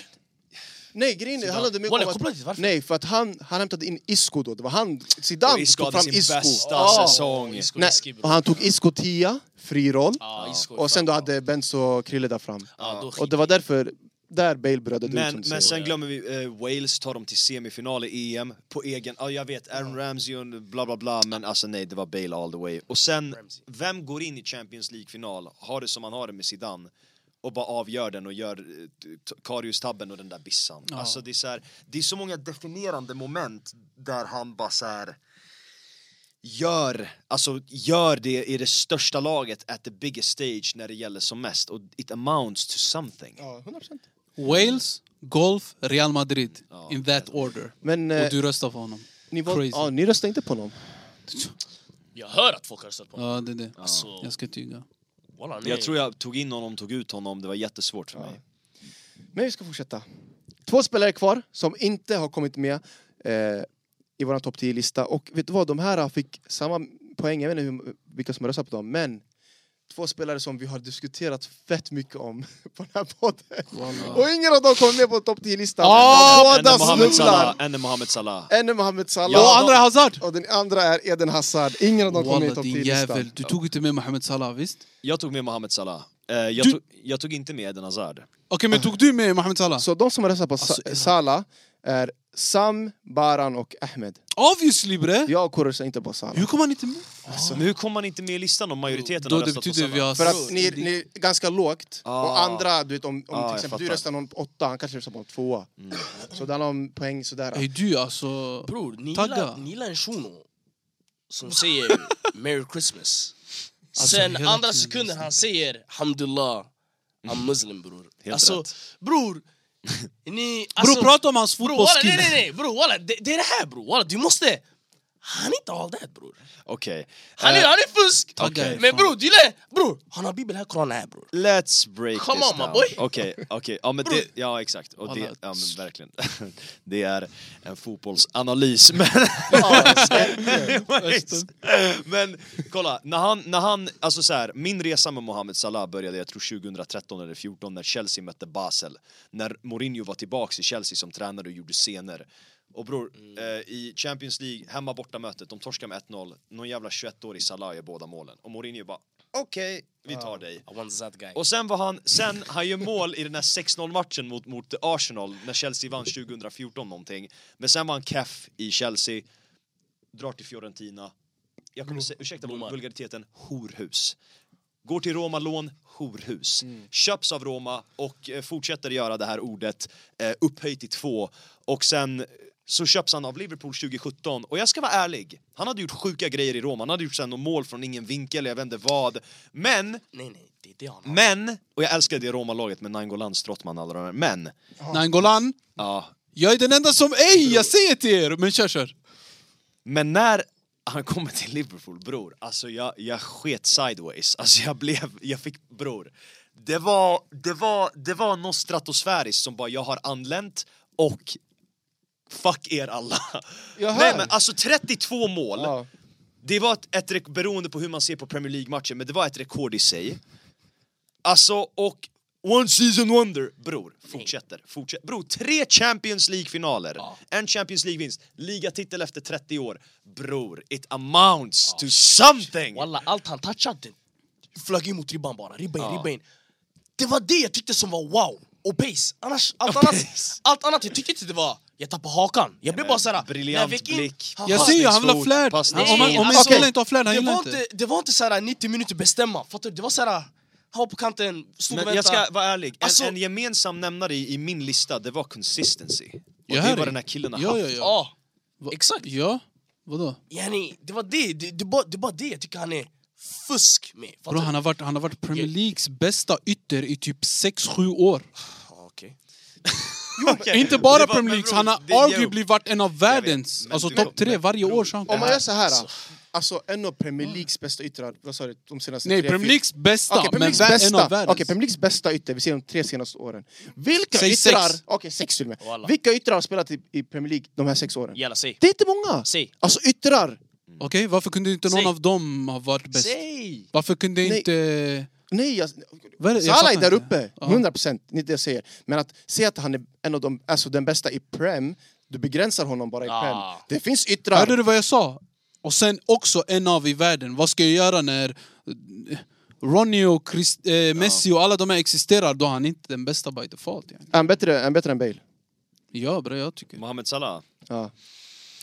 Nej, grejen är- handlade mycket Walla, om koppla att... dit, varför? Nej, för att han, han hämtade in Isco då. Det var han, Och Zidane Isco tog hade fram sin Isco. bästa Ja. säsong. Ja, Isco Nej, läskig, bror. och han tog Isco 10, fri roll. Ja, Isco är Och sen fan- då hade Benzo Krille där fram. Ja, då Och det var därför, där Bale brödade ut som Men, du men säger. sen glömmer vi, eh, Wales tar dem till semifinal i EM på egen, ja jag vet, Aaron Ramsey och bla bla bla, men alltså nej det var Bale all the way. Och sen, Ramsey. vem går in i Champions League-final, har det som man har det med Zidane, och bara avgör den och gör eh, t- Karius-tabben och den där bissan. Alltså det är, så här, det är så många definierande moment där han bara så här gör, alltså gör det i det största laget at the biggest stage när det gäller som mest och it amounts to something. Ja, 100%. Wales, golf, Real Madrid. In that order. Men eh, Och du röstar för honom. ni, var, Crazy. ja, ni röstade inte på honom. Jag hör att folk har röstat på mig. Ja, det är det. Alltså, Jag ska tyga. walla, nej. Jag tror jag tog in honom, tog ut honom, det var jättesvårt för mig. Men vi ska fortsätta. Två spelare kvar som inte har kommit med eh, i vår topp 10-lista. Och vet du vad, de här fick samma poäng. Jag vet inte hur, vilka som har röstat på dem, men två spelare som vi har diskuterat fett mycket om på den här podden. Och ingen av dem kom med på topp 10-listan. Ah, Men Båda En Mohamed snubblar! Salah, en Mohamed Salah. En är Mohamed Salah. Och andra är Hazard! Och den andra är Eden Hazard. Ingen av dem kom med Walla i topp din 10-listan. jävel, du tog inte med Mohamed Salah visst? Jag tog med Mohamed Salah. Eh, jag, Du- tog, jag tog inte med Eden Hazard. Okej men tog du med Mohamed Salah? Så de som har röstat på Alltså, Sa- Salah är Sam, Baran och Ahmed. Obviously bre! Jag och Kåre röstar inte på Salah. Hur kom han inte med? Men hur kom man inte med i listan om majoriteten Då har det röstat på betyder Salah? vi har... För att ni, ni är ganska lågt. Ah. Och andra, du vet om, om Ah, jag till exempel du fattar. Mm. röstar någon på åtta, han kanske röstar på en tvåa. Så det handlar om poäng Ey sådär. du alltså... Bror, ni Tagga. gillar, ni gillar en shuno som säger Merry Christmas. Sen hela andra tiden sekunden lyssnar. han säger Hamdullah, Mm. I'm muslim bror. Helt alltså, rätt. bror. Ni, Bror alltså, prata om hans bror, walla, nej fotbollsskill! nej nej bror walla, det, det är det här bror, walla, du måste han är inte av det här bror. Okej. Han är, Eh, han är fusk! Tagga Okej. är Men fan- bror, du gillar... Bror, han har bibeln här, koranen här bror. Let's break Come this on, my down. boy. Okej, okej. Ja, men det, ja exakt. Och det, Alla- ja, men verkligen. Det är en fotbollsanalys. Men, men kolla, när han, när han, alltså så här, min resa med Mohamed Salah började jag tror 2013 eller 14 när Chelsea mötte Basel. När Mourinho var tillbaks i Chelsea som tränare och gjorde scener. Och bror, Mm. eh, i Champions League, hemma borta mötet, de torskar med 1-0. Någon jävla 21-årig Salah gör båda målen. Och Mourinho bara, okej, vi tar dig. I want that guy. Och sen var han, sen han gör mål i den här 6-0 matchen mot, mot Arsenal när Chelsea vann 2014 någonting. Men sen var han keff i Chelsea, drar till Fiorentina. Jag kommer se, ursäkta Blommar. vulgariteten, horhus. Går till Roma, lån, horhus. Köps av Roma och eh, fortsätter göra det här ordet, eh, upphöjt i två. Och sen eh, så köps han av Liverpool 2017. Och jag ska vara ärlig, han hade gjort sjuka grejer i Roma. Han hade gjort sen något mål från ingen vinkel, jag vet inte vad. Men Nej nej, det är det han har. men, och jag älskar det Roma-laget med Nangolan, Strottman, alla de där. Men, Nangolan, ja. jag är den enda som... Ey jag säger till er! Men kör kör! Men när han kommer till Liverpool, bror, alltså jag, jag sket sideways. Alltså jag blev, jag fick, bror. Det var, det var, det var något stratosfäriskt som bara, jag har anlänt och fuck er alla. Jag Nej hör. men alltså 32 mål. Ja. Det var ett, ett rek- beroende på hur man ser på Premier League-matchen, men det var ett rekord i sig. Alltså, och One season wonder, bror. Fortsätter, fortsätter. Bror, tre Champions League-finaler. Ja. En Champions League-vinst, ligatitel efter 30 år. Bror, it amounts to something! Walla, allt han touchade flög in mot ribban bara. Ribban, in, ribban. in. Det var det jag tyckte som var wow. Och pace. Annars, allt, annat, allt annat, jag tyckte inte det var... Jag tappade hakan. Jag blev bara såhär... briljant blick. Jag ser ju, han vill ha flärd! passning. Han- Om, han- om Nej, en alltså, spelare inte har flärd, han Det gillar var inte. inte, det var inte såhär 90 minuter bestämma, fattar du? Det var såhär... Han var på kanten, stod och Men jag väntade. ska vara ärlig, en, Alltså- en gemensam nämnare i, i min lista, det var consistency. Och Jag det hör är dig. vad den här killen har Ja, haft. ja, ja. Ja, Va- exakt. Ja, vadå? Yani, det var det, det, det, bara, det bara det jag tycker han är fusk med. Fattar Bro, du? han, har varit, han har varit Premier Leagues bästa ytter i typ 6-7 år. Ja, okej. Inte bara Det var- Premier men Leagues, bror, han har det är ju- arguably varit en av världens, men alltså du- topp tre men varje bror, år. Så. det Om man gör så här, alltså en av Premier Leagues bästa yttrar, vad sa du, de senaste Nej, tre, Premier fyra- Leagues bästa, Okej, Premier men Leagues vä- en av bästa. världens. Okej, Premier Leagues bästa ytter, vi ser de tre senaste åren. Vilka Säg sex. yttrar... Okej, sex till och med. Walla. Vilka yttrar har spelat i, i Premier League de här sex åren? Jalla, säg. Det är inte många! Säg. Alltså yttrar! Okej, varför kunde inte någon Säg. av dem ha varit bäst? Säg! Varför kunde Nej. inte... Nej, jag, Vad är det? Jag Salah är fattar där inte. uppe, Ja. 100 procent. Det är inte det jag säger. Men att säga att han är en av de, alltså den bästa i Prem, du begränsar honom bara i Ah. Prem. Det finns Hörde yttrar. du vad jag sa? Och sen också en av i världen. Vad ska jag göra när eh, Ronny och Chris, eh, Messi och alla de här existerar? Då är han inte den bästa by default. Yani. Är han bättre, är han bättre än Bale? Ja, bra, jag tycker. Mohamed Salah. Ja.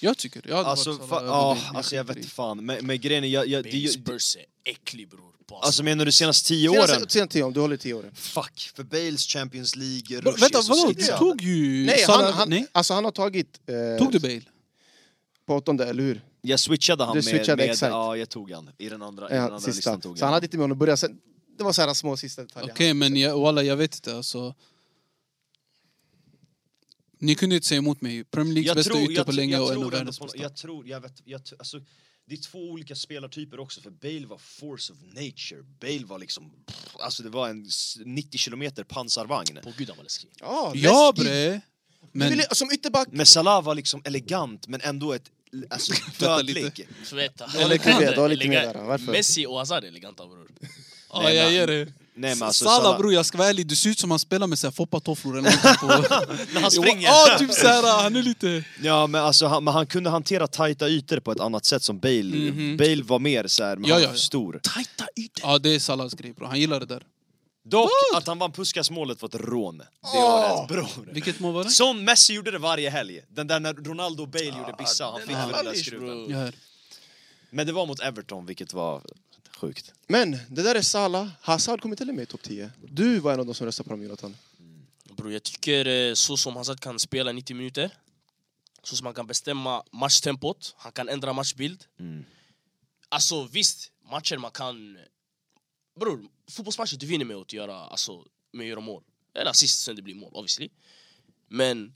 Jag tycker. Jag hade Alltså, varit Salah, fa- jag hade ja, inte- alltså jag skiter vet i. fan. Men, men grejen är, jag, jag, det, är Bales ju- Burse, äcklig bror. På alltså menar du senaste tio åren? Senast, senast tio, om du håller tio åren. Fuck, för Bales Champions League, Bro, Rush Vänta, är så vadå? Du sitsen. tog ju Nej, Salah... han, han, nej? Alltså, han har tagit... Eh, Tog du Bale? På åttonde, eller hur? Jag switchade han Du med, switchade, med exakt. ja jag tog han. I den andra, i den Ja, andra listan sista. tog Så han jag. hade inte med honom att börja. Sen, det var så här små sista detaljer. Okej, men jag, walla, jag vet inte. Alltså. Ni kunde inte säga emot mig. Premier Leagues bästa ytter på tr- länge jag och en tror av ändå världens på, bästa. jag tror, jag vet, jag, t- alltså, det är två olika spelartyper också, för Bale var force of nature. Bale var liksom, pff, alltså det var en s- 90 kilometer pansarvagn. På gud han var läskig. Ja, Ja, läskigt. bre! Du Men ville- Som ytterback... Men Salah var liksom elegant, men ändå ett, alltså Vänta lite. dödlig. Förvänta. Du har lite mer, du har lite mer där. Varför? Messi och Hazard är eleganta bror. Ja, jag ger det. Nej, men alltså, Salah Salah- bror, jag ska vara ärlig, du ser ut som han spelar med så här foppatofflor eller någonting på... När han springer! Ja, typ såhär, han är lite... Ja men alltså han, men han kunde hantera tajta ytor på ett annat sätt som Bale. Bale var mer såhär, men Ja, han ja, var ja. stor. Tajta ytor. Ja, det är Salahs grej bror, han gillar det där. Dock, att han vann Puskas-målet var ett rån. Det var rätt bror. Vilket mål var det? Ah. Som Messi gjorde det varje helg. Den där när Ronaldo och Bale gjorde bissa, han fick är väl den där hallish, skruven. bro. Jag hör. Men det var mot Everton, vilket var sjukt. Men det där är Salah. Hazard kom inte heller med i topp 10. Du var en av de som röstade på dem, Jonathan. Bro, jag tycker eh, så som Hazard kan spela 90 minuter, så som han kan bestämma matchtempot, han kan ändra matchbild. Mm. Alltså visst, matcher man kan... Bror, fotbollsmatcher du vinner med att göra, alltså, med att göra mål. Eller assist sen det blir mål, obviously. Men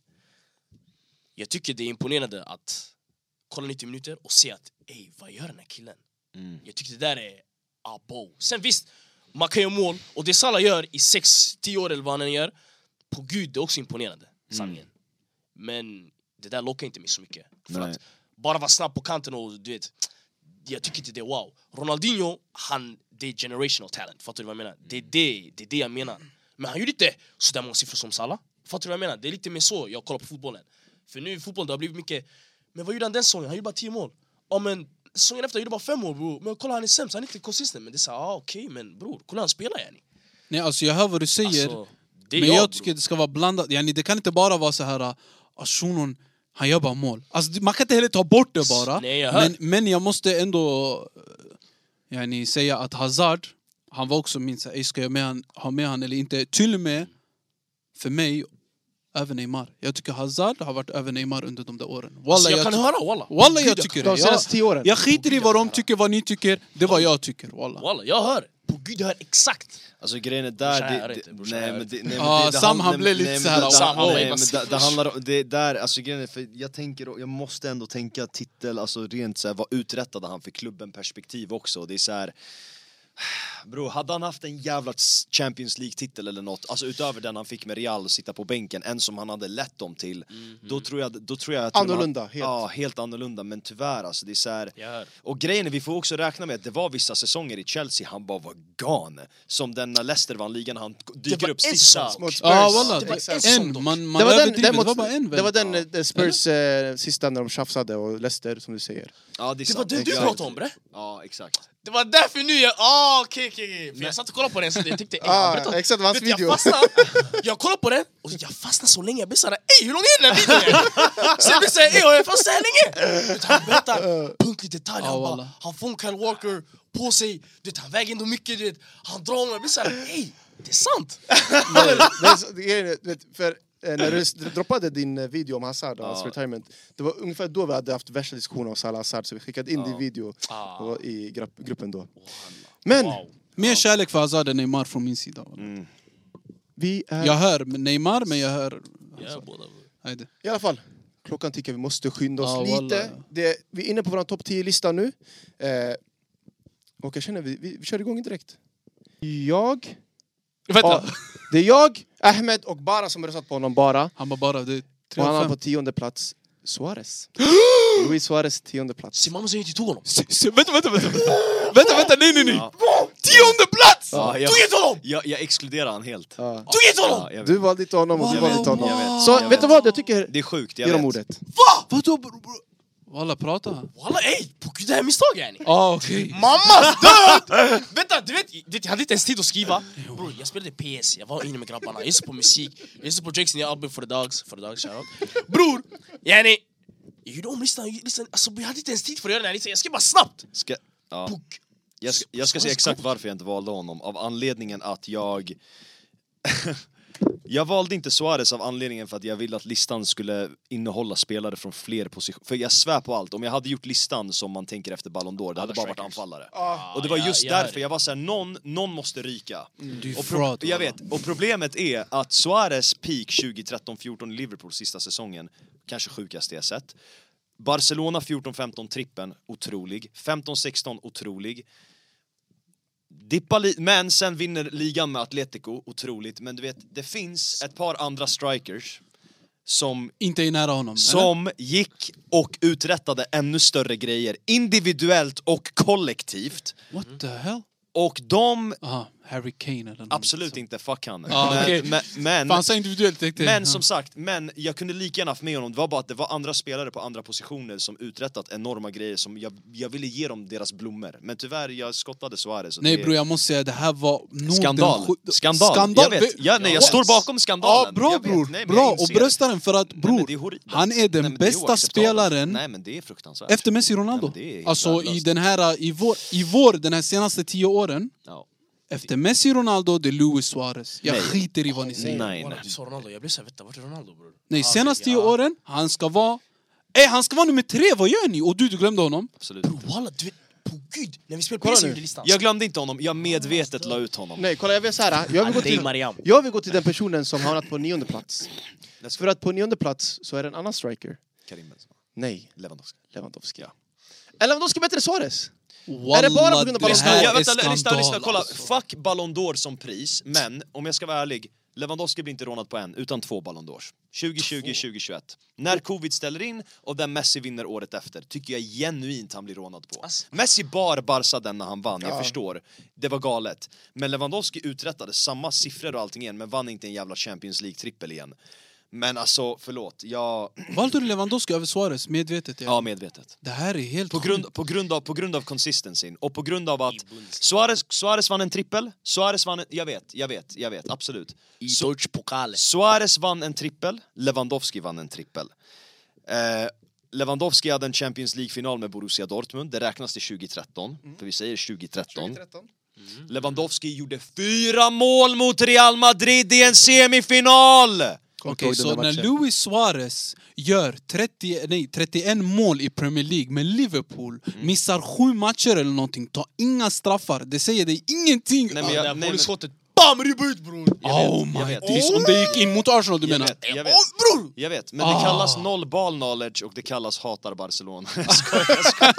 jag tycker det är imponerande att kolla 90 minuter och se att ey, vad gör den här killen? Mm. Jag tycker det där är abo. Sen visst, man kan göra mål och det Salah gör i 6-10 år eller vad han än gör, på gud det är också imponerande, Mm. sanningen. Men det där lockar inte mig så mycket. För Nej. att bara vara snabb på kanten och du vet, jag tycker inte det är wow. Ronaldinho, han, det är generational talent, fattar du vad jag menar? Det är det, det, är det jag menar. Men han gjorde inte sådär många siffror som Salah. Fattar du vad jag menar? Det är lite mer så jag kollar på fotbollen. För nu i fotbollen det har blivit mycket, men vad gjorde han den säsongen? Han gjorde bara 10 mål. Ja men säsongen efter han gjorde bara 5 mål bror. Men kolla han är sämst, han är inte konsistent. Men det är såhär, ah, okej men bror, kolla han spelar yani. Nej, alltså jag hör vad du säger. Alltså, det är men jag, jag, tycker bror. det ska vara blandat. Yani, det kan inte bara vara så här ah, shunon, han gör bara mål. Alltså, det- man kan inte heller ta bort det bara. Nej, jag hör. men, men jag måste ändå eh, yani, säga att Hazard, han var också min, så här, "Ey, ska jag med han, ha med han eller inte? Till och med, för mig, över Neymar. Jag tycker Hazard har varit över Neymar under de där åren. Wallah, Så Alltså, jag kan ty- höra walla. Wallah, jag tycker det. De senaste Jag, tio åren. jag skiter i vad de tycker, vad ni tycker. Det var jag tycker, wallah. Walla, jag hör. På gud jag hör exakt. Alltså grejen är Brorsan, där... jag Det, är det, inte, brorsan, jag nej är typ. men det, inte. nej, men Ah, det, det Sam, handlar- han blev nej, lite men så här, det- det- Sam, han var nej, ju men massiv. det, det handlar om, det är där, alltså grejen är för jag tänker, jag måste ändå tänka titel, alltså rent såhär vad uträttade han för klubben perspektiv också, det är såhär Bro, hade han haft en jävla Champions League-titel eller något, alltså utöver den han fick med Real och sitta på bänken, en som han hade lett dem till, Mm. då tror jag... Då tror jag till och med han- Annorlunda, helt. Ja, helt annorlunda, men tyvärr alltså, det är så här... Jag hör. Och grejen är, vi får också räkna med att det var vissa säsonger i Chelsea han bara var gone. Som den när Leicester vann ligan, han dyker var upp en sista. sak. Mot Spurs. Ja, wallah. Det var det- en sån En, dock. man, man Det var den, överdriver. den, det var mot, bara en det var väl? den eh, Spurs eh, sista när de tjafsade och Leicester som du säger. Ja, det, är Det var sant. det du Exakt. pratade om bre. Ja, exakt. Det var därför nu jag... Ah, okej, okej, okej. För jag satt och kollade på den så jag tyckte... Ey, han Ah, berättade- exakt, det var hans Vet du, video. Jag fastnade, jag kollade på den och jag fastnade så länge. Jag blev såhär, ey hur lång är den här videon? Så jag blev såhär, ey har jag fastnat så här länge? Vet du, Han berättar punktlig detalj. Han, Ja, bara, Ah, wallah. han får en Kyle Walker på sig, du vet, han väger ändå mycket. Du vet, han drar honom. Jag blir såhär, ey det är sant! Det är så- det är- du vet, för eh, när du s- droppade din eh, video om Hazard och hans retirement Det var ungefär då vi hade haft värsta diskussionen om Salah Hazard så vi skickade in din video Ah. och- i grupp- gruppen då Men Wow. Mer kärlek för Hazard än Neymar från min sida. vi är... Jag hör Neymar, men jag hör... Ja, båda. bro. Nej, det- I alla fall, klockan tickar, vi måste skynda oss Ja, lite. wallah. Det, vi är inne på vår topp 10-lista nu. Eh, och jag känner, vi, vi, vi kör igång direkt. Jag... Vänta! Ja, det är jag, Ahmed och Bara som har röstat på honom, Bara. Han var bara... Det är tre Och han av har fem. på tionde plats Suarez. Luis Suarez, tionde plats. Simamo säger inte tog honom. Vänta, vänta, vänta! Vänta, vänta, nej, nej, nej! Tionde plats! Ja, jag, Tog inte honom! jag, jag exkluderar han helt. Ja. Tog inte Ja, honom! jag vet. Du valde inte honom och du Jag valde vet, inte jag honom. vet, Så jag vet du vad, jag tycker... Det är sjukt, jag Ge dem vet. ordet. Vadå, bror? Bro? Walla, prata. Ja, Walla ey, på gud det här är misstag yani. ah, okej. Mammas död! Vänta, du vet, du vet, jag hade inte ens tid att skriva. Bror, jag spelade PS, jag var inne med grabbarna, jag lyssnade på musik, jag lyssnade på Jakes nya album For the Dogs, For the Dogs, shoutout. Bror, yani, jag gjorde om listan, listan alltså, jag hade inte ens tid för att göra den här listan, jag skrev bara snabbt. Ska, ja. Puck. Jag, ska- jag ska säga exakt varför jag inte valde honom, av anledningen att jag... jag valde inte Suarez av anledningen för att jag ville att listan skulle innehålla spelare från fler positioner. För jag svär på allt, om jag hade gjort listan som man tänker efter Ballon d'Or, det hade bara varit anfallare. Och det var jag- just jag hör därför jag var såhär, någon, någon måste ryka. Du är Och pro- fraud. jag vet, och problemet är att Suarez peak 2013-14 i Liverpool sista säsongen, kanske sjukaste jag sett. Barcelona 14-15 trippen, otrolig. 15-16, otrolig. Dippa li- men sen vinner ligan med Atletico, otroligt. Men du vet, det finns ett par andra strikers som Inte är nära honom. eller? som gick och uträttade ännu större grejer individuellt och kollektivt What the hell? Och de... Aha, Harry Kane eller någon. Absolut inte, fuck han. Mm, Ja, men, okej. men, men, Fan, han sa individuellt tänkte jag. men som sagt, men jag kunde lika gärna haft med honom. Det var bara att det var andra spelare på andra positioner som uträttat enorma grejer som jag, jag ville ge dem deras blommor. Men tyvärr, jag skottade Suarez. och Nej det- bror, jag måste säga det här var nog Skandal. den sju- skandal. Skandal! Jag vet. Jag, nej, jag står bakom skandalen. Ja, bra jag vet. bror. Nej, men jag bra, och inser. brösta den för att Nej, men bror, det är horribelt. han är den Nej, men det är bästa oacceptabelt. spelaren Nej men det är fruktansvärt. efter Messi och Ronaldo. Nej, men det är helt alltså i värdelöst. den här, i vår, i vår, den här senaste tio åren. Ja. Efter Messi och Ronaldo, det är Luis Suarez. Jag Nej. skiter i vad ni säger. Nej, Walla, nej. Du sa Ronaldo, jag blev såhär, vänta vart är Ronaldo bror? Nej, Ah, senaste okej, tio ja. åren, han ska vara... Ey, han ska vara nummer tre, vad gör ni? Och du, du glömde honom. Absolut. Bror walla, du vet, på gud! När vi spelade Kolla PS nu. gjorde listan. Jag glömde inte honom, jag medvetet la ut honom. Nej, kolla jag vill så här. Jag vill, gå Andrei till, Mariam. jag vill gå till den personen som hamnat på nionde plats. För att på nionde plats så är det en annan striker. Karim Benzema, Nej, Lewandowski. Lewandowski. Eller Lewandowski är bättre än Suarez. Walla, det bara på grund det av Ballon d'Or? Lyssna, här jag, är vänta, lyssna, skandal. lyssna, kolla. alltså. Fuck Ballon d'Or som pris, men om jag ska vara ärlig, Lewandowski blir inte rånad på en, utan två Ballon d'Ors. 2020, 2021. När covid ställer in och där Messi vinner året efter, tycker jag genuint han blir rånad på. Ass- Messi bar Barca den när han vann, jag förstår. Det var galet. Men Lewandowski uträttade samma siffror och allting igen, men vann inte en jävla Champions League-trippel igen. Men alltså, förlåt, jag... Valde du Lewandowski över Suarez medvetet? Ja. Ja, medvetet. Det här är helt På sjukt. grund, på, grund av, på grund av consistencyn och på grund av att I Bundesliga. Suarez, Suarez vann en trippel, Suarez vann en, jag vet, jag vet, jag vet, absolut. I Deutsche Pokal. Suarez vann en trippel, Lewandowski vann en trippel. Eh, Lewandowski hade en Champions League-final med Borussia Dortmund, det räknas till 2013, för vi säger 2013. Lewandowski gjorde fyra mål mot Real Madrid i en semifinal! Okej, så när Luis Suarez gör 30, nej, 31 mål i Premier League med Liverpool, Mm. missar sju matcher eller någonting, tar inga straffar, det säger dig ingenting! Nej, men Det jag- där nej, men- volleyskottet, BAM! Ribba ut bror! oh jag my vet. days, om det gick in mot Arsenal du Jag menar? vet, jag vet. Bror! Jag vet, men det kallas Ah. noll ball knowledge och det kallas hatar Barcelona. Jag skojar, jag skojar.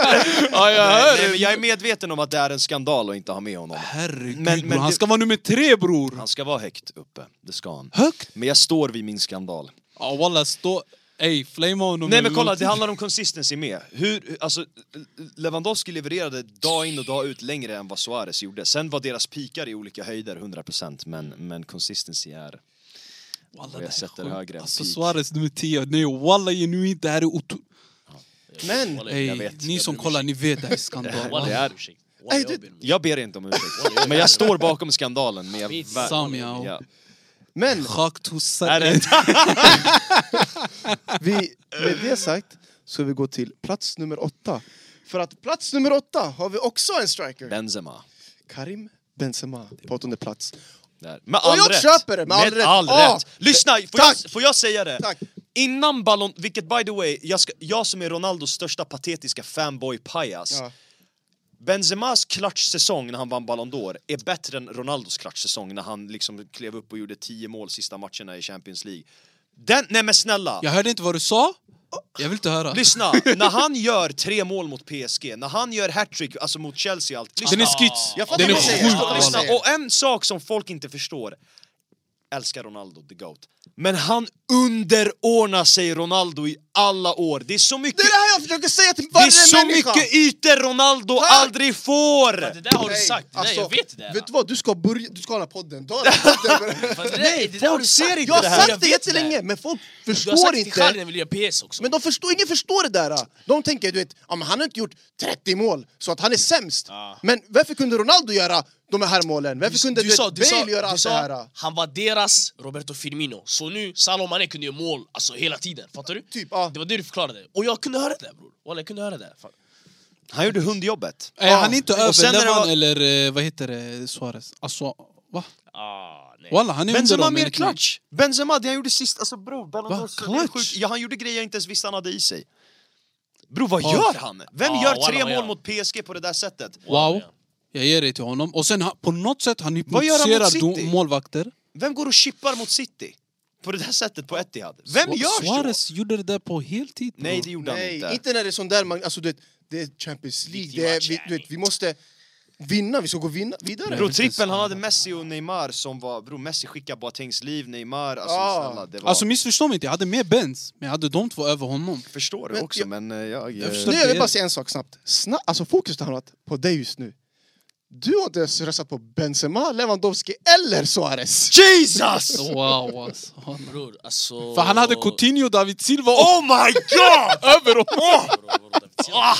nej, nej, men jag är medveten om att det är en skandal att inte ha med honom. Herregud Men- bror, men han det- ska vara nummer tre bror! Han ska vara högt uppe, det ska han. Högt! Men jag står vid min skandal. Mm. Ja walla, stå... Ey, flamea honom Nej eller men kolla, någonting. det handlar om consistency med. Hur, alltså, Lewandowski levererade dag in och dag ut längre än vad Suarez gjorde. Sen var deras pikar i olika höjder 100% men, men consistency är... Walla, jag det här är sätter sjukt. högre än Alltså peak. Suarez nummer 10, nej walla genuint, det här är otro... Men, Ey, vet, ni jag som ber om kollar, ni vet det här är skandal. walla. Walla, Det är- jag ber om ursäkt. Walla, Ey, jag du- ber om ursäkt. Jag ber inte om ursäkt, men jag står bakom skandalen. Men jag, Skitsam, ja. Ja. men Schakt hos... Är det vi, med det sagt så vi går till plats nummer åtta. För att plats nummer åtta har vi också en striker. Benzema. Karim Benzema på åttonde plats. Där. Med Och jag köper det, med all rätt. Ah, rätt. Lyssna, får tack. jag, får jag säga det? Tack. Innan Ballon... Vilket by the way, jag, ska, jag som är Ronaldos största patetiska fanboy-pajas. Ja. Benzemas klatschsäsong när han vann Ballon d'Or är bättre än Ronaldos klatschsäsong när han liksom klev upp och gjorde 10 mål sista matcherna i Champions League. Den, nej men snälla! Jag hörde inte vad du sa, jag vill inte höra. Lyssna, när han gör tre mål mot PSG, när han gör hattrick alltså mot Chelsea och allt. Lyssna, Den är skits! Jag fattar Den är vad du säger, jag fattar vad du sjuk! Lyssna, walla. säger. och en sak som folk inte förstår Älskar Ronaldo, the GOAT Men han underordnar sig Ronaldo i alla år Det är så Det mycket, är det här jag försöker säga till det varje är så människa! mycket ytor Ronaldo Tack! aldrig får! Det där har du Nej, sagt, det där, alltså, jag vet det där. Vet du vad, du ska börja, du ska ha den här podden. Du har den här podden. Fast det där- det där har du sagt. jag har Jag sagt det vet jättelänge, men folk Du har sagt förstår det till Charlie när inte. vi gjorde PS också. Men de förstår, ingen förstår det där. De tänker, du vet, ja, men han har inte gjort 30 mål, så att han är sämst. Ja. Men varför kunde Ronaldo göra de här målen? Varför kunde du, sa- vet, Bale göra du allt det sa, här? han var deras Roberto Firmino. Så nu, Salah och Mané kunde göra mål alltså, hela tiden. Fattar du? Typ, ja. Det var det du förklarade. Och jag kunde höra det bror. Walla, jag kunde höra det. Fan. Han gjorde hundjobbet Är han inte Och över sen när det Levan var- eller eh, vad heter det, Suarez? Alltså, va? Ah, nej. Walla, han är under Benzema dem mer enligt mig. klatsch! Benzema, det han gjorde sist, alltså bror Ballon Va? d'Or- det är sjukt. Klatsch? ja, Han gjorde grejer jag inte ens visste han hade i sig Bror vad Ja. gör han? Vem Ja, gör walla, tre vad gör mål han? mot PSG på det där sättet? Wow. ja. Jag ger det till honom. Och sen ha- på något sätt han Vad gör han mot hypnotiserar City? do- målvakter. Vem går och chippar mot City? På det där sättet på Etihad? Vem Su- gör så? Suarez gjorde det där på heltid. bro. Nej, det gjorde han Nej, inte. inte. när det är sån där... Man, alltså, du vet, det är Champions League, Riktig det är, match, vi, du vet, vi måste vinna, vi ska gå vinna, vidare. Bro, trippeln, han hade Messi och Neymar som var... Bro, Messi skickade Boatengs liv, Neymar... Alltså Ja. snälla, det var... Alltså missförstå mig inte, jag hade mer Benz. Men jag hade de två över honom. förstår du Men också, jag- men eh, jag... Jag förstår Nu inte jag vill det. bara säga en sak snabbt. Sna alltså fokuset har hamnat på dig just nu. Du har inte ens röstat på Benzema, Lewandowski eller Suarez! Jesus! Wow, alltså. Bror, alltså... För han hade Coutinho, David Silva och... Oh my god! Över och... Ah,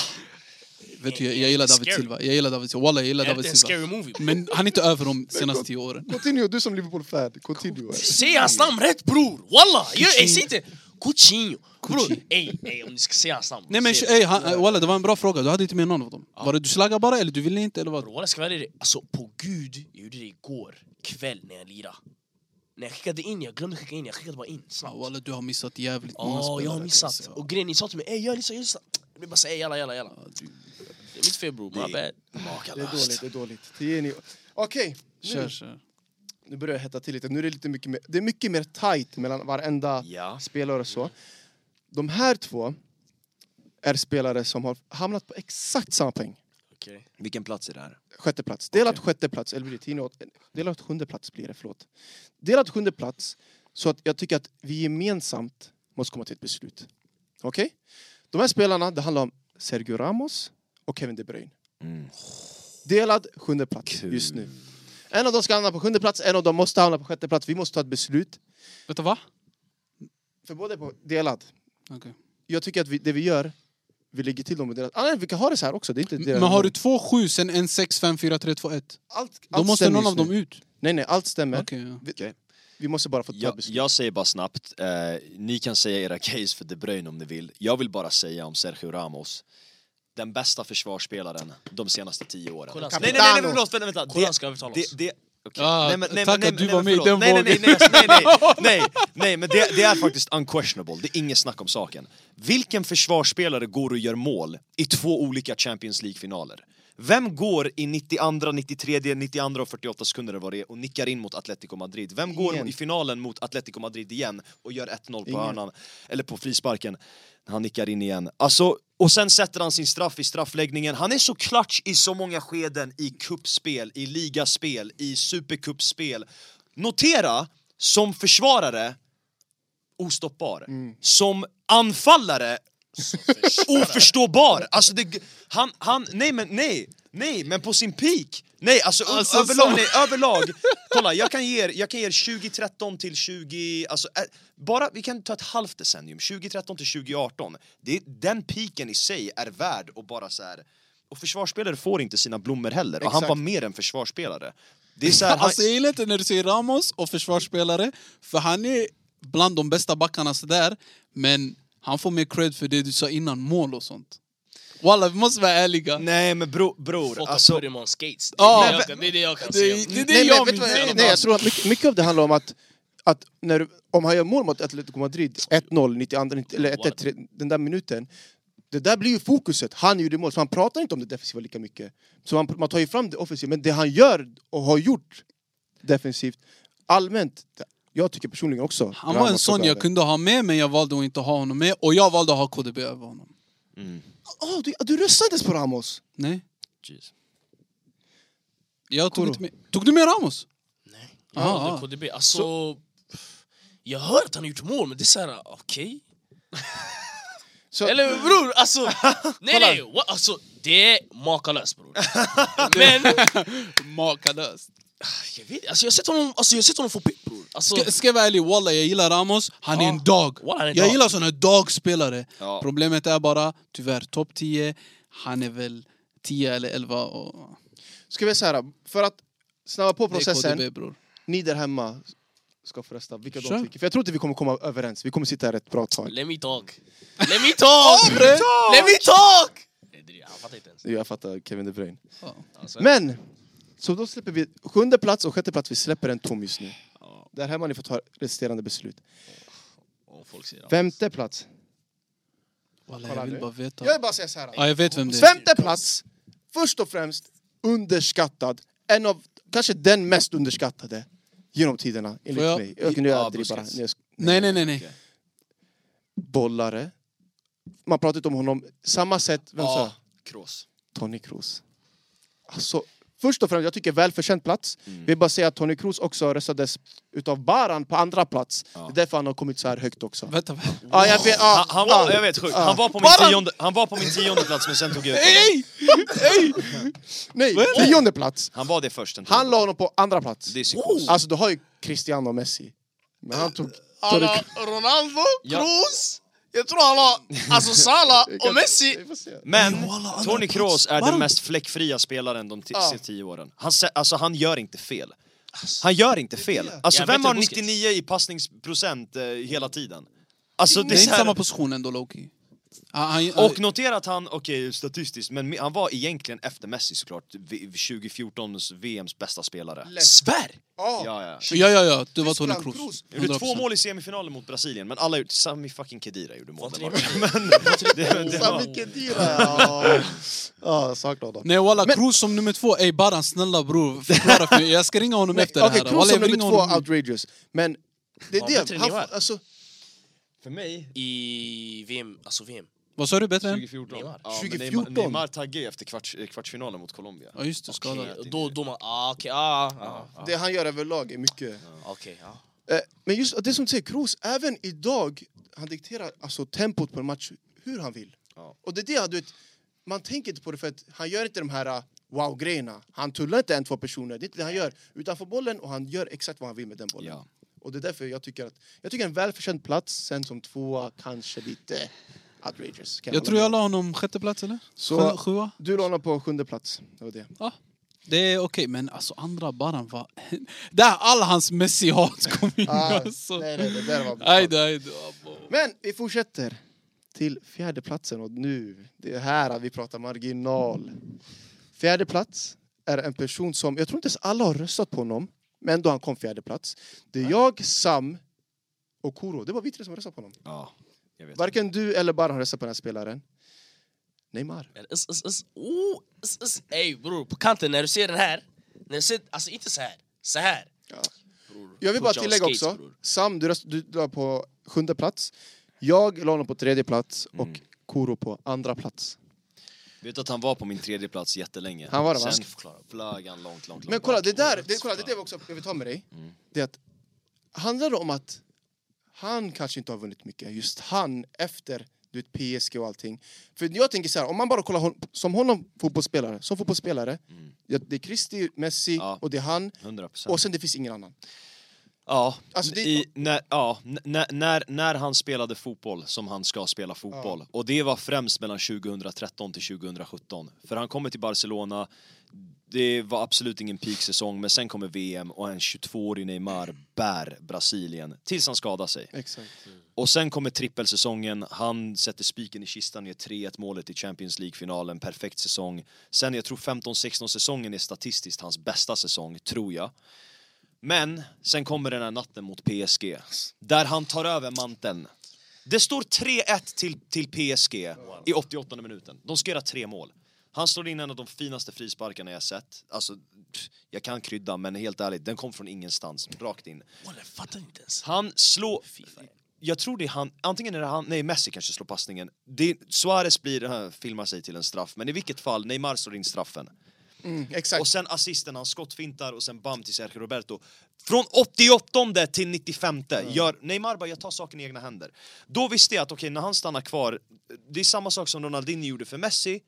Vet du, jag, jag gillar David Scary. Silva. Jag gillar David Silva. Walla, jag gillar är det David en Silva. scary movie? Men han är inte över de senaste tio åren. Coutinho, du som Liverpool-fan, Coutinho. Säg hans namn rätt bror! Walla! Jag- ey, Säg inte... Coutinho! Bror, ey, ey, om ni ska säga hans namn. Nej men säg det. ey, han, eh, walla, det var en bra fråga. Du hade inte med någon av dem. Var det du slaggade bara eller du ville inte eller vad? Bror walla, ska jag vara ärlig, alltså på gud, jag gjorde det igår kväll när jag lirade. När jag skickade in, jag glömde skicka in, jag skickade bara in Ja, snabbt. Walla, du har missat jävligt många Ja, spelare. jag har kan missat. säga. Och grejen ni sa till mig, ey gör lyssna, gör lyssna. Jag blev bara såhär, ey jalla, jalla, jalla. Det är mitt fel bror, my bad. Det är dåligt, det är dåligt. Det är ni- Okej, Kör, nu, kör. nu börjar jag hetta till lite. Nu är det lite mycket mer, det är mycket mer tight mellan varenda Ja. spelare och så. De här två är spelare som har hamnat på exakt samma poäng. Okej. Vilken plats är det här? Sjätte plats. Delat sjätte plats, eller blir det tionde? Delat sjunde plats blir det, förlåt. Delat sjunde plats, så att jag tycker att vi gemensamt måste komma till ett beslut. Okej? De här spelarna, det handlar om Sergio Ramos och Kevin De Bruyne. Delad sjunde plats just nu. En av dem ska hamna på sjunde plats, en av dem måste hamna på sjätte plats. Vi måste ta ett beslut. Vet du vad? För båda är på delad. Okej. Jag tycker att vi, det vi gör, vi lägger till dem på delad. Ah, nej, vi kan ha det så här också. Det är inte delad. Men har du två sju sen en sex fem fyra tre två ett? Allt, Då allt måste stämmer någon av just nu. dem ut. Nej, nej, allt stämmer. Okej, ja. Vi, Okej. vi måste bara få ta Jag, beslut. jag säger bara snabbt, eh, ni kan säga era case för De Bruyne om ni vill. Jag vill bara säga om Sergio Ramos, den bästa försvarsspelaren de senaste tio åren. Kolla, Nej, nej, nej, nej, förlåt, vänta, vänta. Kolla, Det, han ska övertala oss. det, det, okej. Ah, nej, men, nej, tack men, nej, att du men, var med i den förlåt. nej, nej, nej, vågen. nej, nej, nej, nej, nej, men det, det är faktiskt unquestionable, det är inget snack om saken. Vilken försvarsspelare går och gör mål i två olika Champions League-finaler? Vem går i 92, 93, 92 och 48 sekunder eller vad det är och nickar in mot Atletico Madrid? Vem går Ingen. i finalen mot Atletico Madrid igen och gör 1-0 på Ingen. hörnan, eller på frisparken? Han nickar in igen. Alltså, och sen sätter han sin straff i straffläggningen. Han är så klatsch i så många skeden i kuppspel, i ligaspel, i supercupspel. Notera, som försvarare, ostoppbar. Som anfallare, oförståbar. Alltså det, han, han, nej men nej, nej men på sin peak. Nej alltså, ö- Alltså, överlag, så- nej, överlag. Kolla jag kan ge er, jag kan ge er 2013 till 20, alltså eh, bara, vi kan ta ett halvt decennium, 2013 till 2018. Det, den peaken i sig är värd och bara så här. och försvarsspelare får inte sina blommor heller och han Exakt. var mer än försvarsspelare. Det är så här, han, Alltså jag gillar inte när du säger Ramos och försvarsspelare, för han är bland de bästa backarna sådär, men han får mer cred för det du sa innan, mål och sånt. Walla, vi måste vara ärliga. nej men bro, bror, Fota alltså Purimon skates. Det Ja, är det men- jag kan- det är det Det, jag kan säga. det, det är det Nej, men jag vet du vad, minns. nej, nej, jag tror att mycket, mycket av det handlar om att, att när, du- om han gör mål mot Atletico Madrid, 1-0, 92, 90 eller 1-1, tre- den där minuten. Det där blir ju fokuset. Han gjorde mål, så han pratar inte om det defensiva lika mycket. Så man, man tar ju fram det offensivt, men det han gör och har gjort defensivt, allmänt, jag tycker personligen också. Han var en Ramos sån och jag Bale. kunde ha med, men jag valde att inte ha honom med. Och jag valde att ha KDB över honom. Åh, Ah, du, du röstade inte ens på Ramos! Nej. Jag tog Koro. inte med... Tog du med Ramos? Nej, Ah, jag valde ah. KDB. Alltså, jag hör att han har gjort mål, men det är såhär, okej? Så, Eller bror, alltså, nej nej, what? alltså, det är makalöst bror. men, Makalöst. jag vet alltså, jag har sett honom, alltså, jag har sett honom få pick bror. Alltså, Ska, ska jag vara ärlig, walla jag gillar Ramos, han är Ja. en dag. Walla, han är en jag dag. gillar såna här dagspelare. Ja. Problemet är bara, tyvärr, topp 10, han är väl 10 eller 11 och... ska vi säga så här, för att snabba på processen. Det är KDB bror. ni där hemma ska få rösta vilka Kör. de tycker. För jag tror inte vi kommer komma överens. Vi kommer sitta här ett bra tag. let me talk. Let me talk! bre. let me talk! Nej, det är- Han fattar inte ens. Jag fattar Kevin De Bruyne. Ja. Alltså, Men! Så då släpper vi sjunde plats och sjätte plats. Vi släpper en tom just nu. Där hemma har ni fått ta resterande beslut. om folk säger allt. Femte plats. Walla, jag Kolla vill nu. bara veta. Jag vill bara säga så här. Ja, jag vet vem det är. Femte plats, först och främst underskattad. En av, kanske den mest underskattade genom tiderna, enligt Får jag- mig. Jag kunde göra Ja, dribbar. Busquets. Nej, jag sk- Nej, nej, nej. nej. Bollare. Man pratar inte om honom samma sätt. Vem sa? Kroos. Tony Kroos. Alltså, först och främst, jag tycker välförtjänt plats. Mm. Vi bara säga att Tony Kroos också röstades utav Baran på andra plats. Det är därför han har kommit så här högt också. Vänta, va? Ja, jag vet, ja, Han, han ja. var, jag vet, sjukt. Han var på min Bara- tionde, han var på min tionde plats men sen tog jag ut honom. Nej! Nej! Nej, tionde plats. Han var det först. en tid. Han la honom på andra plats. Det är psykos. Alltså du har ju Cristiano Messi. Men han tog... Tony Alla, Kroos. Ronaldo, Ja. Kroos. Jag tror han har... Alltså Salah och Messi. Vi får se. Men Ey, walla, andra Tony plats. Kroos är Varför? den mest fläckfria spelaren de t- Ja. sista tio åren. Han, sä- alltså, han gör inte fel. Han gör inte fel. Alltså Ja, vem bättre har Busquets. 99 i passningsprocent eh, hela tiden? Alltså Det det är är inte så samma här, position ändå, Loki. Ah, han- Och notera att han, okej statistiskt, men mi- han var egentligen efter Messi såklart vi- 2014s VMs bästa spelare. Spärr! Ja. Ja, ja. ah, Ja, ja, ja. Du var Tony Tyskland, Kroos. Kroos. Jag Gjorde två 100%. mål i semifinalen mot Brasilien, men alla gjorde... Sami fucking Khedira gjorde mål. Vad där trevligt. borta. Men det, det Fan, var... vilken dyra! Ja, ja saknar honom. Nej walla, Kroos som nummer två. Ey Baran, snälla bror. Förklara för mig. Jag ska ringa honom Nej, efter det Okej, här. Kroos Walla, som jag vill nummer ringa två, honom. outrageous. Men det Ja, är bättre det. än Han, Neymar. alltså, För mig, I VM, alltså VM. Vad sa du? Bättre än? 2014. Neymar. Ja, men 2014. Neymar, Neymar taggade ju efter kvarts, eh, kvartsfinalen mot Colombia. Ja just det, skadad. Okej, Då, då man... Ah, okej, ah, ah, ah, det han gör överlag är mycket... okej, ah. Eh, Men just det som du säger, Kroos, även idag, han dikterar alltså, tempot på en match hur han vill. Ja. Och det är det, du vet, man tänker inte på det för att han gör inte de här ah, wow-grejerna. Han tullar inte en, två personer, det är inte det han gör. Utan han får bollen och han gör exakt vad han vill med den bollen. Ja. Och det är därför jag tycker att, jag tycker en välförtjänt plats, sen som tvåa kanske lite outrageous. kan Jag tror hålla jag med. la honom sjätte plats eller? Så- Sjö- Sjua? Du la honom på sjunde plats, det var det. Ja. Det är okej, men alltså andra Baran var... Där all hans Messi-hat kom in Ah, alltså. nej, nej, det där var Ajde, ajde. Men vi fortsätter till fjärde platsen och nu, det är här vi pratar marginal. Fjärde plats är en person som, jag tror inte ens alla har röstat på honom, men då han kom fjärde plats. Det är jag, Sam och Koro. Det var vi tre som röstade på honom. Ja, jag vet. Varken du eller Baran röstade på den här spelaren. Neymar. Men s, s, s, oh, s, s. Ey bror, på kanten när du ser den här. När du ser, alltså inte så här, så här. Jag vill bara Fortfarande tillägga skates, också, bror. Sam du, röst, du la på sjunde plats. Jag la honom på tredje plats och Koro på andra plats. Vet att han var på min tredje plats jättelänge. Han var det, va? Sen Jag ska flög han långt, långt, långt Men kolla, bak. det där, det, kolla, det där var också jag vill ta med dig. Det är att, handlar det om att han kanske inte har vunnit mycket, just han efter du vet, PSG och allting. För jag tänker så här, om man bara kollar hon, som honom fotbollsspelare, som fotbollsspelare, det, det är Cristi, Messi Ja. och det är han 100 procent. och sen det finns ingen annan. Ja, Alltså, det- i, när, ja n- när, när, när han spelade fotboll som han ska spela fotboll. Och det var främst mellan 2013 till 2017. För han kommer till Barcelona, det var absolut ingen peaksäsong, men sen kommer VM och en 22-årig Neymar bär Brasilien tills han skadar sig. Exakt. Och sen kommer trippelsäsongen, han sätter spiken i kistan, gör 3-1 målet i Champions League-finalen, perfekt säsong. Sen jag tror 15-16 säsongen är statistiskt hans bästa säsong, tror jag. Men sen kommer den här natten mot PSG, där han tar över manteln. Det står 3-1 till, till PSG i 88 minuten. De ska göra tre mål. Han slår in en av de finaste frisparkarna jag sett. Alltså, pff, jag kan krydda, men helt ärligt, den kom från ingenstans, rakt in. Walla, jag fattar inte ens. Han slår... Jag tror det är han, antingen är det han, nej Messi kanske slår passningen. Det, Suarez blir, äh, filmar sig till en straff, men i vilket fall, Neymar slår in straffen. Mm, Exakt. Och sen assisten, han skottfintar och sen bam till Sergio Roberto. Från 88 till 95 gör Neymar bara, jag tar saken i egna händer. Då visste jag att okej, när han stannar kvar, det är samma sak som Ronaldinho gjorde för Messi.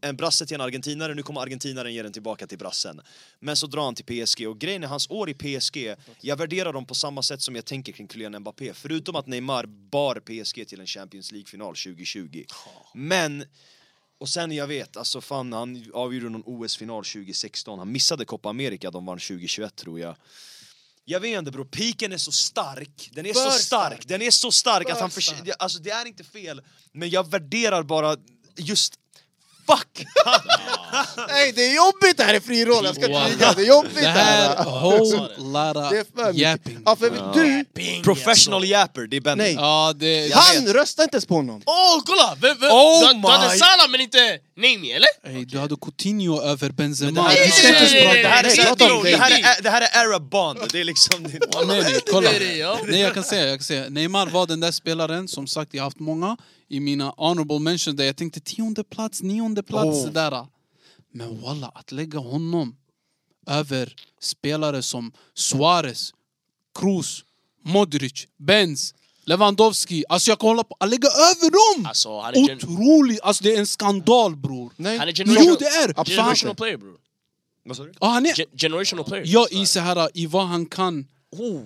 En brasse till en argentinare, nu kommer argentinaren ge den tillbaka till brassen. Men så drar han till PSG och grejen är hans år i PSG, jag värderar dem på samma sätt som jag tänker kring Kylian Mbappé. Förutom att Neymar bar PSG till en Champions League-final 2020. Men och sen jag vet, alltså fan han avgjorde någon OS-final 2016, han missade Copa America, de vann 2021 tror jag. Jag vet inte bror, piken är så stark, den är För så stark, stark. den är så stark att För han förs- stark. det- alltså det är inte fel, men jag värderar bara just Fuck! Nej, det är jobbigt det här i fri roll, jag ska inte ljuga. Det är jobbigt Det det här. här, whole Det är för lotta mycket. yapping. Ja, för du, Bing, Professional alltså. yapper, det är Benny. Nej. Ja, det... han röstar inte ens på honom. Åh, kolla! Vem, vem? Oh du, du hade my- Salah men inte Neymar, eller? Ey, du hade Coutinho över Benzema. här- Vi ska inte ens Nej, nej, nej, prata- Det här är Nej, så- prata om det här dig. är- det här är era bond, det är liksom... Nej, nej, kolla. Det är det, ja. Nej, jag kan säga, jag kan säga. Neymar var den där spelaren, som sagt, jag har Oh. haft många i mina honorable mentions där jag tänkte tionde plats, nionde plats, sådär. Men walla, att lägga honom över spelare som Suarez, Kroos, Modric, Benz, Lewandowski. Alltså jag kan hålla på, att lägga över dem! Alltså, han är gen- Otroligt! Alltså det är en skandal bror. Nej. Han är Jo generational, det är! generational player bror. Vad sa du? Ja, han är... Ge- generational player. Jag i så här, i vad han kan Oh.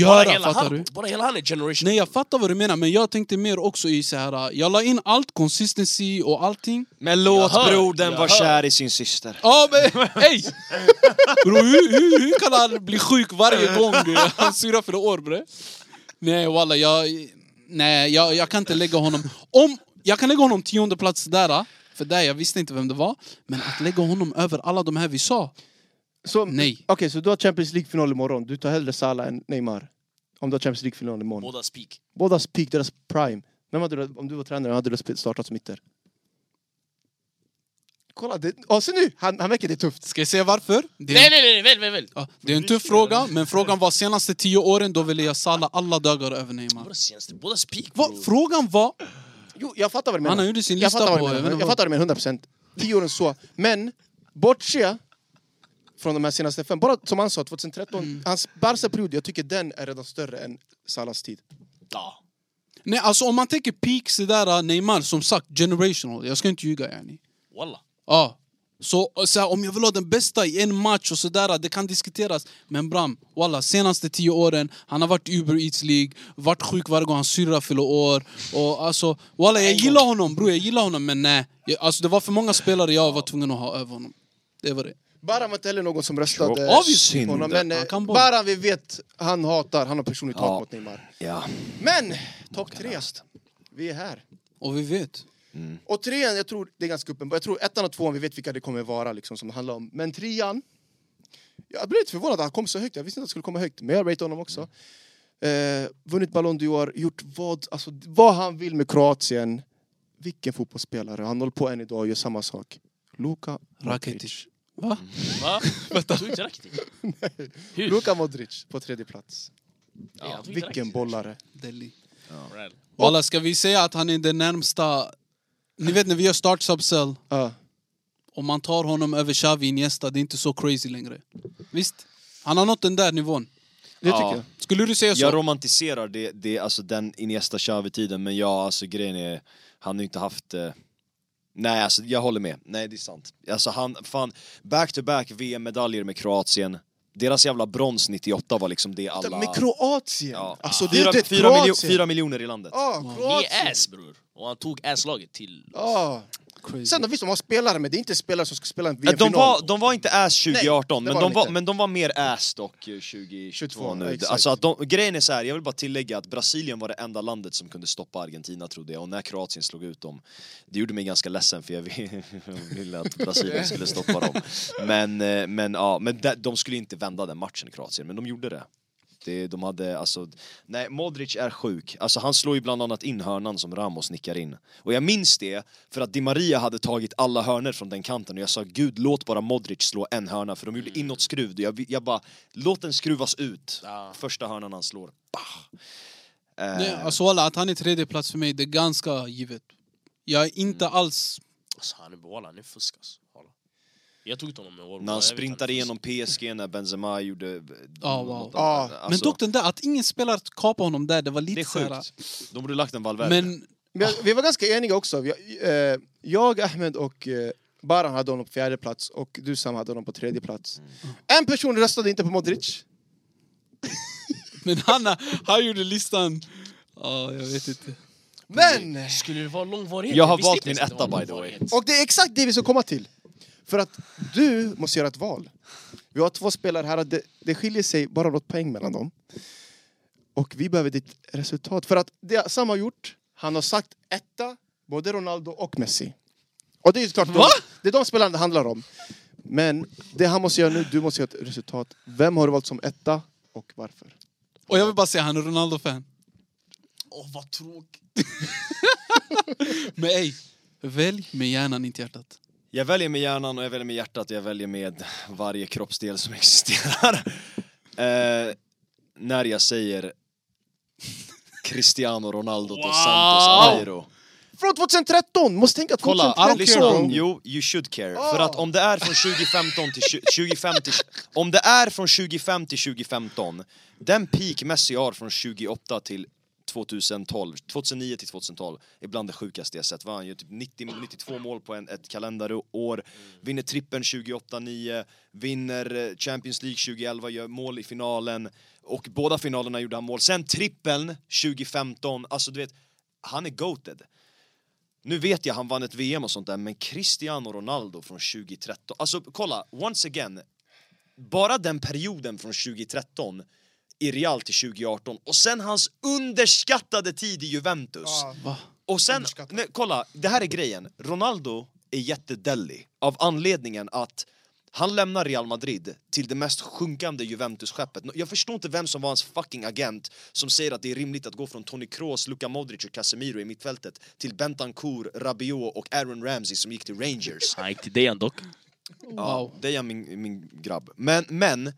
Bara göra, hela fattar han, du? bara hela han är generational. Nej jag fattar vad du menar men jag tänkte mer också i så här. äh, jag la in allt, consistency och allting. Men låt hör, brodern jag vara hör. kär i sin syster. Ja men ey! Bro, hur, hur, hur kan han bli sjuk varje gång han surar för år bre? Nej walla jag, nej jag, jag kan inte lägga honom, om, jag kan lägga honom tionde plats där, äh, för där jag visste inte vem det var. Men att lägga honom över alla de här vi sa, Så, Nej. Okej, så du har Champions League-final imorgon. Du tar hellre Salah än Neymar. Om du har Champions League-final imorgon. Båda speak. Bådas peak, deras prime. Vem hade du, om du var tränare, hade du sp- startat som ytter? Kolla, det, ja, se nu! Han, han verkar det tufft. ska jag säga varför? Det är, Nej nej nej, väl väl väl. Ja, det är en tuff fråga, men frågan var senaste tio åren då ville jag salla alla dagar över Neymar. Båda senaste, båda speak Va, bror. frågan var... Jo, jag fattar vad du menar. Han har gjort sin jag lista fattar vad på- du jag menar. vet inte Jag vad- fattar vad du menar, 100%. Tio åren så. Men, bortse från de här senaste fem. Bara som han sa, 2013. Mm. Hans Barca-period, jag tycker den är redan större än Salas tid. Ja. Nej, alltså om man tänker peak sådär, äh, Neymar, som sagt, generational. Jag ska inte ljuga yani. Walla. Ja. Så, så här, om jag vill ha den bästa i en match och sådär, det kan diskuteras. Men Bram, walla, senaste tio åren, han har varit i Uber Eats League, varit sjuk varje gång hans syrra fyller år. Och alltså, walla, jag gillar honom bror, jag gillar honom, men nej. Jag, alltså det var för många spelare jag var tvungen att ha över honom. Det var det. Baran var inte heller någon som röstade Jo, obviously. på honom. Men Han kan eh, bolla. Baran, vi vet, han hatar. Han har personligt hat Ja. mot Neymar. Ja. Men, topp tre. Vi är här. Och vi vet. Och trean, jag tror det är ganska uppenbart. Jag tror ettan och tvåan, vi vet vilka det kommer vara liksom, som det handlar om. Men trean, jag blev lite förvånad att han kom så högt. Jag visste inte att han skulle komma högt, men jag rateade honom också. Eh, vunnit Ballon d'Or, gjort vad, alltså, vad han vill med Kroatien. Vilken fotbollsspelare. Han håller på än idag och gör samma sak. Luka Modric. Rakitic. Va? Va? Tog inte Rakitic? Hur? Luka Modric på tredje plats. Nej, han tog inte Vilken Rakitic. bollare. Deli. Brad. Walla, ska vi säga att han är den närmsta... Ni vet när vi gör start subcell, Ja. om man tar honom över Xavi Iniesta, det är inte så crazy längre. Visst? Han har nått den där nivån. det tycker Ja. jag. Skulle du säga så? Jag romantiserar det, det, alltså den Iniesta Xavi-tiden, men ja, alltså grejen är, han har ju inte haft... Eh, nej, alltså jag håller med. Nej, det är sant. Alltså han, fan, back-to-back VM-medaljer med Kroatien. Deras jävla brons 98 var liksom det alla... Med Kroatien! Ja. Alltså det fyra, är det fyra, miljo, Kroatien! fyra miljoner i landet. Ja, Ni är Kroatien! ass bror. Och han tog ass-laget till... Ja. Crazy. Sen då, visst, de har spelare, men det är inte spelare som ska spela en Eh, VM-final. De var, de var inte ass Nej, 2018, det men, var de de var, inte. men de var mer ass dock 2022 ja, nu. exakt. Alltså att de, grejen är så här, jag vill bara tillägga att Brasilien var det enda landet som kunde stoppa Argentina trodde jag, och när Kroatien slog ut dem, det gjorde mig ganska ledsen för jag ville- jag ville att Brasilien skulle stoppa dem. Men, eh, men, ja, men de- de skulle inte vända den matchen, Kroatien, men de gjorde det. Det, de hade alltså, nej Modric är sjuk, alltså han slår ju bland annat in hörnan som Ramos nickar in. Och jag minns det, för att Di Maria hade tagit alla hörnor från den kanten och jag sa gud låt bara Modric slå en hörna för de Mm. gjorde inåtskruv, jag, jag bara låt den skruvas ut, Ja. första hörnan han slår. Bah. Eh, Nej, alltså walla, att han är tredje plats för mig, det är ganska givet. Jag är inte Mm. alls... Alltså han är walla, han är fusk alltså. Walla. Jag tog inte honom med år. När han sprintade igenom PSG när Benzema gjorde... Ja, wow. Ja, Ah. men dock den där, att ingen spelare kapade honom där, det var lite Alltså- Det är så här- sjukt. De borde lagt en Valverde. Men Men jag- vi var ganska eniga också. Jag, eh, jag Ahmed och eh, Baran hade honom på fjärde plats och du Sam hade honom på tredje plats. Mm. En person röstade inte på Modric. Men han, han gjorde listan... Ja, jag vet inte. Men! Skulle det vara långvarighet? Jag har visste valt inte min ens att det etta, var by the way. långvarighet. Och det är exakt det vi ska komma till. För att du måste göra ett val. Vi har två spelare här och det, det skiljer sig bara något poäng mellan dem. Och vi behöver ditt resultat. För att det Sam har gjort, han har sagt etta, både Ronaldo och Messi. Och det är ju klart, de, det är de spelarna det handlar om. Men det han måste göra nu, du måste göra ett resultat. Vem har du valt som etta och varför? Och jag vill bara säga, han är Ronaldo-fan. Åh vad tråkigt. Men ey, välj med hjärnan, inte hjärtat. Jag väljer med hjärnan och jag väljer med hjärtat och jag väljer med varje kroppsdel som existerar. eh, när jag säger Cristiano Ronaldo dos Wow! Santos Airo Från 2013! Måste tänka att Kolla, 2013 lyssna. bro. Jo, you should care. Ah. För att om det är från 2015 till 20, 25 till, Om det är från 25 till 2015, den peak Messi har från 28 till 2012, 2009 till 2012, är bland det sjukaste jag sett. Va? Han gör typ 90, 92 mål på en, ett kalenderår, vinner trippen 2008-9, vinner eh, Champions League 2011, gör mål i finalen och båda finalerna gjorde han mål. Sen trippeln 2015, alltså du vet, han är goated. Nu vet jag han vann ett VM och sånt där, men Cristiano Ronaldo från 2013. Alltså kolla, once again. Bara den perioden från 2013 i Real till 2018 och sen hans underskattade tid i Juventus. Ja. Va? Och sen, Underskattad. nej, kolla, det här är grejen. Ronaldo är jättedellig av anledningen att han lämnar Real Madrid till det mest sjunkande Juventus-skeppet. Nå- Jag förstår inte vem som var hans fucking agent som säger att det är rimligt att gå från Toni Kroos, Luka Modric och Casemiro i mittfältet till Bentancourt, Rabiot och Aaron Ramsey som gick till Rangers. Han gick till dig han dock. Ja, det är min, min grabb. Men, men,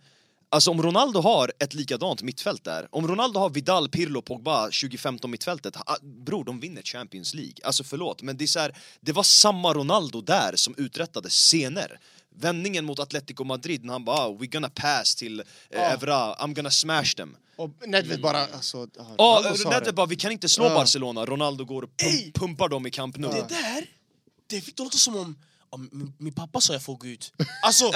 alltså om Ronaldo har ett likadant mittfält där, om Ronaldo har Vidal, Pirlo, Pogba 2015 mittfältet, ha, bror de vinner Champions League. Alltså förlåt, men det är så här, det var samma Ronaldo där som uträttade scener. Vändningen mot Atletico Madrid när han bara ah, “We're gonna pass till eh, Ah. Evra, I'm gonna smash them”. Och Nedved bara, alltså... ja, Ja, Ronaldo sa Nedved det. bara “Vi kan inte slå Ja. Barcelona”, Ronaldo går och pum- pumpar dem i Camp Nou. Ah. Det där, det fick det låta som om om min, min pappa sa jag får gå ut. Alltså,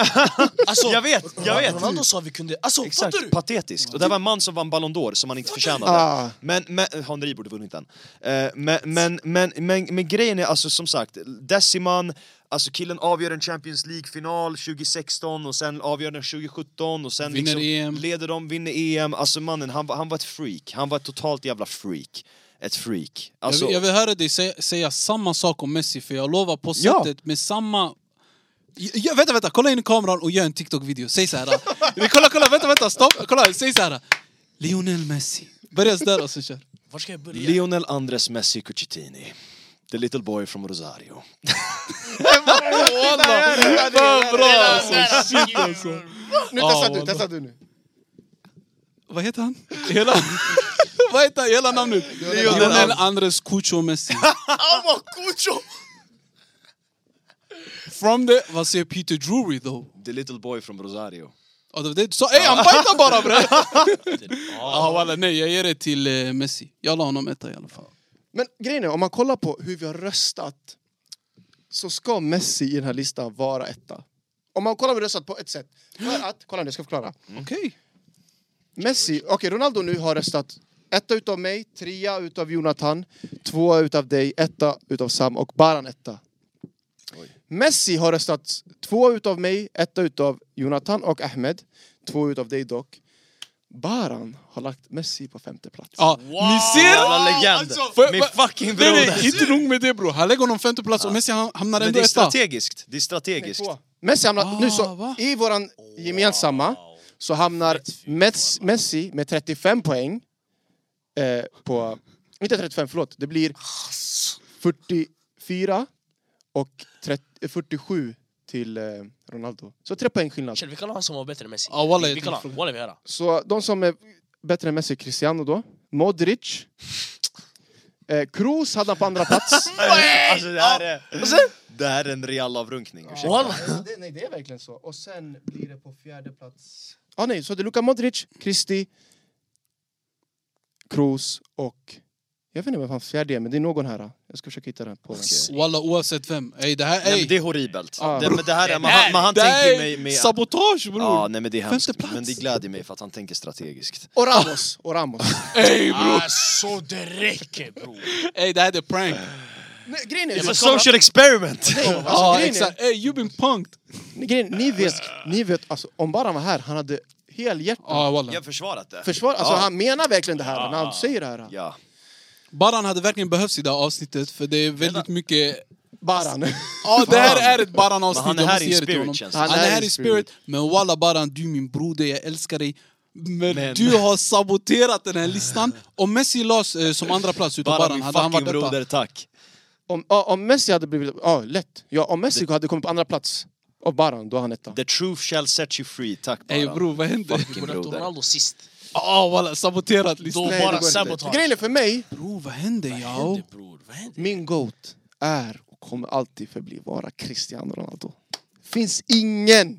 alltså Jag vet, jag vet. Ronaldo sa vi kunde, alltså Exakt, fattar du? patetiskt. Och det här var en man som vann Ballon d'Or som han inte förtjänade. Ah. Men, men, Henri borde vunnit den. Eh, men, men, men, men, men grejen är alltså som sagt, Deciman, alltså killen avgör en Champions League-final 2016 och sen avgör den 2017 och sen Vinner E liksom EM. leder de, vinner EM. Alltså mannen, han, var- han var ett freak. Han var ett totalt jävla freak. Ett freak. Alltså, jag, vill, jag vill höra dig säga, säga samma sak om Messi, för jag lovar på Ja. sättet med samma... Jag- Jag, vänta, vänta, kolla in i kameran och gör en TikTok-video. Säg så här. Vi- kolla, kolla, vänta, vänta, stopp. Kolla, säg så här. Lionel Messi. Börja där och sen kör. Var ska jag börja? Lionel Andres Messi Cucitini. The little boy from Rosario. Vad bra alltså. shit alltså. Nu Ja, testar du, wallah. testar du nu. Vad heter han? Hela... Vad heter han? Hela namnet? Lionel Lionel Andres Cucho Messi. Amma kucho! From the... Vad säger Peter Drury though? The little boy from Rosario. Ja, det var det du sa. Ey, han bajtar bara bre! Ja, walla, nej, jag ger det till eh, Messi. Jag la honom etta i alla fall. Men grejen är, om man kollar på hur vi har röstat så ska Messi i den här listan vara etta. Om man kollar hur vi har röstat på ett sätt. För att, kolla nu, jag ska förklara. Mm. Okej. Messi, okej Ronaldo nu har röstat etta utav mig, trea utav Jonathan, tvåa utav dig, etta utav Sam och Baran etta. Messi har röstat två utav mig, etta utav Jonathan och Ahmed, två utav dig dock. Baran har lagt Messi på femte plats. Ja, ni ser! Jävla legend! Får jag- Min fucking Nej, nej, broder! inte nog med det bror. Han lägger honom femte plats och Messi han hamnar Alltså, Men ändå det är etta. strategiskt, det är strategiskt. Messi hamnar, nu Ah, va? så, i våran gemensamma så hamnar Mets, Messi med 35 poäng eh, på, inte 35 förlåt, det blir 44 och 30, eh, 47 till eh, Ronaldo. Så tre poäng skillnad. Kjell, vi kallar han som var bättre än Messi. Ja, walla, Vi- jag vi kallar han, walla vi höra. Så de som är bättre än Messi, Cristiano då, Modric, eh, Kroos hade han på andra plats. Alltså det här är, det här är en real avrunkning, ursäkta. Walla. alltså, det, nej, det är verkligen så. Och sen blir det på fjärde plats... ah, nej, så det är Luka Modric, Kristi, Kroos och... Jag vet inte vem fan fjärde är, men det är någon här. Jag ska försöka hitta den på den. Walla, oavsett vem. Ey, det här Nej, ey, men det är horribelt. Ja. Det, men det här är, man, Det här- man, han det tänker ju här mig är med... sabotage Ja, bror! nej men det är hemskt. Femte plats. Men det gläder mig för att han tänker strategiskt. Och Ramos! Och Ramos. Ey Ah. bror! Alltså det räcker bror! Ey, det här är prank. nej, grejen är... Alltså, Ja, men It's så- a Alltså, social experiment! Alltså, Ja, grejen är- Ah, exakt. Ey, you've been punked! ni, grejen, ni vet, ni vet alltså, om bara han var här, han hade helhjärtat Ja, walla. Jag har försvarat det. försvar. Alltså, Ja. han menar verkligen det här när han säger det här. Ja. Baran hade verkligen behövts i det här avsnittet, för det är väldigt mycket... Baran. Ja, det Fan. här är ett Baran-avsnitt. Men han är jag här måste i ge det till spirit, honom. känns det Han är här i spirit, men walla Baran, du är min broder, jag älskar dig. Men, du har saboterat den här listan. Om Messi lades eh, som andra plats utav Bara Baran, min hade han fucking varit detta. broder, tack. Om, ja, om Messi hade blivit... Ja, lätt. Ja, om Messi hade kommit på andra plats av Baran, då är han etta. The truth shall set you free, tack Ey bara. bror, vad händer? Vi Fucking borde ha tagit broder. Ronaldo sist. Ja, walla, saboterat listan. Då Nej, det bara går inte. sabotage. Grejen är för mig, Bror, vad händer? Vad Ja. händer bror? Vad Vad händer? Min GOAT är och kommer alltid förbli vara Cristiano Ronaldo. Finns ingen!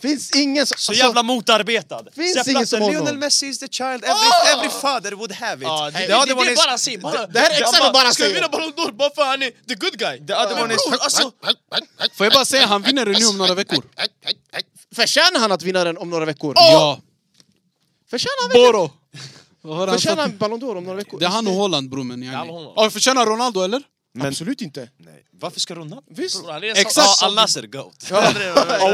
Finns ingen som... Så jävla motarbetad! Alltså- Finns Sätt ingen platsen. som honom. Lionel Messi is the child every, every father would have it. Ja, det, det, The det, other det, one är is- bara sig. Bara, det här är exakt vad Bara Ska vi säger. vinna Ballon d'Or bara för han är the good guy? The other Men one is- bror, alltså, Får jag bara säga, han vinner det nu om några veckor. Förtjänar han att vinna den om några veckor? Ja, Förtjänar han, verkligen- Boro! Vad var det han sa? förtjänar han Ballon d'Or om några veckor? Det är han och Holland bror men Det är han yani. och Holland. Ja, förtjänar Ronaldo eller? Absolut inte. Nej. Varför ska Ronaldo... Visst. bror, han är Exakt. så- Ja, Al-Nasser, GOAT. Ja,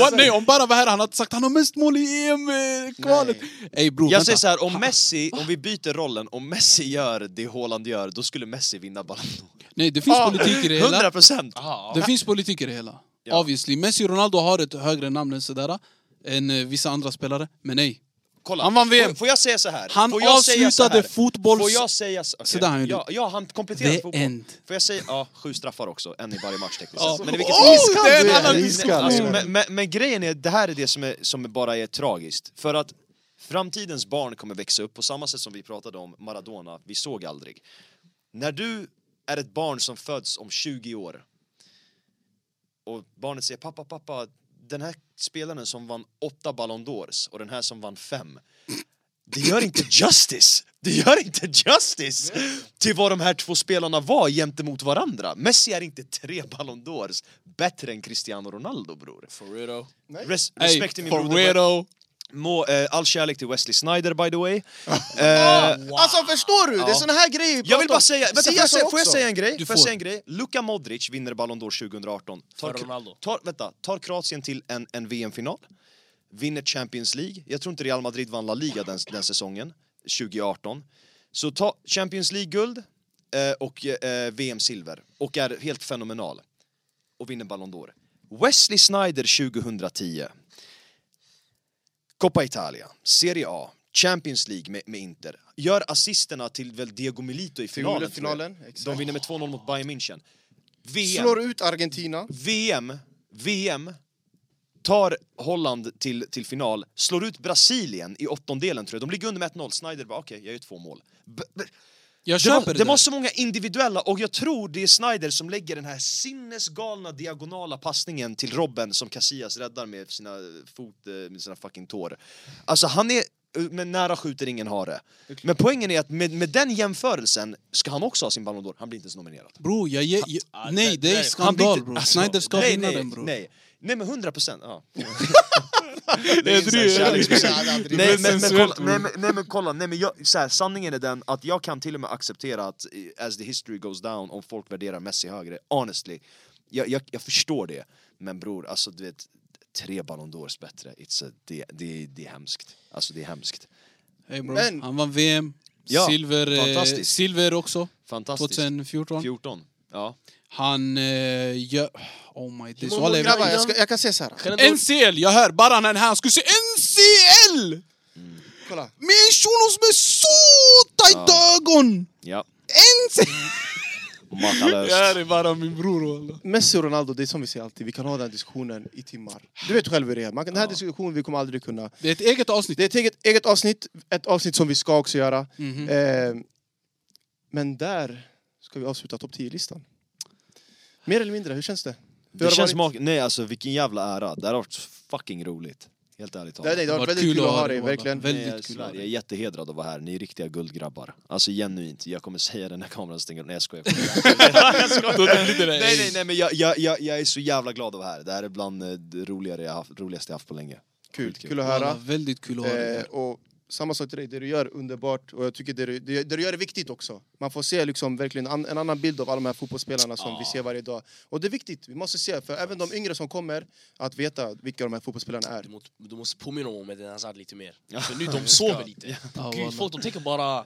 what? nej, om bara var här han hade sagt han har mest mål i EM-kvalet. Ey bror, Jag Oh, vänta. säger så här, om Messi, om vi byter rollen, om Messi gör det Haaland gör, då skulle Messi vinna Ballon d'Or. Nej, det finns politik i det hela. 100 procent! Ja, Det finns politik i det hela. Obviously. Messi och Ronaldo har ett högre namn än sådär. Än eh, vissa andra spelare. Men nej. Kolla, Han vann VM. Får, får jag säga så här? Han får jag säga så avslutade här? fotbolls- Får jag säga så, okay. Så där han gjorde. ja, ja, han kompletterade The fotboll. end. Får jag säga, ja, sju straffar också, en i varje match tekniskt Ja. sett. Men i vilket fall- Iskall det är en du är, annan iskall diskussion. du Alltså, är. men, men, men grejen är, det här är det som, är, som bara är tragiskt. För att framtidens barn kommer växa upp på samma sätt som vi pratade om Maradona, vi såg aldrig. När du är ett barn som föds om 20 år och barnet säger pappa, pappa, den här spelaren som vann åtta Ballon d'Ors och den här som vann fem. Det gör inte justice! Det gör inte justice till vad de här två spelarna var gentemot varandra. Messi är inte tre Ballon d'Ors bättre än Cristiano Ronaldo, bror. Forero. Res Ey, respekt till min broder. Forredo. Må, eh, all kärlek till Wesley Snyder by the way. Ah, eh, Alltså förstår du? Det är Ja. såna här jag grejer vi vill pratar om. bara säga, vänta, får, Zidane jag sa säga får jag också. säga en grej? Du Får jag får. säga en grej? Luka Modric vinner Ballon d'Or 2018. För Ronaldo. Tar, vänta, tar Kroatien till en, en VM-final. Vinner Champions League. Jag tror inte Real Madrid vann La Liga den, den säsongen, 2018. Så ta Champions League-guld eh, och eh, VM-silver. Och är helt fenomenal. Och vinner Ballon d'Or. Wesley Snyder 2010. Coppa Italia, Serie A, Champions League med, med Inter. Gör assisterna till väl Diego Milito i finalen. tror jag. finalen, exakt. De vinner med 2-0 mot Bayern München. VM, Slår ut Argentina. VM, VM tar Holland till, till final, slår ut Brasilien i åttondelen tror jag. De ligger under med 1-0. Snyder bara okej, jag gör två mål. B- b- Jag det, köper var, det. det där. var så många individuella och jag tror det är Snyder som lägger den här sinnesgalna diagonala passningen till Robben som Casillas räddar med sina fot, eh, med sina fucking tår. Alltså han är, men nära skjuter ingen har det. Men poängen är att med, med den jämförelsen ska han också ha sin Ballon d'Or, han blir inte ens nominerad. Bror, jag ger... Ah, Jag, nej, det- det är nej. Han blir skandal inte- bror. alltså, Snyder ska nej, vinna nej, den bror. Nej, nej men 100 procent, ja. Det är inside dryg. kärleksmusik. Nej men, men, kolla, sensuellt, nej, men, nej men kolla, nej men jag, så här, sanningen är den att jag kan till och med acceptera att eh, as the history goes down om folk värderar Messi högre, honestly. Jag, jag, jag förstår det, men bror alltså du vet, tre Ballon d'Ors bättre, It's a, det, det, det är hemskt. Alltså det är hemskt. Hey, bro. Men- Han vann VM. Ja, silver, eh, fantastiskt. silver också. Fantastiskt. 2014. 14. Ja. Han... Eh, gör... Oh my days. många Walla, jag- Grabbar, jag, ska, jag kan säga så här. Kan ändå- NCL! Jag hör bara han är här, han skulle säga NCL! Kolla. Med en shunos med så tajta ögon! Ja. Mm. NCL! Det här Makalöst. är bara min bror walla. Messi och Ronaldo, det är som vi säger alltid, vi kan ha den här diskussionen i timmar. Du vet själv hur det är. Man, kan- den här diskussionen vi kommer aldrig kunna... Det är ett eget avsnitt. Det är ett eget, eget avsnitt, ett avsnitt som vi ska också göra. Mhm. Eh, men där ska vi avsluta topp 10-listan. Mer eller mindre, hur känns det? Hur har Det känns varit? mak- Nej alltså vilken jävla ära, det här har varit fucking roligt. Helt ärligt Nej, talat. nej, det har Varit varit väldigt kul att ha dig, walla. verkligen. Nej, Väldigt jag kul att svär, ha Jag dig. är jättehedrad att vara här, ni är riktiga guldgrabbar. Alltså genuint, jag kommer säga det när kameran stänger Nej jag skojar. Jag skojar. nej nej nej men jag, jag, jag, jag är så jävla glad att vara här. Det här är bland eh, det roligare jag haft, roligaste jag haft på länge. Kul, Skitkul. kul att Walla, höra. Väldigt kul att ha dig Eh, här. och samma sak till dig, det du gör är underbart och jag tycker det du, det, det du gör är viktigt också. Man får se liksom verkligen an, en annan bild av alla de här fotbollsspelarna som vi ser varje dag. Och det är viktigt, vi måste se för även de yngre som kommer att veta vilka de här fotbollsspelarna är. Du måste- Du måste påminna om Eden Hazard lite mer. För nu de sover lite. Ja, Gud, folk de tänker bara...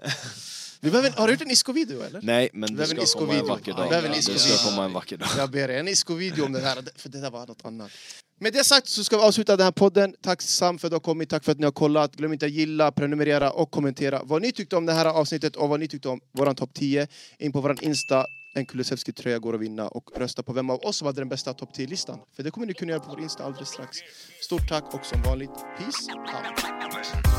Vi behöver, har du gjort en Isko-video eller? Nej men Vi det behöver en ska komma en Isko-video. vacker Vi dag. behöver en Det ska Isko-video. komma en vacker dag. Jag ber er, en Isko-video om det här, för det där var något annat. Med det sagt så ska vi avsluta den här podden. Tack Sam för att du har kommit, tack för att ni har kollat. Glöm inte att gilla, prenumerera och kommentera vad ni tyckte om det här avsnittet och vad ni tyckte om våran topp 10. In på våran Insta, en Kulusevski-tröja går att vinna och rösta på vem av oss som hade den bästa topp 10-listan. För det kommer ni kunna göra på vår Insta alldeles strax. Stort tack och som vanligt, peace out. Listen.